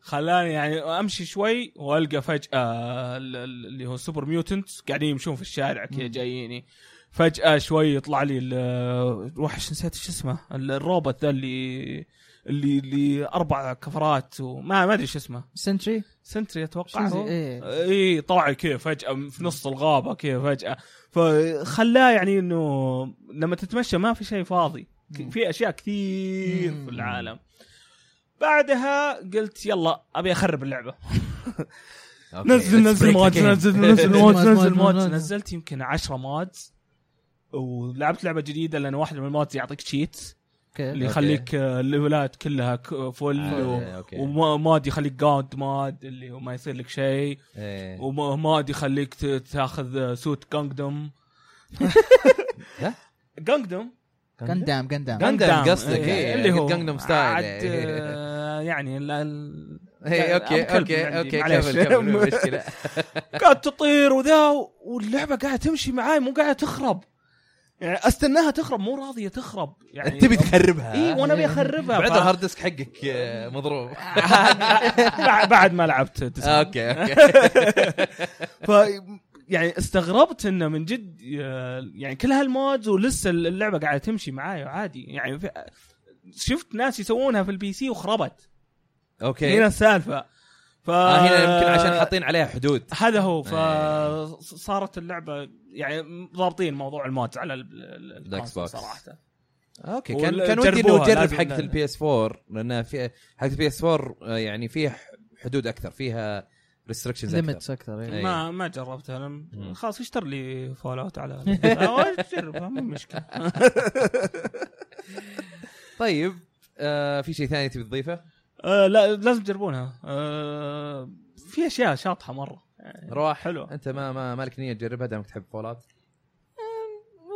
Speaker 4: خلاني يعني امشي شوي والقى فجاه ال- ال- اللي هو سوبر ميوتنت قاعدين يمشون في الشارع كذا
Speaker 2: مم.
Speaker 4: جاييني فجاه شوي يطلع لي ال- وحش نسيت شو اسمه ال- الروبوت ذا اللي اللي اللي اربع كفرات وما ما ادري شو اسمه
Speaker 2: سنتري
Speaker 4: سنتري اتوقع
Speaker 2: شنزي
Speaker 4: هو
Speaker 2: ايه
Speaker 4: اي طلع كذا فجاه في نص الغابه كذا فجاه فخلاه يعني انه لما تتمشى ما في شيء فاضي ك-
Speaker 2: مم.
Speaker 4: في اشياء كثير
Speaker 2: مم.
Speaker 4: في العالم بعدها قلت يلا ابي اخرب اللعبه
Speaker 1: أوكي.
Speaker 4: نزل
Speaker 1: Let's
Speaker 4: نزل
Speaker 1: break the
Speaker 4: مودز
Speaker 1: game.
Speaker 4: نزل نزل مودز
Speaker 2: مودز، مودز،
Speaker 4: نزل مودز
Speaker 2: مودز.
Speaker 4: نزلت يمكن 10 مودز ولعبت لعبه جديده لان واحد من المودز يعطيك شيت اللي
Speaker 2: اوكي
Speaker 4: يخليك آه، الليفلات كلها ك- فل و...
Speaker 1: آه، أوكي.
Speaker 4: وماد يخليك جاد ماد اللي هو ما يصير لك شيء
Speaker 1: إيه.
Speaker 4: وماد يخليك ت- تاخذ سوت جانجدم
Speaker 1: ها؟
Speaker 4: جانجدم
Speaker 2: قندام قندام
Speaker 1: Gundam قصدك، إيه،
Speaker 4: اللي هو
Speaker 1: Gundam style،
Speaker 4: عاد،
Speaker 1: إيه.
Speaker 4: آه، يعني ال- ال-
Speaker 1: إيه،
Speaker 4: أم
Speaker 1: اوكي
Speaker 4: كلب
Speaker 1: اوكي
Speaker 4: عندي،
Speaker 1: اوكي
Speaker 4: معليش.
Speaker 1: كمل كمل مو مشكله
Speaker 4: قاعد تطير وذا واللعبه قاعده تمشي معاي مو قاعده تخرب يعني استناها تخرب مو راضيه تخرب يعني
Speaker 1: تبي تخربها
Speaker 4: اي وانا ابي اخربها
Speaker 1: بعد
Speaker 4: ف-
Speaker 1: الهارد ديسك حقك آه، مضروب
Speaker 4: بعد- بعد ما لعبت تسعة.
Speaker 1: اوكي اوكي
Speaker 4: ف يعني استغربت انه من جد آه، يعني كل هالمودز ولسه اللعبه قاعده تمشي معاي عادي يعني في- شفت ناس يسوونها في البي سي وخربت هنا
Speaker 1: اوكي
Speaker 4: السالفه ف
Speaker 1: آه، هنا يمكن عشان إيه. حاطين عليها حدود
Speaker 4: هذا هو فصارت اللعبه يعني ضابطين موضوع المودز على ال- ال- ال-
Speaker 1: الإكس بوكس.
Speaker 4: صراحه
Speaker 1: اوكي
Speaker 4: ولا
Speaker 1: كان كان ودي انه
Speaker 4: جربوها،
Speaker 1: اجرب
Speaker 4: لازم
Speaker 1: حقه
Speaker 4: ن-
Speaker 1: البي اس 4 لان في حقه البي اس 4 آه، يعني فيها حدود اكثر فيها ريستركشنز اكثر
Speaker 2: ليمتس اكثر إيه.
Speaker 1: إيه.
Speaker 4: ما ما جربتها انا
Speaker 1: مم.
Speaker 4: خلاص اشتر لي فول اوت على أو جربها مو مشكله
Speaker 1: طيب آه في شيء ثاني تبي تضيفه؟
Speaker 4: آه لا لازم تجربونها آه في اشياء شاطحه مره
Speaker 1: رواح
Speaker 4: حلو.
Speaker 1: انت ما ما مالك نيه تجربها دامك تحب فولات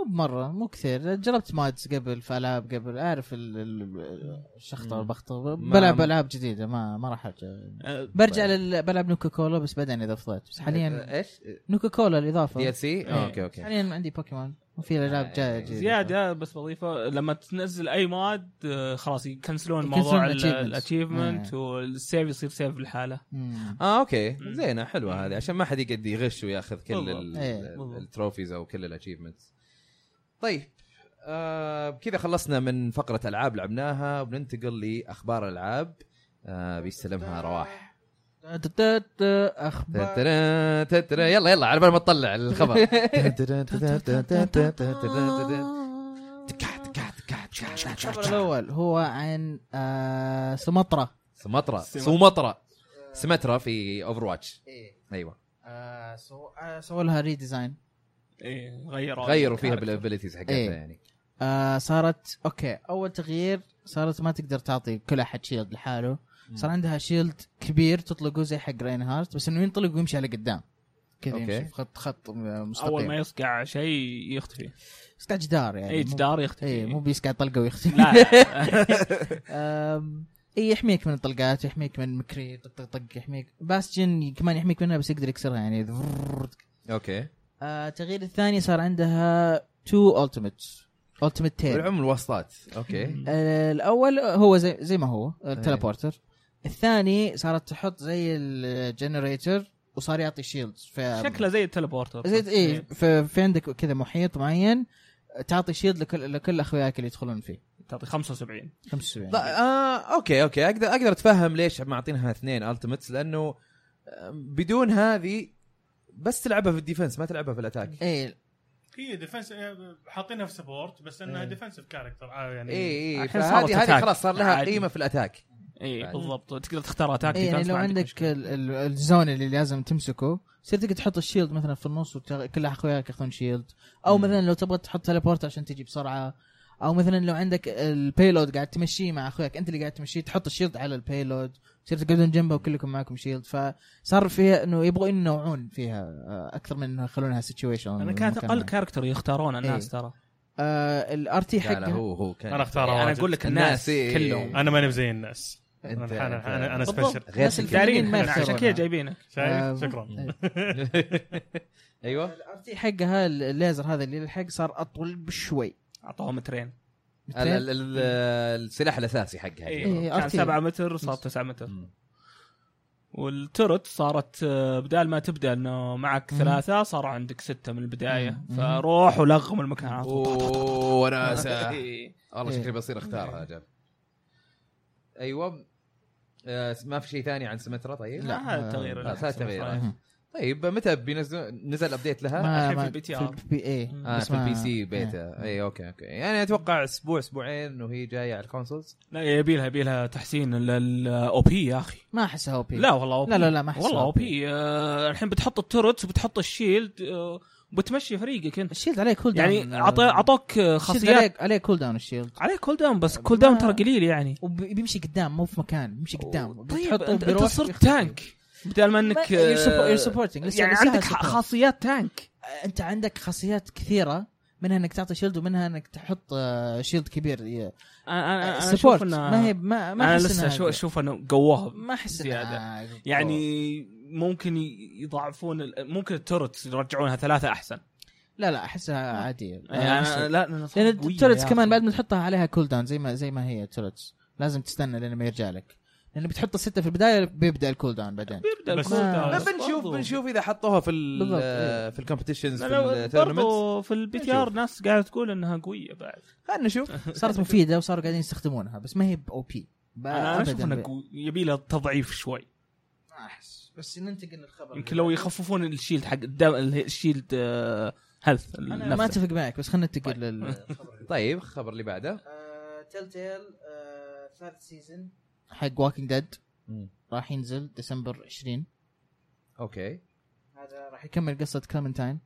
Speaker 4: مو
Speaker 2: بمره مو كثير جربت مادز قبل في العاب قبل اعرف ال- ال- الشخطه
Speaker 1: مم.
Speaker 2: والبخطه
Speaker 1: ما-
Speaker 2: بلعب العاب جديده ما ما راح ارجع
Speaker 4: آه،
Speaker 2: برجع
Speaker 1: طيب.
Speaker 2: لل... بلعب نوكا كولا بس بعدين اذا فضيت بس حاليا
Speaker 1: ايش؟
Speaker 2: نوكا كولا الاضافه
Speaker 1: آه، دي ال سي؟
Speaker 2: إيه.
Speaker 1: اوكي اوكي
Speaker 2: حاليا عندي بوكيمون وفي
Speaker 1: آه،
Speaker 2: العاب جايه جديده
Speaker 4: زياده بس بضيفه لما تنزل اي مواد آه، خلاص يكنسلون موضوع
Speaker 2: يكنسلون
Speaker 4: الاتشيفمنت
Speaker 2: achievements. نعم.
Speaker 4: والسيف يصير سيف لحاله
Speaker 2: مم.
Speaker 1: اه اوكي زينه حلوه هذه عشان ما حد يقعد يغش وياخذ كل
Speaker 4: بالضبط.
Speaker 1: ال-
Speaker 2: إيه.
Speaker 1: ال-
Speaker 4: بالضبط.
Speaker 1: التروفيز او كل الاتشيفمنتس طيب آه بكذا خلصنا من فقره العاب لعبناها وبننتقل لاخبار العاب آه بيستلمها رواح
Speaker 2: تتت- اخبار
Speaker 1: تترا- تترا- يلا يلا على بال ما تطلع الخبر
Speaker 2: الخبر الاول هو عن آه سمطره
Speaker 1: سمطرة سمطرة سمترة في اوفر واتش ايوه
Speaker 2: إيه. آه، سو- آه، سووا لها ريديزاين
Speaker 4: ايه غيروا
Speaker 1: غيروا فيها
Speaker 4: الكاركتر.
Speaker 1: بالابيلتيز
Speaker 2: إيه.
Speaker 1: حقتها يعني
Speaker 2: آه صارت اوكي اول تغيير صارت ما تقدر تعطي كل احد شيلد لحاله صار عندها شيلد كبير تطلقه زي حق رين هارت بس انه ينطلق ويمشي على قدام كذا
Speaker 1: أوكي.
Speaker 2: يمشي في خط خط مستقيم
Speaker 4: اول ما يصقع شيء يختفي
Speaker 2: يسقع جدار يعني
Speaker 4: اي
Speaker 2: مو-
Speaker 4: جدار يختفي
Speaker 2: اي مو بيسقع طلقه ويختفي
Speaker 4: لا
Speaker 2: أم، اي يحميك من الطلقات يحميك من مكري طق طق طق يحميك باستيون كمان يحميك منها بس يقدر يكسرها يعني ذرررر.
Speaker 1: اوكي
Speaker 2: آه، التغيير الثاني صار عندها تو التيميت التيميت
Speaker 4: إيه.
Speaker 2: تيل
Speaker 1: العمر الواسطات اوكي
Speaker 2: الاول آه، هو زي زي ما هو التليبورتر الثاني صارت تحط زي الجنريتر وصار يعطي شيلدز
Speaker 4: شكله زي التليبورتر
Speaker 2: زي إيه. اي في, في عندك كذا محيط معين تعطي شيلد لكل لكل اخوياك اللي يدخلون فيه
Speaker 4: إيه، تعطي 75
Speaker 2: 75
Speaker 1: لا، آه، اوكي اوكي اقدر اقدر اتفهم ليش معطينها اثنين التيمتس لانه آه، بدون هذه بس تلعبها في الديفنس ما تلعبها في الاتاك
Speaker 2: اي
Speaker 5: هي ديفنس إيه، حاطينها في سبورت بس انها ديفنسيف كاركتر يعني
Speaker 3: إيه.
Speaker 1: اي اي
Speaker 4: الحين صارت
Speaker 1: إيه، فهذه هذه
Speaker 4: أتاك.
Speaker 1: خلاص صار لها
Speaker 4: عادي.
Speaker 1: قيمه في الاتاك
Speaker 4: اي
Speaker 1: بعد.
Speaker 4: إيه، بالضبط تقدر تختار اتاك
Speaker 2: إيه يعني
Speaker 4: defense،
Speaker 2: لو
Speaker 4: ما
Speaker 2: عندك
Speaker 4: مشكلة.
Speaker 2: ال- ال- الزون اللي لازم تمسكه تصير تقدر تحط الشيلد مثلا في النص وكل اخوياك ياخذون شيلد او مثلا لو تبغى تحط تليبورت عشان تجي بسرعه او مثلا لو عندك البيلود قاعد تمشيه مع اخوياك انت اللي قاعد تمشيه تحط الشيلد على البيلود تصير تقعدون جنبه وكلكم معكم شيلد فصار فيها انه يبغوا ينوعون فيها آه، اكثر من انه يخلونها سيتويشن
Speaker 4: انا كانت اقل كاركتر يختارون الناس
Speaker 2: إيه.
Speaker 4: ترى
Speaker 2: الار تي
Speaker 1: لا لا
Speaker 2: حقها
Speaker 1: هو هو كان
Speaker 5: انا اختارها
Speaker 4: انا
Speaker 5: واجد.
Speaker 4: اقول يعني لك
Speaker 1: الناس،
Speaker 4: الناس
Speaker 1: إيه.
Speaker 4: كلهم
Speaker 5: انا ماني زي الناس انا
Speaker 1: أنت-
Speaker 5: أنا- انا انا
Speaker 1: أنت-
Speaker 5: سبيشل
Speaker 2: بالضبط.
Speaker 1: غير
Speaker 2: ناس
Speaker 1: سكين.
Speaker 2: الفنانين ما
Speaker 4: عشان
Speaker 2: يختارونها.
Speaker 4: كذا جايبينك
Speaker 2: آه،
Speaker 5: شايف شكرا
Speaker 1: ايوه
Speaker 2: الار تي حقها الليزر هذا اللي للحق صار اطول بشوي
Speaker 4: اعطوهم مترين
Speaker 1: ال- ال- ال- السلاح الاساسي حقها
Speaker 4: إيه.
Speaker 2: إيه،
Speaker 4: كان
Speaker 2: أرتي.
Speaker 4: 7 متر وصار 9 متر
Speaker 1: مم.
Speaker 4: والترت صارت آه، بدال ما تبدا انه معك
Speaker 2: مم.
Speaker 4: ثلاثه صار عندك سته من البدايه
Speaker 2: مم.
Speaker 4: فروح ولغم المكان على طول
Speaker 1: اوه وناسه
Speaker 4: إيه.
Speaker 1: والله
Speaker 2: إيه.
Speaker 1: شكلي بصير اختارها جاب ايوه آه، ما في شيء ثاني عن سمترا طيب؟
Speaker 4: لا هذا التغيير اللي
Speaker 1: آه، ثلاث
Speaker 4: حصل.
Speaker 1: تغييرات طيب متى بينزل نزل ابديت لها؟
Speaker 2: ما
Speaker 4: الحين في
Speaker 2: ما-
Speaker 4: البي تي
Speaker 2: في
Speaker 4: آر.
Speaker 2: البي اي
Speaker 4: مم.
Speaker 1: آه
Speaker 2: بس
Speaker 1: في
Speaker 2: ما- إيه.
Speaker 1: البي سي بيتا اي اوكي اوكي يعني اتوقع اسبوع اسبوعين وهي جايه على الكونسولز
Speaker 4: لا يبي لها يبي لها تحسين الاو بي يا اخي
Speaker 2: ما احسها او بي
Speaker 4: لا والله OP.
Speaker 2: لا لا لا ما احسها
Speaker 4: والله او
Speaker 2: OP.
Speaker 4: بي الحين بتحط التورتس وبتحط الشيلد آه، وبتمشي فريقك انت
Speaker 2: الشيلد عليه كول داون
Speaker 4: يعني أعط- اعطوك آه، خاصيات
Speaker 2: عليه عليه كول داون الشيلد
Speaker 4: عليه كول داون بس كول داون ترى قليل يعني
Speaker 2: وبيمشي قدام مو في مكان بيمشي قدام
Speaker 4: طيب
Speaker 2: بتحطه
Speaker 4: انت, انت
Speaker 2: بيروح
Speaker 4: صرت
Speaker 2: بيختفي.
Speaker 4: تانك بدل ما انك
Speaker 2: ما- يعني you're
Speaker 4: آه،
Speaker 2: suppo- you're supporting. لسه-
Speaker 4: يعني
Speaker 2: لسه
Speaker 4: عندك
Speaker 2: support.
Speaker 4: خاصيات تانك
Speaker 2: انت عندك خاصيات كثيره منها انك تعطي شيلد ومنها انك تحط آه، شيلد كبير
Speaker 4: أنا- انا انا
Speaker 2: سبورت
Speaker 4: اشوف
Speaker 2: آه، ما هي
Speaker 4: انها
Speaker 2: ما ما
Speaker 4: انا
Speaker 2: أحس
Speaker 4: لسه
Speaker 2: إنها-
Speaker 4: شو- اشوف انه قووها
Speaker 2: ما احس
Speaker 4: زيادة.
Speaker 2: إنها-
Speaker 4: يعني ممكن ي- يضاعفون ال- ممكن التورتس يرجعونها ثلاثه احسن
Speaker 2: آه، لا لا احسها عاديه
Speaker 4: يعني
Speaker 2: أحسها-
Speaker 4: انا لا أنا صراحة
Speaker 2: لان
Speaker 4: قوية
Speaker 2: التورتس
Speaker 4: يا
Speaker 2: كمان
Speaker 4: أخي.
Speaker 2: بعد ما تحطها عليها كول داون زي ما زي ما هي التورتس لازم تستنى لين ما يرجع لك لان بتحط السته في البدايه بيبدا الكول داون بعدين
Speaker 4: بيبدا
Speaker 5: بس-
Speaker 4: الكول داون.
Speaker 2: لا،
Speaker 1: بنشوف
Speaker 4: آه، برضو.
Speaker 1: بنشوف اذا حطوها في ال-
Speaker 2: بالضبط،
Speaker 1: آه، في الكومبتيشنز في
Speaker 4: لا،
Speaker 1: التورنمنت
Speaker 4: برضو في البي تي ار ناس قاعده تقول انها قويه بعد
Speaker 1: خلينا نشوف
Speaker 2: صارت مفيده وصاروا قاعدين يستخدمونها بس ما هي باو بي آه،
Speaker 4: انا اشوف انها قوي- يبي لها تضعيف شوي
Speaker 2: بس ننتقل للخبر
Speaker 4: يمكن لو يخففون الشيلد حق الدم الشيلد آه، هيلث
Speaker 2: انا ما اتفق معك بس خلينا ننتقل لل آه،
Speaker 1: طيب الخبر اللي بعده
Speaker 2: تيل تيل ثالث سيزون آه، حق ووكينج ديد
Speaker 1: مم.
Speaker 2: راح ينزل ديسمبر 20
Speaker 1: اوكي
Speaker 2: هذا راح يكمل قصه كلمنتاين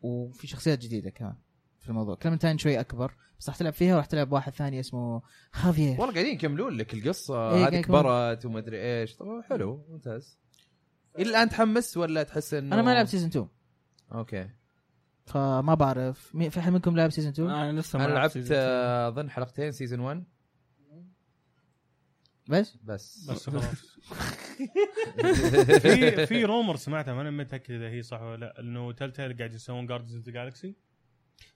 Speaker 2: وفي شخصيات جديده كمان في الموضوع كلمنتاين شوي اكبر بس راح تلعب فيها وراح تلعب واحد ثاني اسمه خافير
Speaker 1: والله قاعدين يكملون لك القصه
Speaker 2: إيه،
Speaker 1: هذه
Speaker 2: قاعد
Speaker 1: كبرت وما ادري ايش طب حلو ممتاز الى الان تحمس ولا تحس انه
Speaker 2: انا ما لعبت سيزون 2
Speaker 1: اوكي
Speaker 2: فما بعرف مين- في احد منكم لعب سيزون
Speaker 5: آه.
Speaker 2: 2
Speaker 4: انا لسه ما
Speaker 1: انا
Speaker 4: لعبت
Speaker 1: لعبت
Speaker 4: سيزون اثنين.
Speaker 1: آه، اظن حلقتين سيزون 1
Speaker 2: بس
Speaker 1: بس
Speaker 5: بس خلاص في في رومر سمعتها ما انا متاكد اذا هي صح ولا لا انه تيل تيل قاعد يسوون جاردز اوف ذا جالكسي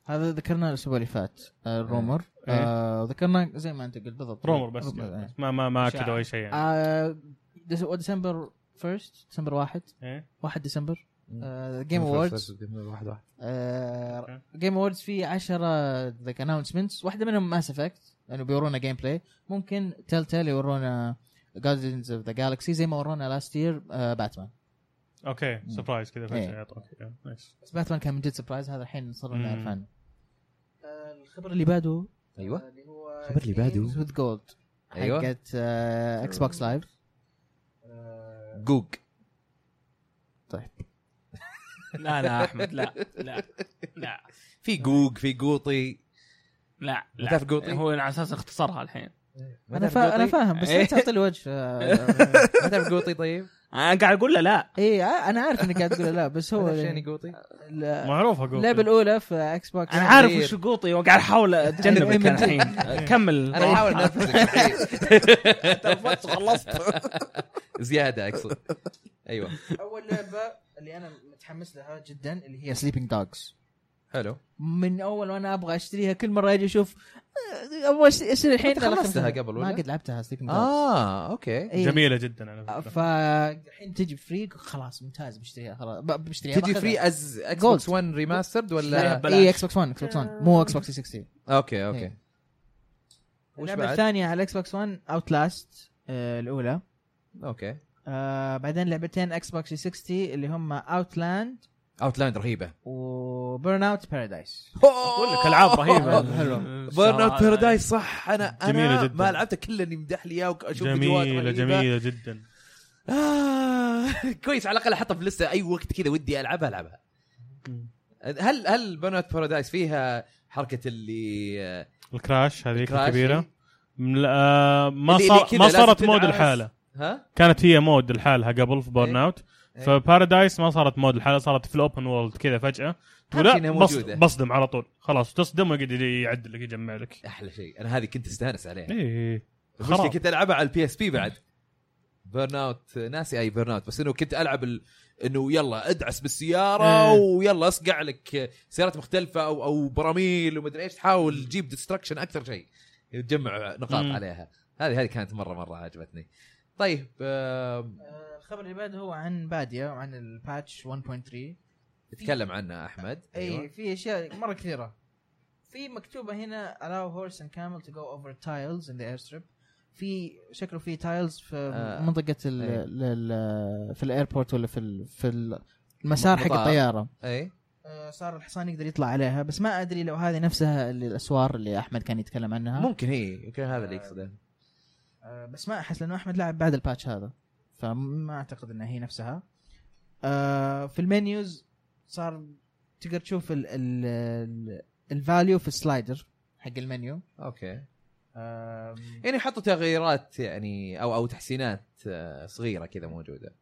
Speaker 2: هذا ذكرناه الاسبوع اللي فات آه، الرومر
Speaker 5: إيه.
Speaker 2: آه، ذكرنا زي ما انت قلت بالضبط
Speaker 5: رومر بس يعني.
Speaker 2: إيه.
Speaker 5: ما ما ما
Speaker 4: شاعر.
Speaker 5: اكدوا اي شيء يعني
Speaker 2: آه، ديس- ديسمبر 1 ديسمبر 1
Speaker 5: إيه؟
Speaker 2: 1 ديسمبر جيم اووردز
Speaker 1: واحد واحد
Speaker 2: جيم اووردز آه، في 10 ذيك اناونسمنتس واحده منهم ماس افكت لانه بيورونا جيم بلاي ممكن تيل تيل يورونا جاردنز اوف ذا جالكسي زي ما ورونا آه، لاست يير باتمان
Speaker 5: اوكي سربرايز كذا فجاه
Speaker 2: إيه.
Speaker 5: يعطوك إيه، نايس
Speaker 2: بس باتمان كان من جد سربرايز هذا الحين صرنا
Speaker 5: مم.
Speaker 2: نعرف عنه آه، الخبر اللي بعده
Speaker 1: ايوه
Speaker 2: اللي هو
Speaker 1: خبر اللي بعده.
Speaker 2: وذ جولد
Speaker 1: أيوة.
Speaker 2: حقت آه، اكس بوكس لايف
Speaker 1: جوج
Speaker 2: طيب.
Speaker 4: لا لا احمد لا لا لا
Speaker 1: في جوج في قوطي
Speaker 4: لا,
Speaker 1: ما
Speaker 4: لا.
Speaker 1: تعرف قوطي؟
Speaker 4: هو على اساس اختصرها الحين
Speaker 1: ما
Speaker 2: انا
Speaker 1: تعرف
Speaker 2: فا... انا
Speaker 1: قوطي؟
Speaker 2: فاهم بس لا تعطي لي وجه
Speaker 1: ما تعرف قوطي طيب؟
Speaker 4: انا قاعد اقول له لا
Speaker 2: اي انا إيه، عارف انك قاعد تقول لا بس هو
Speaker 1: هو شيني قوطي؟
Speaker 2: لا-
Speaker 5: معروفه قول
Speaker 2: اللعبه الاولى في اكس بوكس
Speaker 4: انا عارف وش قوطي وقاعد احاول اتجنبك أنا الحين كمل
Speaker 1: انا احاول انفذك الحين زياده اقصد ايوه
Speaker 2: اول لعبه اللي انا متحمس لها جدا اللي هي سليبنج دوجز
Speaker 1: حلو
Speaker 2: من اول وانا ابغى اشتريها كل مره اجي اشوف آه، ابغى أشت- اشتري الحين
Speaker 1: أنت
Speaker 2: لا، لا،
Speaker 1: خلصتها
Speaker 2: خمسة.
Speaker 1: قبل
Speaker 2: ما
Speaker 1: ولا؟
Speaker 2: قد لعبتها سليبنج دوجز
Speaker 1: اه
Speaker 4: إيه.
Speaker 1: اوكي
Speaker 5: جميله جدا على فكره
Speaker 2: فالحين تجي فري خلاص ممتاز بشتريها خلاص ب- بشتريها إيه،
Speaker 1: تجي
Speaker 2: بأخذها.
Speaker 1: فري از اكس
Speaker 2: Gold.
Speaker 1: بوكس 1 ريماسترد ولا
Speaker 2: اي اكس بوكس 1 اكس بوكس 1 مو اكس بوكس 360
Speaker 1: اوكي اوكي
Speaker 2: إيه.
Speaker 1: وش
Speaker 2: اللعبه
Speaker 1: بعد؟
Speaker 2: الثانيه على الاكس بوكس 1 اوت لاست الاولى
Speaker 1: اوكي
Speaker 2: آه بعدين لعبتين اكس بوكس 360 اللي هم اوتلاند
Speaker 1: اوتلاند رهيبه
Speaker 2: وبرن اوت بارادايس
Speaker 4: اقول لك العاب رهيبه
Speaker 2: حلو.
Speaker 1: بيرن اوت بارادايس صح انا
Speaker 5: جميلة
Speaker 1: انا
Speaker 5: جداً.
Speaker 1: ما لعبته كله اللي يمدح لي اياه واشوف فيديوهات
Speaker 5: جميله
Speaker 1: رهيبة.
Speaker 5: جميله جدا
Speaker 1: آه كويس على الاقل احطها في لسه اي وقت كذا ودي العبها العبها هل هل بنات بارادايس فيها حركه اللي آه،
Speaker 5: الكراش هذيك
Speaker 1: الكراش،
Speaker 5: الكبيره
Speaker 1: إيه.
Speaker 5: م- لا، آه، ما
Speaker 1: اللي-
Speaker 5: صار
Speaker 1: اللي كذا
Speaker 5: ما
Speaker 1: لازم
Speaker 5: صارت
Speaker 1: تدعس.
Speaker 5: مود الحالة
Speaker 1: ها
Speaker 5: كانت هي مود لحالها قبل في بورن
Speaker 1: إيه.
Speaker 5: اوت
Speaker 1: إيه.
Speaker 5: فبارادايس ما صارت مود الحالة صارت في الاوبن وورلد كذا فجاه تقول
Speaker 1: إنها
Speaker 5: لا بص
Speaker 1: موجودة.
Speaker 5: بصدم على طول خلاص تصدم ويقعد يعدل لك يجمع لك
Speaker 1: احلى شيء انا هذه كنت استانس عليها
Speaker 5: ايه
Speaker 1: المشكله
Speaker 5: خلاص
Speaker 1: كنت العبها على البي اس بي بعد بيرن اوت ناسي اي بيرن اوت بس انه كنت العب ال... انه يلا ادعس بالسياره
Speaker 5: إيه.
Speaker 1: ويلا اصقع لك سيارات مختلفه او او براميل ومدري ايش تحاول تجيب ديستركشن اكثر شيء تجمع نقاط
Speaker 5: مم.
Speaker 1: عليها هذه هذه كانت مره مره عجبتني طيب آه
Speaker 2: آه، الخبر اللي بعده هو عن باديا وعن الباتش 1.3
Speaker 1: تكلم عنها أيوة. احمد
Speaker 2: اي في اشياء مره كثيره في مكتوبه هنا allow horse and camel to go over tiles in the airstrip في شكله في تايلز في
Speaker 1: آه،
Speaker 2: منطقه ال
Speaker 1: إيه.
Speaker 2: لل في الايربورت ولا في ال في المسار حق
Speaker 1: المطار.
Speaker 2: الطياره
Speaker 1: اي
Speaker 2: آه، صار الحصان يقدر يطلع عليها بس ما ادري لو هذه نفسها اللي الاسوار اللي احمد كان يتكلم عنها
Speaker 1: ممكن هي يمكن هذا اللي يقصده
Speaker 2: آه، بس ما احس لانه احمد لعب بعد الباتش هذا فما اعتقد انها هي نفسها آه، في المنيوز صار تقدر تشوف ال ال ال- الفاليو في السلايدر حق المنيو
Speaker 1: اوكي
Speaker 2: آم،
Speaker 1: يعني حطوا تغييرات يعني او او تحسينات آه، صغيره كذا إيه. موجوده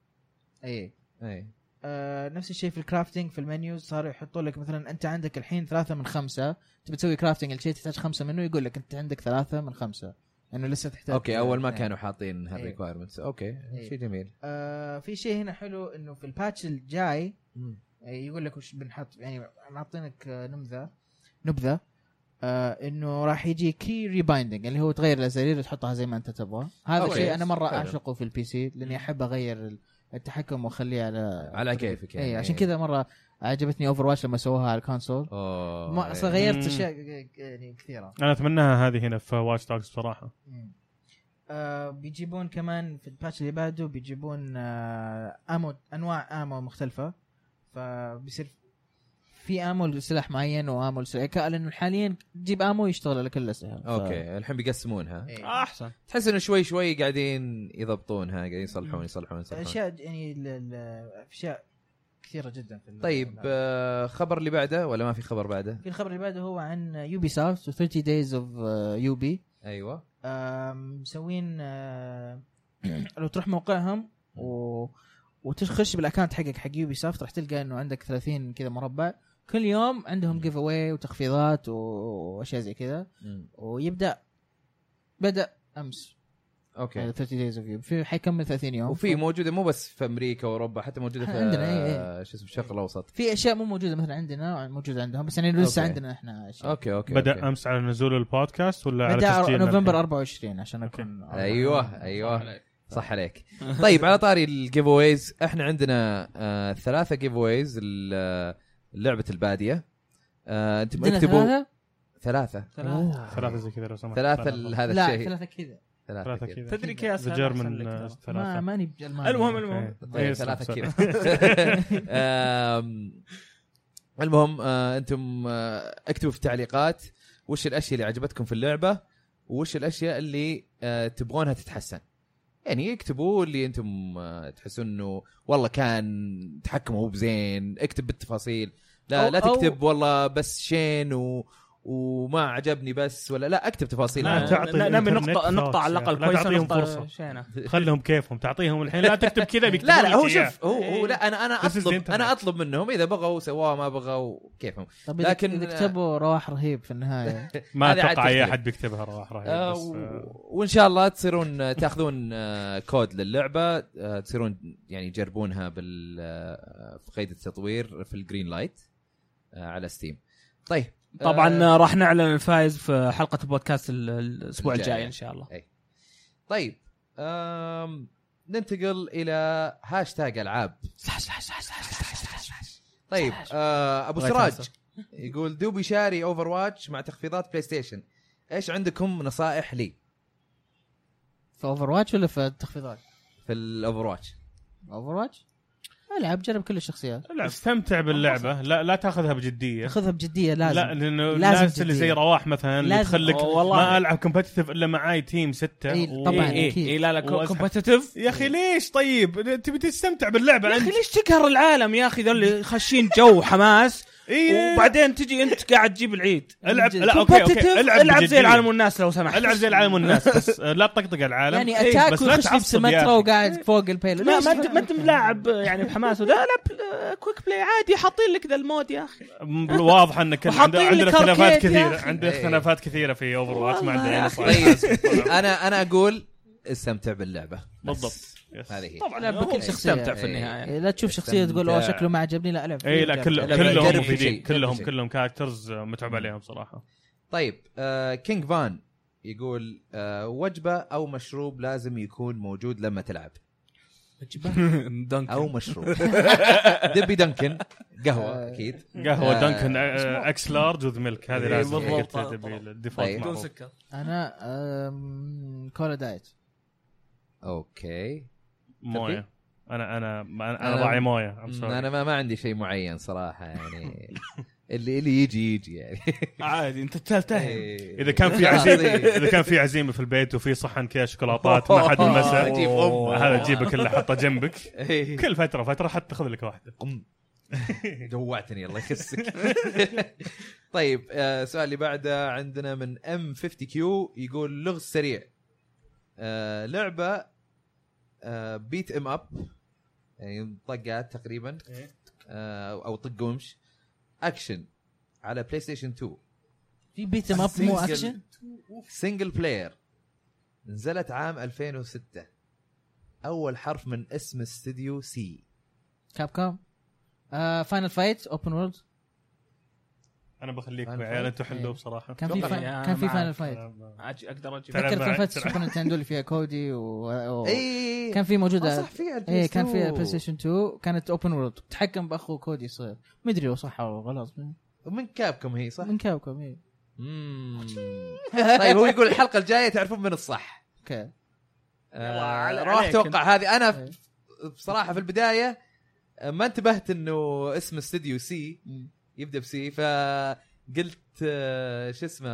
Speaker 2: اي
Speaker 1: اي
Speaker 2: إيه. آه، نفس الشيء في الكرافتنج في المنيوز صار يحطوا لك مثلا انت عندك الحين ثلاثة من خمسة تبي تسوي كرافتنج الشيء تحتاج خمسة منه يقول لك انت عندك ثلاثة من خمسة انه لسه تحتاج
Speaker 1: اوكي اول ما
Speaker 2: اثنين.
Speaker 1: كانوا حاطين
Speaker 2: إيه.
Speaker 1: هالريكوايرمنتس اوكي
Speaker 2: إيه.
Speaker 1: شيء جميل
Speaker 2: آه في شيء هنا حلو انه في الباتش الجاي آه، يقول لك وش بنحط يعني معطينك آه، نبذه نبذه آه انه راح يجي كي ريبايندنج اللي هو تغير الازرير تحطها زي ما انت تبغى هذا
Speaker 1: أوكي.
Speaker 2: الشيء انا مره
Speaker 1: حلو.
Speaker 2: اعشقه في البي سي لاني احب اغير التحكم واخليه على
Speaker 1: على كيفك يعني.
Speaker 2: اي إيه، عشان كذا مره عجبتني اوفر واتش لما سووها على الكونسول
Speaker 1: اوه
Speaker 2: ما أصلاً
Speaker 1: إيه.
Speaker 2: غيرت
Speaker 5: مم.
Speaker 2: اشياء يعني كثيره
Speaker 5: انا اتمناها هذه هنا في واتش دوجز بصراحه
Speaker 2: مم. آه بيجيبون كمان في الباتش اللي بعده بيجيبون آه امو انواع امو مختلفه فبيصير في امو لسلاح معين وامو لسلاح يعني ك- لانه حاليا تجيب امو يشتغل على كل الاسلحه ف-
Speaker 1: اوكي الحين بيقسمونها
Speaker 2: إيه.
Speaker 4: احسن
Speaker 1: تحس انه شوي شوي قاعدين يضبطونها قاعدين يصلحون يصلحون يصلحون
Speaker 2: اشياء يعني ال- ال- اشياء كثيره جدا في ال-
Speaker 1: طيب آه، خبر اللي بعده ولا ما في خبر بعده؟
Speaker 2: في الخبر اللي بعده هو عن يوبي سوفت و 30 دايز اوف يوبي
Speaker 1: ايوه
Speaker 2: آم، مسوين آه، لو تروح موقعهم و وتخش بالاكونت حقك حق يوبي سوفت راح تلقى انه عندك 30 كذا مربع كل يوم عندهم جيف اواي وتخفيضات و- واشياء زي كذا
Speaker 1: مم.
Speaker 2: ويبدا بدا امس
Speaker 1: اوكي
Speaker 2: 30 دايز اوف يوم في حيكمل 30 يوم
Speaker 1: وفي موجوده مو بس في امريكا واوروبا حتى موجوده في
Speaker 2: عندنا، إيه،
Speaker 1: شو اسمه الشرق الاوسط
Speaker 2: في اشياء مو موجوده مثلا عندنا موجوده عندهم بس يعني لسه
Speaker 1: أوكي.
Speaker 2: عندنا احنا اشياء
Speaker 1: اوكي اوكي
Speaker 5: بدا
Speaker 1: أوكي.
Speaker 5: امس على نزول البودكاست ولا على
Speaker 2: بدا
Speaker 5: تسجيلنا
Speaker 2: نوفمبر
Speaker 5: الحين؟
Speaker 2: 24 عشان اكون
Speaker 1: ايوه ايوه صح عليك طيب على طاري الجيف اويز احنا عندنا آه ثلاثه جيف اويز لعبه الباديه آه انتم
Speaker 2: عندنا
Speaker 1: اكتبوا
Speaker 2: ثلاثة؟
Speaker 1: ثلاثه
Speaker 2: ثلاثة
Speaker 5: ثلاثه زي كذا لو سمحت
Speaker 1: ثلاثه ل- هذا
Speaker 2: لا
Speaker 1: الشيء
Speaker 2: ثلاثة كذا
Speaker 5: ثلاثه
Speaker 1: كذا.
Speaker 5: كذا
Speaker 4: تدري كيف
Speaker 5: ذا جيرمن
Speaker 2: ما
Speaker 5: ثلاثه
Speaker 2: ماني بالماني
Speaker 4: المهم المهم
Speaker 1: إيه،
Speaker 5: إيه،
Speaker 1: ثلاثه
Speaker 5: صح،
Speaker 1: كذا آم، المهم آه انتم آه اكتبوا في التعليقات وش الاشياء اللي عجبتكم في اللعبه وش الاشياء اللي آه تبغونها تتحسن يعني اكتبوا اللي انتم آه تحسون انه والله كان تحكمه مو بزين اكتب بالتفاصيل لا
Speaker 2: أو-
Speaker 1: لا
Speaker 2: أو-
Speaker 1: تكتب والله بس شين و وما عجبني بس ولا لا اكتب تفاصيل
Speaker 5: لا،
Speaker 1: عنها.
Speaker 5: تعب. تعطي
Speaker 4: نبي
Speaker 5: الإنترنت
Speaker 4: نقطة نقطة على
Speaker 5: فرص،
Speaker 4: الأقل
Speaker 5: يعني. لا
Speaker 4: كويسة
Speaker 5: تعطيهم
Speaker 4: نقطة
Speaker 5: فرصة.
Speaker 4: شينة
Speaker 5: خلهم كيفهم تعطيهم الحين لا تكتب كذا بيكتبون
Speaker 1: لا لا هو
Speaker 5: لك إياه. إيه.
Speaker 1: شوف هو, هو لا انا انا
Speaker 5: This is the
Speaker 1: اطلب انا
Speaker 5: internet.
Speaker 1: اطلب منهم اذا بغوا سواه ما بغوا كيفهم
Speaker 2: طب إذا-
Speaker 1: لكن-
Speaker 2: إذا كتبوا رواح رهيب في النهايه
Speaker 5: ما
Speaker 1: هذا عاد
Speaker 5: اتوقع اي
Speaker 1: تفكير.
Speaker 5: احد بيكتبها رواح رهيب
Speaker 1: آه،
Speaker 5: بس،
Speaker 1: و-
Speaker 5: آه،
Speaker 1: وان شاء الله تصيرون آه، تاخذون آه، كود للعبه آه، تصيرون يعني تجربونها بال آه، في قيد التطوير في الجرين لايت آه، على ستيم طيب آه،
Speaker 4: طبعا راح نعلن الفائز في حلقة البودكاست ال- الأسبوع
Speaker 1: الجاية.
Speaker 4: الجاي إن شاء الله
Speaker 1: طيب آم، ننتقل الى هاشتاج العاب طيب آه، ابو
Speaker 4: بغيت
Speaker 1: سراج
Speaker 4: أنسى.
Speaker 1: يقول دوبي شاري اوفر واتش مع تخفيضات بلاي ستيشن ايش عندكم نصائح لي
Speaker 2: في اوفر واتش ولا في التخفيضات؟
Speaker 1: في الاوفر واتش
Speaker 2: اوفر واتش العب جرب كل الشخصيات
Speaker 5: لا، استمتع باللعبه لا لا تاخذها بجديه
Speaker 2: خذها بجديه لازم
Speaker 5: لا لانه
Speaker 2: لازم
Speaker 5: الناس اللي
Speaker 2: جدية.
Speaker 5: زي رواح مثلا اللي
Speaker 2: لازم.
Speaker 5: تخليك
Speaker 4: أوه، والله.
Speaker 5: ما العب كومبتتف الا معاي تيم سته
Speaker 2: إيه،
Speaker 5: و-
Speaker 2: طبعاً.
Speaker 4: إيه
Speaker 2: أكيد.
Speaker 4: إيه لا لا
Speaker 5: وأزحف.
Speaker 4: كومبتيتيف
Speaker 5: يا اخي ليش طيب تبي تستمتع باللعبه
Speaker 4: يا اخي
Speaker 5: انت
Speaker 4: ليش تقهر العالم يا اخي ذول اللي خاشين جو حماس
Speaker 5: إيه.
Speaker 4: وبعدين تجي انت قاعد تجيب العيد
Speaker 5: العب لا اوكي
Speaker 4: كومبتيتيف
Speaker 5: اوكي
Speaker 4: العب,
Speaker 5: العب
Speaker 4: العب زي
Speaker 5: بجدية.
Speaker 4: العالم والناس لو سمحت
Speaker 5: العب زي العالم والناس بس آه، لا تطقطق على العالم
Speaker 2: يعني
Speaker 5: إيه،
Speaker 2: اتاك
Speaker 5: بس لا
Speaker 2: ويخش في
Speaker 5: تعصب يا
Speaker 2: سمترا
Speaker 5: أخي.
Speaker 2: وقاعد فوق البيلو
Speaker 4: ما
Speaker 2: ليش
Speaker 4: ما انت ما انت ملاعب يعني بحماس وذا لا ب- كويك بلاي عادي حاطين لك ذا المود يا اخي
Speaker 5: م- واضح انك عندنا
Speaker 4: وحاطين لك
Speaker 5: عندنا اختلافات
Speaker 4: أركيد يا
Speaker 5: كثيره
Speaker 4: أخي.
Speaker 5: عندنا
Speaker 1: إيه.
Speaker 5: اختلافات كثيره في اوفر واتش ما
Speaker 4: والله
Speaker 5: عندنا
Speaker 4: يا
Speaker 5: أي
Speaker 4: أخي.
Speaker 5: نصائح.
Speaker 1: انا انا اقول استمتع باللعبه بس.
Speaker 5: بالضبط يس.
Speaker 1: هذه هي.
Speaker 4: طبعا
Speaker 2: لعب بكل شخصيه
Speaker 4: استمتع
Speaker 1: إيه.
Speaker 4: في النهايه
Speaker 2: إيه، لا تشوف شخصيه تقول اوه شكله ما عجبني لا العب
Speaker 5: اي
Speaker 2: فيه
Speaker 5: إيه، لا
Speaker 2: وجرب.
Speaker 5: كل-
Speaker 1: لا،
Speaker 5: كلهم
Speaker 1: جرب في شيء،
Speaker 5: مفيدين
Speaker 1: جرب
Speaker 5: كلهم
Speaker 1: في شيء.
Speaker 5: كلهم كاركترز متعوب عليهم صراحه
Speaker 1: طيب آه كينج فان يقول آه وجبه او مشروب لازم يكون موجود لما تلعب او مشروب دبي دنكن قهوه اكيد
Speaker 5: قهوه
Speaker 1: آه،
Speaker 5: دانكن آه، اكس لارج وذ ميلك هذه
Speaker 1: إيه،
Speaker 5: لازم
Speaker 4: بالضبط.
Speaker 5: قلت تبي
Speaker 1: طيب.
Speaker 5: الديفولت
Speaker 4: بدون
Speaker 5: معروف.
Speaker 4: سكر
Speaker 2: انا أم، كولا دايت
Speaker 1: اوكي
Speaker 5: مويه انا انا انا, أنا
Speaker 1: أنا-
Speaker 5: ضاعي مويه I'm sorry.
Speaker 1: انا ما, ما عندي شيء معين صراحه يعني اللي اللي يجي يجي يعني
Speaker 4: عادي انت تلتهي
Speaker 5: اذا كان في عزيمه اذا كان في عزيمه في البيت وفي صحن كذا شوكولاتات ما حد مسه
Speaker 1: أجيب أمه.
Speaker 5: هذا تجيبه كله حطه جنبك
Speaker 1: إيه.
Speaker 5: كل فتره فتره حتى خذ لك واحده
Speaker 1: قم جوعتني الله يخسك طيب آه، السؤال اللي بعده عندنا من ام 50 كيو يقول لغز سريع آه، لعبه بيت ام اب يعني طقات تقريبا آه، او طق ومش اكشن على بلاي ستيشن 2
Speaker 2: في بيت اب مو اكشن
Speaker 1: سنجل بلاير نزلت عام 2006 اول حرف من اسم استديو سي
Speaker 2: كاب كام فاينل فايت اوبن وورلد
Speaker 5: انا بخليك
Speaker 1: أنا
Speaker 5: يا عيال انتم
Speaker 2: إيه.
Speaker 5: حلوا بصراحه
Speaker 2: كان في
Speaker 4: أتوقع
Speaker 2: فاين-
Speaker 4: إني
Speaker 2: كان في
Speaker 4: معك.
Speaker 2: فاينل فايت
Speaker 5: أنا-
Speaker 4: عج- اقدر اجيب
Speaker 5: تلعب
Speaker 2: فكرة
Speaker 5: معك،
Speaker 2: الفايت
Speaker 5: تلعب.
Speaker 2: سوبر نتندو اللي فيها كودي و... و...
Speaker 5: إيه.
Speaker 1: اي
Speaker 2: كان في
Speaker 1: آه،
Speaker 2: موجوده
Speaker 1: صح فيها
Speaker 2: ايه
Speaker 1: البلايستيشن
Speaker 2: كان في
Speaker 1: 2.
Speaker 2: بلاي ستيشن 2 كانت اوبن وورلد تحكم باخو كودي صغير ما ادري هو صح او غلط
Speaker 1: ومن كابكم هي صح؟
Speaker 2: من كابكم ايه
Speaker 1: مم. طيب هو يقول الحلقه الجايه تعرفون من الصح
Speaker 2: اوكي
Speaker 4: يلا، على-
Speaker 1: آه راح
Speaker 4: عليك
Speaker 1: اتوقع هذه انا
Speaker 2: إيه.
Speaker 1: ف- بصراحه في البدايه آه، ما انتبهت انه اسم استديو سي
Speaker 2: مم.
Speaker 1: يبدا بسي فقلت آه، شو اسمه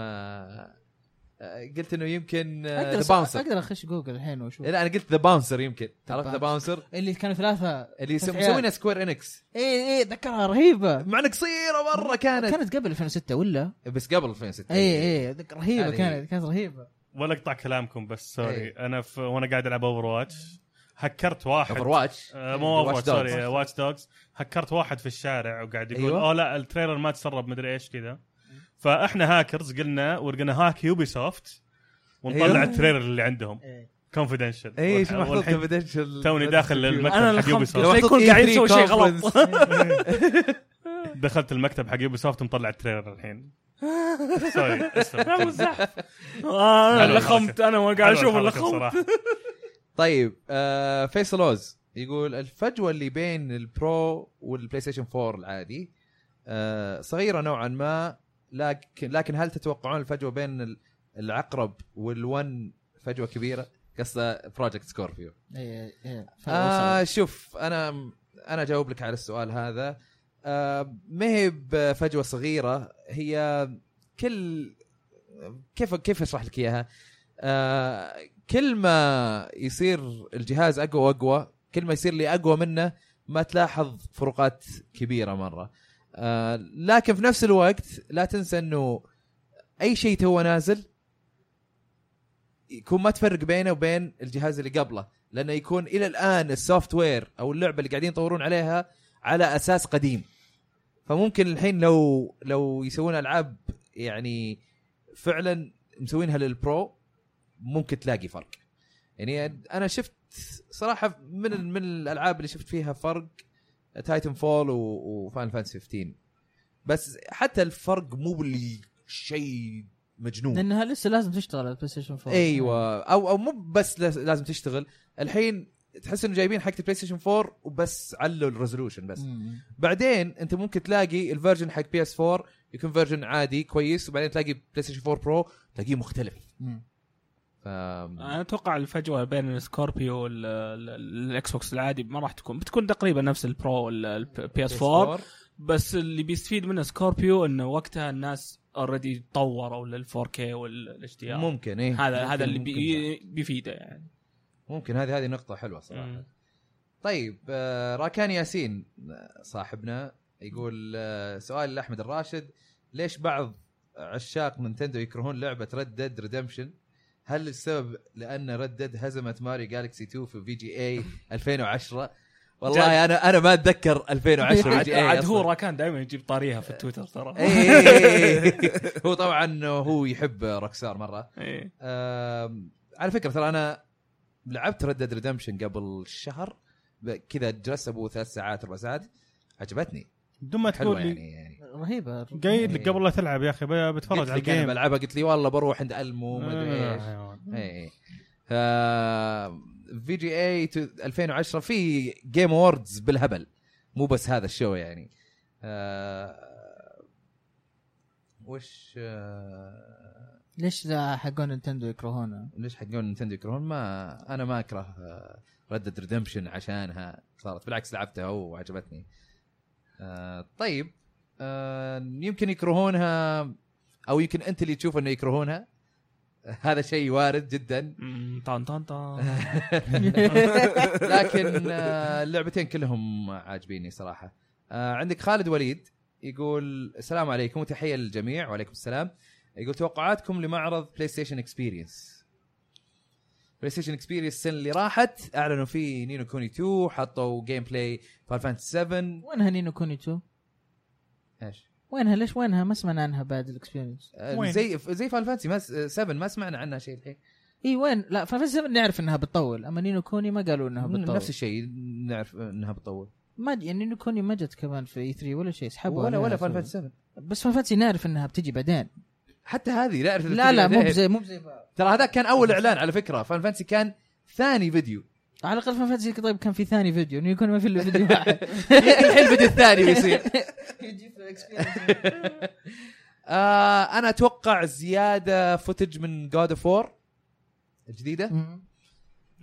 Speaker 1: آه، قلت انه يمكن آه،
Speaker 2: اقدر
Speaker 1: ذا
Speaker 2: أس-
Speaker 1: باونسر
Speaker 2: اقدر اخش جوجل الحين واشوف
Speaker 1: لا انا إيه، قلت ذا باونسر يمكن عرفت ذا
Speaker 2: Bouncer.
Speaker 1: باونسر
Speaker 2: اللي كانوا ثلاثه
Speaker 1: اللي يسم-
Speaker 2: فتحيات.
Speaker 1: مسوينها سكوير انكس
Speaker 2: ايه ايه ذكرها رهيبه
Speaker 1: مع انها قصيره مره كانت
Speaker 2: كانت قبل 2006 ولا؟
Speaker 1: بس قبل 2006
Speaker 2: ايه ايه ذك- رهيبه
Speaker 1: هذه-
Speaker 2: كانت كانت رهيبه
Speaker 5: ولا اقطع كلامكم بس سوري
Speaker 1: إيه.
Speaker 5: انا في وانا قاعد العب اوفر واتش هكرت واحد
Speaker 1: اوفر واتش
Speaker 5: آه، مو اوفر
Speaker 1: إيه، Watch Dogs.
Speaker 5: سوري واتش دوجز هكرت واحد في الشارع وقاعد يقول
Speaker 1: أيوة.
Speaker 5: اوه لا التريلر ما تسرب مدري ايش كذا فاحنا هاكرز قلنا ولقينا هاك يوبي سوفت ونطلع
Speaker 1: أيوة. إيه،
Speaker 5: التريلر اللي عندهم
Speaker 2: إيه.
Speaker 5: كونفدنشل
Speaker 7: اي شو محطوط confidential.
Speaker 5: توني داخل المكتب
Speaker 4: انا
Speaker 5: حق يوبي
Speaker 4: الخمس
Speaker 5: سوفت
Speaker 4: لا يكون قاعد يسوي شيء غلط
Speaker 5: دخلت المكتب حق يوبي سوفت ومطلع التريلر الحين سوري
Speaker 4: انا
Speaker 5: اسف
Speaker 4: مزحف آه،
Speaker 5: حلوة
Speaker 4: انا لخمت انا
Speaker 5: حلوة
Speaker 4: قاعد اشوف
Speaker 5: الحركة
Speaker 4: اللخم
Speaker 5: بصراحة.
Speaker 1: طيب آه فيصل اوز يقول الفجوه اللي بين البرو والبلاي ستيشن 4 العادي آه صغيره نوعا ما لكن لكن هل تتوقعون الفجوه بين ال- العقرب والون فجوه كبيره؟ قصده بروجكت سكوربيو
Speaker 2: إيه، إيه.
Speaker 1: آه
Speaker 2: وصل.
Speaker 1: شوف انا انا اجاوب لك على السؤال هذا آه ما هي بفجوه صغيره هي كل كيف كيف اشرح لك اياها؟ آه كل ما يصير الجهاز اقوى واقوى كل ما يصير لي اقوى منه ما تلاحظ فروقات كبيره مره آه لكن في نفس الوقت لا تنسى انه اي شيء تو نازل يكون ما تفرق بينه وبين الجهاز اللي قبله لانه يكون الى الان السوفت وير او اللعبه اللي قاعدين يطورون عليها على اساس قديم فممكن الحين لو لو يسوون العاب يعني فعلا مسوينها للبرو ممكن تلاقي فرق يعني انا شفت صراحه من ال- من الالعاب اللي شفت فيها فرق تايتن فول وفاين فانسي 15 بس حتى الفرق مو باللي شيء مجنون
Speaker 2: لانها لسه لازم تشتغل على البلاي ستيشن 4
Speaker 1: ايوه او او مو بس لاز- لازم تشتغل الحين تحس انه جايبين حق البلاي ستيشن 4 وبس علوا الريزولوشن بس
Speaker 2: مم.
Speaker 1: بعدين انت ممكن تلاقي الفيرجن حق بي اس 4 يكون فيرجن عادي كويس وبعدين تلاقي بلاي ستيشن 4 برو تلاقيه مختلف
Speaker 2: مم.
Speaker 1: ف...
Speaker 4: انا اتوقع الفجوه بين السكوربيو والاكس بوكس العادي ما راح تكون بتكون تقريبا نفس البرو والبي اس 4 بس اللي بيستفيد منه سكوربيو انه وقتها الناس اوريدي طوروا لل 4K والاتش دي ار
Speaker 1: ممكن ايه
Speaker 4: هذا هذا اللي
Speaker 1: ممكن
Speaker 4: بي بيفيده يعني
Speaker 1: ممكن هذه هذه نقطة حلوة صراحة.
Speaker 4: مم.
Speaker 1: طيب آه، راكان ياسين آه، صاحبنا يقول آه، سؤال لاحمد الراشد ليش بعض عشاق نينتندو يكرهون لعبة ريد ديد ريدمشن؟ هل السبب لان ريد ديد هزمت ماري جالكسي 2 في في جي اي 2010؟ والله انا انا ما اتذكر 2010 في
Speaker 4: عاد
Speaker 1: جي اي
Speaker 4: عاد
Speaker 1: أصلاً. إيه.
Speaker 4: هو راكان دائما يجيب طاريها في تويتر ترى
Speaker 1: إي إي إي إي. إيه. هو طبعا هو يحب روكسار مره
Speaker 4: إيه.
Speaker 1: آم، على فكره ترى انا لعبت ريد ديد ريدمشن قبل شهر ب- كذا جلست ابو ثلاث ساعات اربع ساعات عجبتني
Speaker 5: بدون ما
Speaker 1: حلوه
Speaker 5: تقول لي
Speaker 1: يعني إيه. يعني
Speaker 2: رهيبه
Speaker 5: قايد لك قبل لا تلعب يا اخي ب-
Speaker 1: قلت
Speaker 5: بتفرج على
Speaker 1: لك انا
Speaker 5: الجيم
Speaker 1: بلعبها قلت لي والله بروح عند المو ما إيه، ادري ايش
Speaker 5: آه،
Speaker 1: إي إي. آه، في جي اي تو- 2010 في جيم اووردز بالهبل مو بس هذا الشو يعني آه، وش آه،
Speaker 2: ليش ذا حقون نينتندو يكرهونه؟
Speaker 1: ليش حقون نينتندو يكرهون ما انا ما آه، اكره ردد ريدمشن عشانها صارت بالعكس لعبتها وعجبتني آه، طيب آه، يمكن يكرهونها او يمكن انت اللي تشوف انه يكرهونها هذا شيء وارد جدا
Speaker 4: مم، طن طن طن
Speaker 1: لكن آه، اللعبتين كلهم عاجبيني صراحه آه، عندك خالد وليد يقول السلام عليكم وتحيه للجميع وعليكم السلام يقول توقعاتكم لمعرض بلاي ستيشن اكسبيرينس بلاي ستيشن اكسبيرينس السنه اللي راحت اعلنوا فيه نينو كوني 2 حطوا جيم بلاي فاير فانتسي 7
Speaker 2: وينها نينو كوني 2؟
Speaker 1: ايش
Speaker 2: وينها ليش وينها؟ ما سمعنا عنها بعد الاكسبيرينس
Speaker 1: آه،
Speaker 5: وين؟
Speaker 1: زي زي فاير فانتسي ما- 7 ما سمعنا عنها شيء الحين
Speaker 2: اي وين؟ لا فاينل نعرف انها بتطول اما نينو كوني ما قالوا انها بتطول
Speaker 1: نفس الشيء نعرف انها بتطول
Speaker 2: ما أدري، يعني نينو كوني ما جت كمان في اي 3 ولا شيء سحبوا
Speaker 1: ولا
Speaker 2: عليها
Speaker 1: ولا فاير
Speaker 2: سووا.
Speaker 1: فانتسي 7
Speaker 2: بس فانفاتسي نعرف انها بتجي بعدين
Speaker 1: حتى هذه نعرف إنها
Speaker 2: لا لا
Speaker 1: بتجي
Speaker 2: مو
Speaker 1: بعدين.
Speaker 2: بزي مو بزي بعض.
Speaker 1: ترى هذا كان اول اعلان على فكره فان فانسي كان ثاني فيديو
Speaker 2: على الاقل فانفاتسي طيب كان في ثاني فيديو نينو كوني ما في الا فيديو واحد
Speaker 1: يمكن الحين الفيديو الثاني بيصير
Speaker 2: يجي في الاكسبيرينس
Speaker 1: آه انا اتوقع زياده فوتج من جود اوف وور الجديده آه,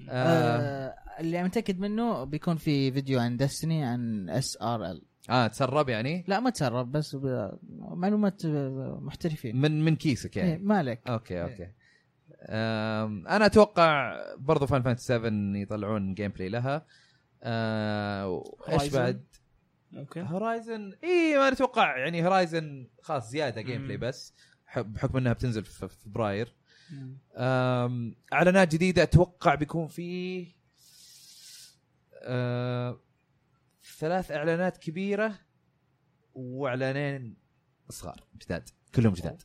Speaker 2: آه، اللي متاكد منه بيكون في فيديو عن دستني عن اس ار ال
Speaker 1: اه تسرب يعني
Speaker 2: لا ما تسرب بس ب- معلومات آه، محترفين
Speaker 1: من من كيسك
Speaker 2: إيه،
Speaker 1: يعني
Speaker 2: ما عليك
Speaker 1: اوكي اوكي آم، انا اتوقع برضو فان فانتسي 7 يطلعون جيم بلاي لها آه ايش
Speaker 4: Horizon.
Speaker 1: بعد
Speaker 4: ممكن
Speaker 1: هورايزن اي ما اتوقع يعني هورايزن خلاص زياده جيم
Speaker 4: مم.
Speaker 1: بلاي بس ح- بحكم انها بتنزل في في فبراير أم، اعلانات جديده اتوقع بيكون فيه آه ثلاث اعلانات كبيره واعلانين صغار جداد كلهم جداد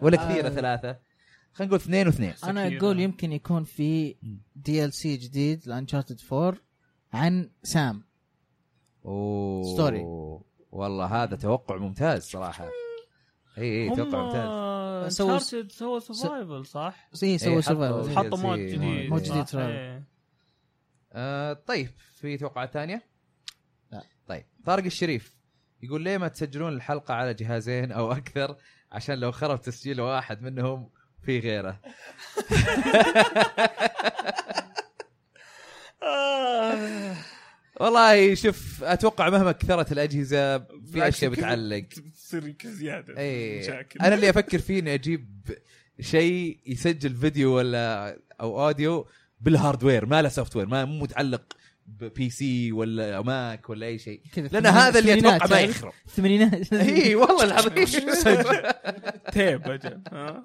Speaker 1: ولا كثيره
Speaker 2: آه.
Speaker 1: ثلاثه خلينا نقول اثنين واثنين
Speaker 2: انا
Speaker 5: سكيرة.
Speaker 1: آه.
Speaker 2: اقول يمكن يكون في دي ال سي جديد لانشارتد 4 عن سام
Speaker 1: اوه
Speaker 2: ستوري.
Speaker 1: والله هذا توقع ممتاز صراحه اي اي
Speaker 4: أمم.
Speaker 1: توقع إيه، ممتاز
Speaker 2: سووا-
Speaker 4: سووا سووا سرفايفل صح؟
Speaker 2: سي سووا
Speaker 1: إيه، حطوا-
Speaker 2: سرفايفل
Speaker 1: حط-
Speaker 4: حطوا مود
Speaker 1: DLC
Speaker 4: جديد
Speaker 2: مود جديد
Speaker 4: صح؟
Speaker 2: trial.
Speaker 4: إيه.
Speaker 1: آه طيب في توقعات ثانيه؟
Speaker 2: لا.
Speaker 1: طيب طارق الشريف يقول ليه ما تسجلون الحلقه على جهازين او اكثر عشان لو خرب تسجيل واحد منهم في غيره
Speaker 4: آه.
Speaker 1: والله شوف اتوقع مهما كثرت الاجهزه في
Speaker 4: بالعكس
Speaker 1: اشياء
Speaker 4: كل-
Speaker 1: بتعلق إيه.
Speaker 4: بتصير زياده
Speaker 1: اي
Speaker 4: مشاكل.
Speaker 1: انا اللي افكر فيه اني اجيب شيء يسجل فيديو ولا او اوديو بالهاردوير ما له سوفت وير ما مو متعلق ببي سي ولا ماك ولا اي شيء
Speaker 2: كذا
Speaker 1: لان هذا اللي اتوقع ما
Speaker 2: ثمانينات،
Speaker 1: يخرب
Speaker 2: ثمانينات
Speaker 1: اي والله العظيم
Speaker 4: تيب أجل. آه.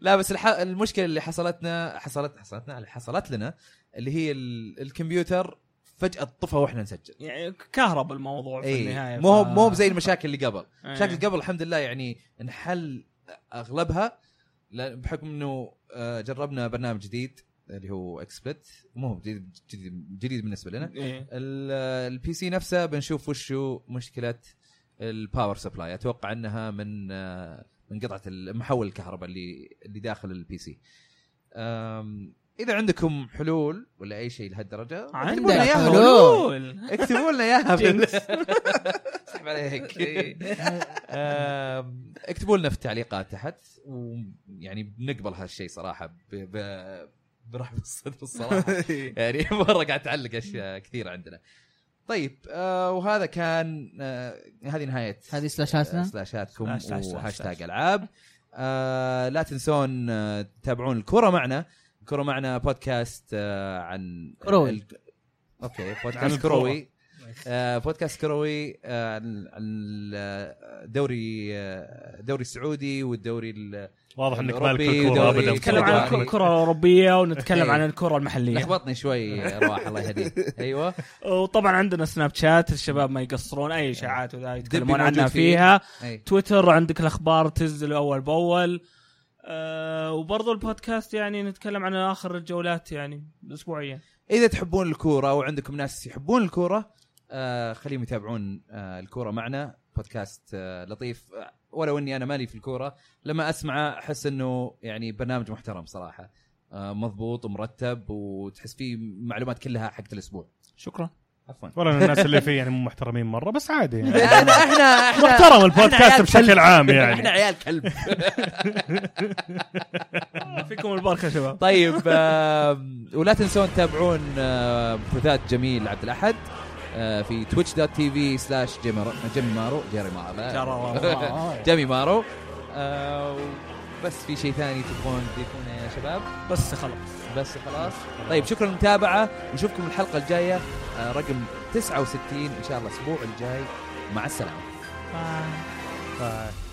Speaker 1: لا بس الح... المشكله اللي حصلتنا حصلت حصلتنا اللي حصلت لنا اللي هي ال... الكمبيوتر فجاه طفى واحنا نسجل
Speaker 4: يعني كهرب الموضوع في
Speaker 1: اي
Speaker 4: النهايه
Speaker 1: إيه. مو
Speaker 4: ف-
Speaker 1: مو زي المشاكل اللي قبل
Speaker 4: إيه.
Speaker 1: مشاكل قبل الحمد لله يعني انحل اغلبها لأن- بحكم انه آه، جربنا برنامج جديد اللي هو اكسبلت مو هو جديد جديد, جديد بالنسبه لنا
Speaker 4: إيه.
Speaker 1: البي سي نفسه بنشوف وش هو مشكله الباور سبلاي اتوقع انها من آه، من قطعه المحول الكهرباء اللي اللي داخل البي سي أم، اذا عندكم حلول ولا اي شيء لهالدرجه اكتبوا لنا
Speaker 2: عندك
Speaker 1: اياها
Speaker 2: حلول.
Speaker 4: حلول
Speaker 1: اكتبوا لنا اياها بال- اسحب عليك آم، اكتبوا لنا في التعليقات تحت ويعني بنقبل هالشيء صراحه ب... ب... برحب الصدر الصراحه يعني مره قاعد تعلق اشياء كثيره عندنا طيب آه وهذا كان آه هذه نهايه
Speaker 2: هذه سلاشاتنا
Speaker 1: سلاشاتكم
Speaker 4: سلاش- سلاش- سلاش-
Speaker 1: وهاشتاج
Speaker 4: سلاش.
Speaker 1: العاب آه لا تنسون آه، تتابعون الكره معنا الكره معنا بودكاست آه عن
Speaker 2: كروي.
Speaker 1: ال- اوكي
Speaker 5: عن
Speaker 1: بودكاست
Speaker 5: الكرة.
Speaker 1: كروي آه بودكاست كروي آه عن عن الدوري آه، الدوري السعودي والدوري ال-
Speaker 5: واضح انك
Speaker 1: أوروبي
Speaker 5: مالك الكوره
Speaker 1: ودوري.
Speaker 5: ابدا
Speaker 4: نتكلم عن
Speaker 1: يعني.
Speaker 4: الكره الاوروبيه ونتكلم
Speaker 1: إيه.
Speaker 4: عن الكره المحليه
Speaker 1: لخبطني شوي رواح الله يهديك ايوه
Speaker 4: وطبعا عندنا سناب شات الشباب ما يقصرون اي اشاعات وذا يتكلمون
Speaker 1: إيه. دبي موجود
Speaker 4: عنها
Speaker 1: فيه.
Speaker 4: فيها
Speaker 1: أي.
Speaker 4: تويتر عندك الاخبار تنزل اول باول آه وبرضو البودكاست يعني نتكلم عن اخر الجولات يعني اسبوعيا
Speaker 1: اذا تحبون الكوره وعندكم ناس يحبون الكوره آه خليهم يتابعون آه الكوره معنا بودكاست آه لطيف آه، ولو اني انا مالي في الكوره لما اسمعه احس انه يعني برنامج محترم صراحه آه مضبوط ومرتب وتحس فيه معلومات كلها حقت الاسبوع
Speaker 4: شكرا
Speaker 1: عفوا
Speaker 5: ولا الناس اللي فيه يعني مو محترمين مره بس عادي يعني
Speaker 1: احنا احنا احنا
Speaker 5: محترم البودكاست
Speaker 1: عيال
Speaker 5: بشكل عام
Speaker 1: احنا
Speaker 5: يعني
Speaker 1: عيال كلب
Speaker 4: فيكم البركه يا شباب
Speaker 1: طيب آم، ولا تنسون تتابعون آم، بثوثات جميل عبد الاحد آه، في تويتش دوت تي في سلاش جيمي مارو جيري مارو
Speaker 4: ترى
Speaker 1: جيمي مارو آه، بس في شيء ثاني تبغون تضيفونه يا شباب
Speaker 4: بس خلاص
Speaker 1: بس خلاص طيب شكرا للمتابعه نشوفكم الحلقه الجايه آه، رقم 69 ان شاء الله الاسبوع الجاي مع السلامه
Speaker 4: باي.
Speaker 5: ف-